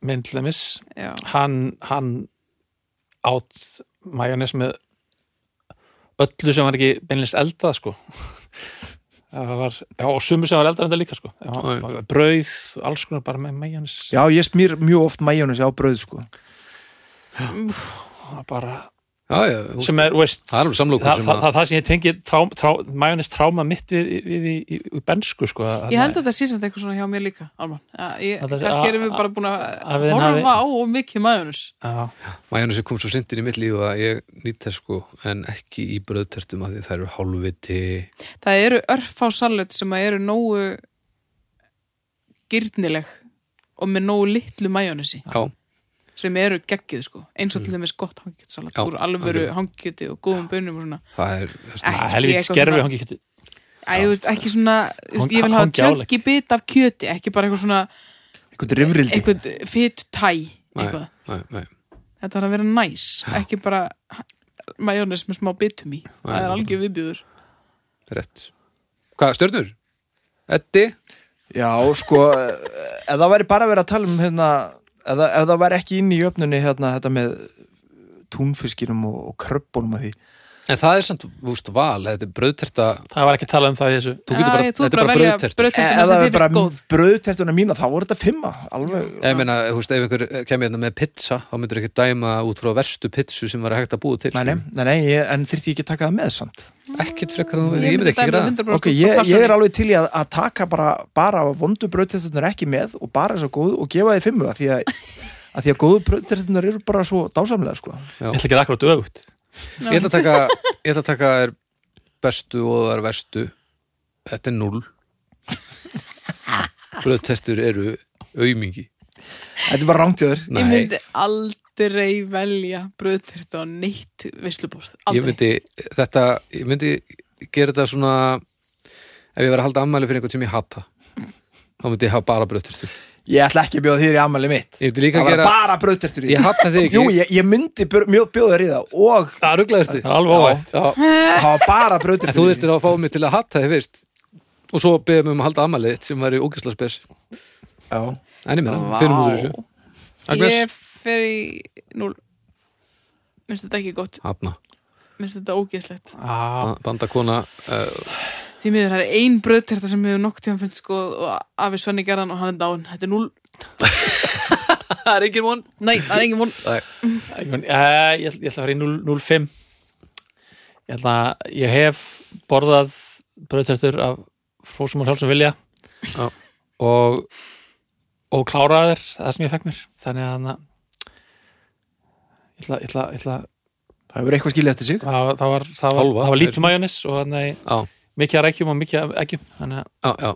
[SPEAKER 4] myndlemis,
[SPEAKER 1] já,
[SPEAKER 4] hann, hann átt majónes með öllu sem var ekki beinlist eldað, sko. Það var, já, og sumu sem var eldað en það líka, sko. Já,
[SPEAKER 2] Já, já.
[SPEAKER 4] það var Brauð, alls konar bara með majónes.
[SPEAKER 3] Já, ég smýr mjög oft mæjunusi á bröð, sko
[SPEAKER 4] Bara,
[SPEAKER 2] Já, já, þú
[SPEAKER 4] sem er, þú veist,
[SPEAKER 2] Það er alveg samlokur
[SPEAKER 4] það,
[SPEAKER 2] sem
[SPEAKER 4] það,
[SPEAKER 2] að-
[SPEAKER 4] það, það sem ég tengi trá, trá, majónis tráma mitt við, við í, í, í bensku sko, að-
[SPEAKER 1] ég held að þetta sé sem þetta eitthvað svona hjá mér líka Ármann, Að ég,
[SPEAKER 4] Að þessi-
[SPEAKER 1] kannski erum
[SPEAKER 4] að-
[SPEAKER 1] við bara búin
[SPEAKER 4] að
[SPEAKER 1] að
[SPEAKER 4] við þinn
[SPEAKER 1] horfa á og mikið maðurins
[SPEAKER 4] Já,
[SPEAKER 2] Majónesi kom svo sindin í mitt líf að ég nýtt þess sko en ekki í bröðtertum að því það eru hálfviti
[SPEAKER 1] það eru örf á salut sem að eru nógu gyrnileg og með nógu litlu majónesi
[SPEAKER 2] Já,
[SPEAKER 1] sem eru geggjuð sko eins og til dæmis gott hangjötsalat
[SPEAKER 2] Já,
[SPEAKER 1] úr alvöru hangjöti og góðum bönum og svona
[SPEAKER 2] það er það er-
[SPEAKER 1] Ekki
[SPEAKER 4] helvið
[SPEAKER 1] eitthvað
[SPEAKER 4] skerfi
[SPEAKER 1] svona-
[SPEAKER 4] hangi kjöti
[SPEAKER 1] Æ, þú veist, ekki svona, þú veist,
[SPEAKER 4] Hang-
[SPEAKER 1] ég vil hafa
[SPEAKER 4] hangi álegg.
[SPEAKER 1] tjöngi bit af kjöti ekki bara eitthvað svona,
[SPEAKER 3] Einhvern rifrildi
[SPEAKER 1] eitthvað fyt tæ eitthvað,
[SPEAKER 2] Nei, nei, nei,
[SPEAKER 1] þetta var að vera næs ekki bara majónis með smá bitum í, það er
[SPEAKER 2] Nei.
[SPEAKER 1] algjör viðbjöður
[SPEAKER 2] rétt Hvað, stjörnur? Eddi?
[SPEAKER 3] Já, sko, ef það væri bara verið að tala um hérna, ef það, ef það væri ekki inn í öfnunni hérna þetta með túnfiskinum og, og kröppunum að því
[SPEAKER 2] En það er samt, þú veist, val, þetta er brauðterta
[SPEAKER 4] það var ekki að tala um það í þessu
[SPEAKER 2] Þú getur bara,
[SPEAKER 1] þú
[SPEAKER 2] þetta er bara
[SPEAKER 1] velja
[SPEAKER 2] brauðterta
[SPEAKER 3] E-
[SPEAKER 1] brauðtertuna
[SPEAKER 3] Ef
[SPEAKER 1] sem
[SPEAKER 3] það
[SPEAKER 1] þið
[SPEAKER 3] er bara
[SPEAKER 1] finnst góð
[SPEAKER 3] brauðtertuna mína þá voru þetta fimma alveg
[SPEAKER 2] Ég meina, þú veist, ef einhver kemur hérna með pizza þá myndur ekki dæma út frá verstu pizzu sem var hægt að búa til
[SPEAKER 3] Nei, nei, nei, nei ég, en þyrfti ég ekki að taka það með samt
[SPEAKER 2] Ekkert frekar þú, ég myndi ekki gera það.
[SPEAKER 3] Ok, ég, ég er alveg til í að, að taka bara, bara vondu brauðtertunar ekki með og bara þess að góðu og gefa þið fimmu að því að, að því að góðu brauðtertunar eru bara svo dásamlega sko.
[SPEAKER 4] ég ætla að gera akkurat öfugt
[SPEAKER 2] Ég ætla að taka, ég ætla að taka er bestu og það er verstu Þetta er null Brauðtertur eru aumingi
[SPEAKER 3] Þetta er bara rámt hjá þér
[SPEAKER 1] Ég
[SPEAKER 2] Nei,
[SPEAKER 1] myndi aldrei velja bröðtyrtu á neitt veislubúrð
[SPEAKER 2] ég
[SPEAKER 1] Aldrei
[SPEAKER 2] myndi þetta, ég myndi gera þetta svona ef ég verið að halda ammæli fyrir einhvern sem ég hata þá myndi ég hafa bara brauðtertur
[SPEAKER 3] Ég ætla ekki að bjóða þér í ammæli mitt
[SPEAKER 2] Ég myndi líka
[SPEAKER 3] Það
[SPEAKER 2] að
[SPEAKER 3] var
[SPEAKER 2] gera,
[SPEAKER 3] bara brauðtertur í
[SPEAKER 2] ég hata þig ekki
[SPEAKER 3] Jú, ég, ég myndi bjó- mjó- bjóða þér í það og
[SPEAKER 2] Það rugglaðistu
[SPEAKER 4] það er alveg óvægt
[SPEAKER 2] En
[SPEAKER 3] það var bara brauðtertur
[SPEAKER 2] þú þurftir að fá mig til að hata þig fyrst og svo beðum um að halda ammælið þitt sem væri ógæsla spes
[SPEAKER 3] Já,
[SPEAKER 2] En ég meina,
[SPEAKER 1] Vá.
[SPEAKER 2] fyrir mútur þessu Agnes?
[SPEAKER 1] Ég fer í núl Minnst þetta ekki gott,
[SPEAKER 2] Hafna,
[SPEAKER 1] minnst þetta ógeðslegt
[SPEAKER 4] Ah,
[SPEAKER 2] bandakona uh,
[SPEAKER 1] Því miður það er ein bröðtyrta sem hefur nokk tíma finnst sko og afi Svenni gerðan og hann er dáin Þetta er núl,
[SPEAKER 2] Það er engin von
[SPEAKER 1] nei, það er engin von
[SPEAKER 4] ég, mun- eh, ég, ætla- ég ætla að fara í 0 0,5 ég ætla að ég hef borðað brauðtertur af frósum og sjálfsum vilja
[SPEAKER 2] Já.
[SPEAKER 4] og og kláraðir það sem ég fekk mér þannig að þarna- ég ætla, ég ætla, ég ætla
[SPEAKER 3] það hefur eitthvað skilja eftir sig
[SPEAKER 4] það, það var, það var,
[SPEAKER 2] Tólfa.
[SPEAKER 4] það var lítið majónis og þannig að
[SPEAKER 2] Já,
[SPEAKER 4] mikið að rækjum og mikið að eggjum þannig að
[SPEAKER 2] já, já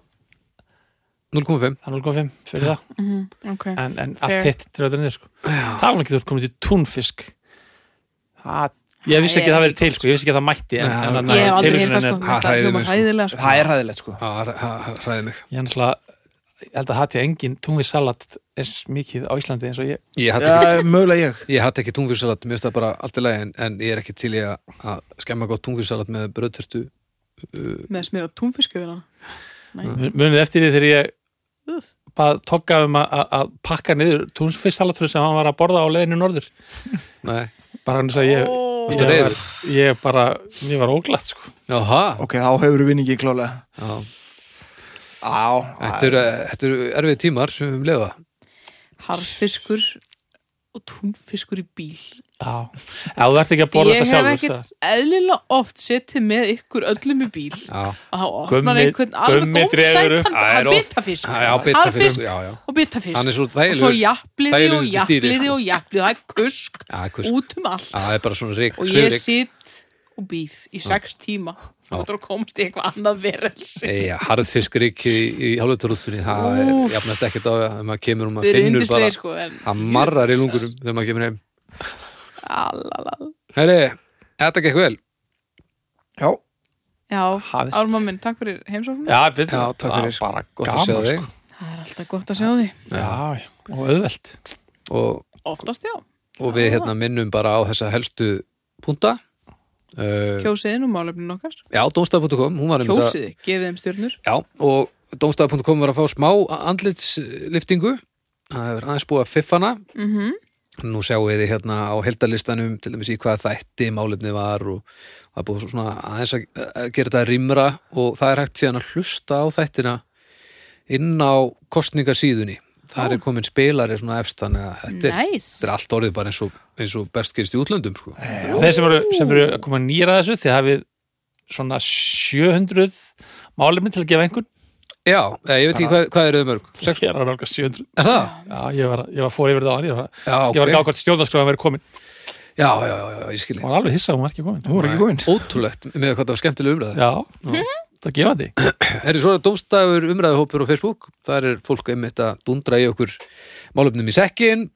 [SPEAKER 2] 0,5
[SPEAKER 4] það er 0,5 fyrir það
[SPEAKER 2] Mhm,
[SPEAKER 1] Ok,
[SPEAKER 4] en, en
[SPEAKER 1] Fair.
[SPEAKER 4] allt hitt dröður niður sko. það var ekki þú ert komin til túnfisk það, ég vissi ekki að það verið til sko. ég vissi ekki að það mætti en,
[SPEAKER 2] Nei,
[SPEAKER 4] en, en,
[SPEAKER 1] ég hef aldrei
[SPEAKER 4] tilhugsunin
[SPEAKER 1] hefði það
[SPEAKER 4] er-
[SPEAKER 2] ha,
[SPEAKER 1] sko, minnst það
[SPEAKER 2] hræðir mig,
[SPEAKER 1] hljómar
[SPEAKER 2] sko.
[SPEAKER 1] hæðilega sko
[SPEAKER 3] Það er hæðilegt sko
[SPEAKER 2] Já, það- það hræði mig
[SPEAKER 4] ég er náttúrulega ég held að hati engin túnfisksalat eins mikið á Íslandi eins og ég
[SPEAKER 2] Ég hata ekki
[SPEAKER 3] Já, mögulega ég
[SPEAKER 2] Ég hatt ekki tungfyrsalat, mér finnst það bara allt í lagi en, en ég er ekki til í að- að skemma gott tungfyrsalat með bröðtertu
[SPEAKER 1] Með að smýra túnfisk yfir hana Nei,
[SPEAKER 4] mun- munið eftir því þegar ég bað tokka um að- að að pakka niður túnfisksalatru sem hann var að borða á leiðinu norður
[SPEAKER 2] Nei,
[SPEAKER 4] bara hann þess að ég
[SPEAKER 2] Varstu
[SPEAKER 4] ég var,
[SPEAKER 2] reiður?
[SPEAKER 4] ég bara, ég var óglatt sko.
[SPEAKER 2] jáha
[SPEAKER 3] Ok, þá hefur við vinningi klálega
[SPEAKER 2] já.
[SPEAKER 3] Á,
[SPEAKER 2] Þetta eru þetta eru erfið tímar sem við höfum lefa
[SPEAKER 1] harfiskur og túnfiskur í bíl
[SPEAKER 4] Já, ef þú ert ekki að borða
[SPEAKER 1] ég
[SPEAKER 4] þetta
[SPEAKER 1] hef
[SPEAKER 4] sjálfur
[SPEAKER 1] ekkert
[SPEAKER 4] það-
[SPEAKER 1] eðlilega oft setið með ykkur öllum í bíl
[SPEAKER 2] Já,
[SPEAKER 1] og þá opnar
[SPEAKER 4] Gummi-
[SPEAKER 1] einhvern alveg
[SPEAKER 4] Gummi dregur upp.
[SPEAKER 1] gómsætan
[SPEAKER 2] Það er
[SPEAKER 1] það er
[SPEAKER 2] oft-
[SPEAKER 1] bitafisk
[SPEAKER 2] já, já, bitafisk,
[SPEAKER 1] Harfisk
[SPEAKER 2] já, já.
[SPEAKER 1] og bitafisk
[SPEAKER 2] Hann er svo
[SPEAKER 1] og svo
[SPEAKER 2] þægilegur-
[SPEAKER 1] japliði
[SPEAKER 2] þægilegur
[SPEAKER 1] og
[SPEAKER 2] undir stýri,
[SPEAKER 1] japliði
[SPEAKER 2] sko.
[SPEAKER 1] og japliði það er kusk,
[SPEAKER 2] Já, kusk.
[SPEAKER 1] út um allt
[SPEAKER 2] Já, það er bara svona rík
[SPEAKER 1] og ég sitt og býð í sex tíma
[SPEAKER 2] Já.
[SPEAKER 1] og þú komst í eitthvað annað verelsi
[SPEAKER 2] Eja, harðfiskrík Eh, í, í hálfutarúttunni það er
[SPEAKER 1] Úf.
[SPEAKER 2] jafnast ekkert á að þegar maður kemur og
[SPEAKER 1] við
[SPEAKER 2] maður
[SPEAKER 1] erum
[SPEAKER 2] finnur bara
[SPEAKER 1] yndislega sko en
[SPEAKER 2] það marrar í lungurum þegar maður kemur heim
[SPEAKER 1] Alalal.
[SPEAKER 2] Herri, þetta gekk vel
[SPEAKER 3] já,
[SPEAKER 1] já,
[SPEAKER 4] Hafist.
[SPEAKER 1] Ármann minn, takk fyrir heimsóknum
[SPEAKER 4] Já, betur,
[SPEAKER 2] Já, takk fyrir,
[SPEAKER 4] bara
[SPEAKER 2] gott
[SPEAKER 4] gaman,
[SPEAKER 2] að sjá þig
[SPEAKER 4] sko.
[SPEAKER 1] það er alltaf gott að sjá því
[SPEAKER 4] Já, já, og auðvelt
[SPEAKER 2] og,
[SPEAKER 1] oftast já,
[SPEAKER 2] og við hérna minnum bara á þessa helstu punta uh,
[SPEAKER 1] kjósiðin og málefnin okkar
[SPEAKER 2] Já, domstaf.com, hún var einmitt að-
[SPEAKER 1] kjósiði, gefið þeim stjörnur
[SPEAKER 2] Já, og domstaf.com var að fá smá andlitsliftingu það hefur aðeins búið að fiffana
[SPEAKER 1] mm -hmm.
[SPEAKER 2] nú sjáum við þið hérna á heldalistanum til dæmis í hvað þætti málefni var og það er búið svona aðeins að að gera þetta rýmra og það er hægt síðan að hlusta á þættina inn á kostningasíðunni þar er komin spilari svona efst þannig að þetta er, þetta
[SPEAKER 1] Nice.
[SPEAKER 2] er allt orðið bara eins og, eins og best gerist í útlöndum sko.
[SPEAKER 4] Þeir sem eru, sem eru að koma nýra þessu þið hafið svona 700 málefni til að gefa einhvern
[SPEAKER 2] Já, eh, ég veit ekki hvað, hvað eru þau mörg Sex-
[SPEAKER 4] Ég er að nálga 700
[SPEAKER 2] Er það?
[SPEAKER 4] Já, ég var, ég var fór yfir það á hann Ég var,
[SPEAKER 2] Já,
[SPEAKER 4] ég
[SPEAKER 2] ok.
[SPEAKER 4] var að gá hvort stjórnarskráðan verið komin
[SPEAKER 2] já, já, já, já, ég skilji
[SPEAKER 4] Ég var alveg hissa að hún var ekki komin
[SPEAKER 3] hún er ekki góðin
[SPEAKER 2] Ótrúlegt með hvað það var skemmtileg umræða
[SPEAKER 4] Já, það gefa því
[SPEAKER 2] Herri, svo er domstafur umræðuhópur á Facebook. Þar er fólk einmitt að dundra í okkur málöfnum í sekkin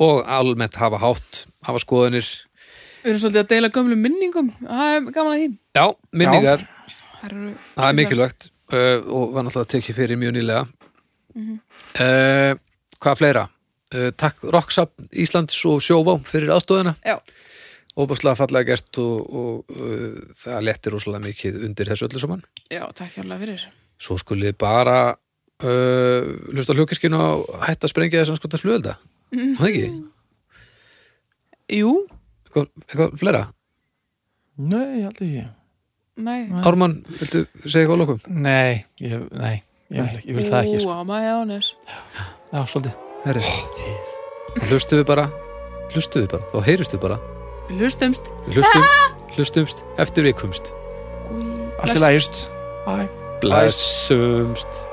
[SPEAKER 2] og almennt hafa hátt, hafa skoðanir.
[SPEAKER 1] Við erum svolítið að deila gömlum minningum Það er gaman að því
[SPEAKER 2] Já, minningar,
[SPEAKER 1] Það eru
[SPEAKER 2] það er mikilvægt uh, og var náttúrulega tekið fyrir mjög nýlega. uh, hvað fleira? Uh, takk Rocksap Íslands og Sjóvá fyrir aðstóðina.
[SPEAKER 1] Já,
[SPEAKER 2] Óbúslega fallega gert og, og uh, það lettir rosalega mikið undir þessu öllu saman.
[SPEAKER 1] já, takk hérlega fyrir
[SPEAKER 2] Svo skulið bara uh, hlusta hljókirkinu og hætta að sprengja þessan skotan flugölda. Það ekki?
[SPEAKER 1] Jú,
[SPEAKER 2] eitthvað, eitthvað fleira
[SPEAKER 4] Nei, aldrei ekki
[SPEAKER 1] Nei.
[SPEAKER 2] Ármann, viltu segja eitthvað á lokum?
[SPEAKER 4] Nei, ég, nei, ég, vil, ekki- ég vil það ekki sko.
[SPEAKER 1] Ú, á majónis.
[SPEAKER 4] Já, svolítið
[SPEAKER 2] Herri, hlustuðu bara hlustuðu bara, þá heyristu bara
[SPEAKER 1] Við hlustumst.
[SPEAKER 2] Við hlustum, hlustumst, eftir vikumst
[SPEAKER 1] Új,
[SPEAKER 3] Allt í lægist
[SPEAKER 4] Bye
[SPEAKER 2] blessumst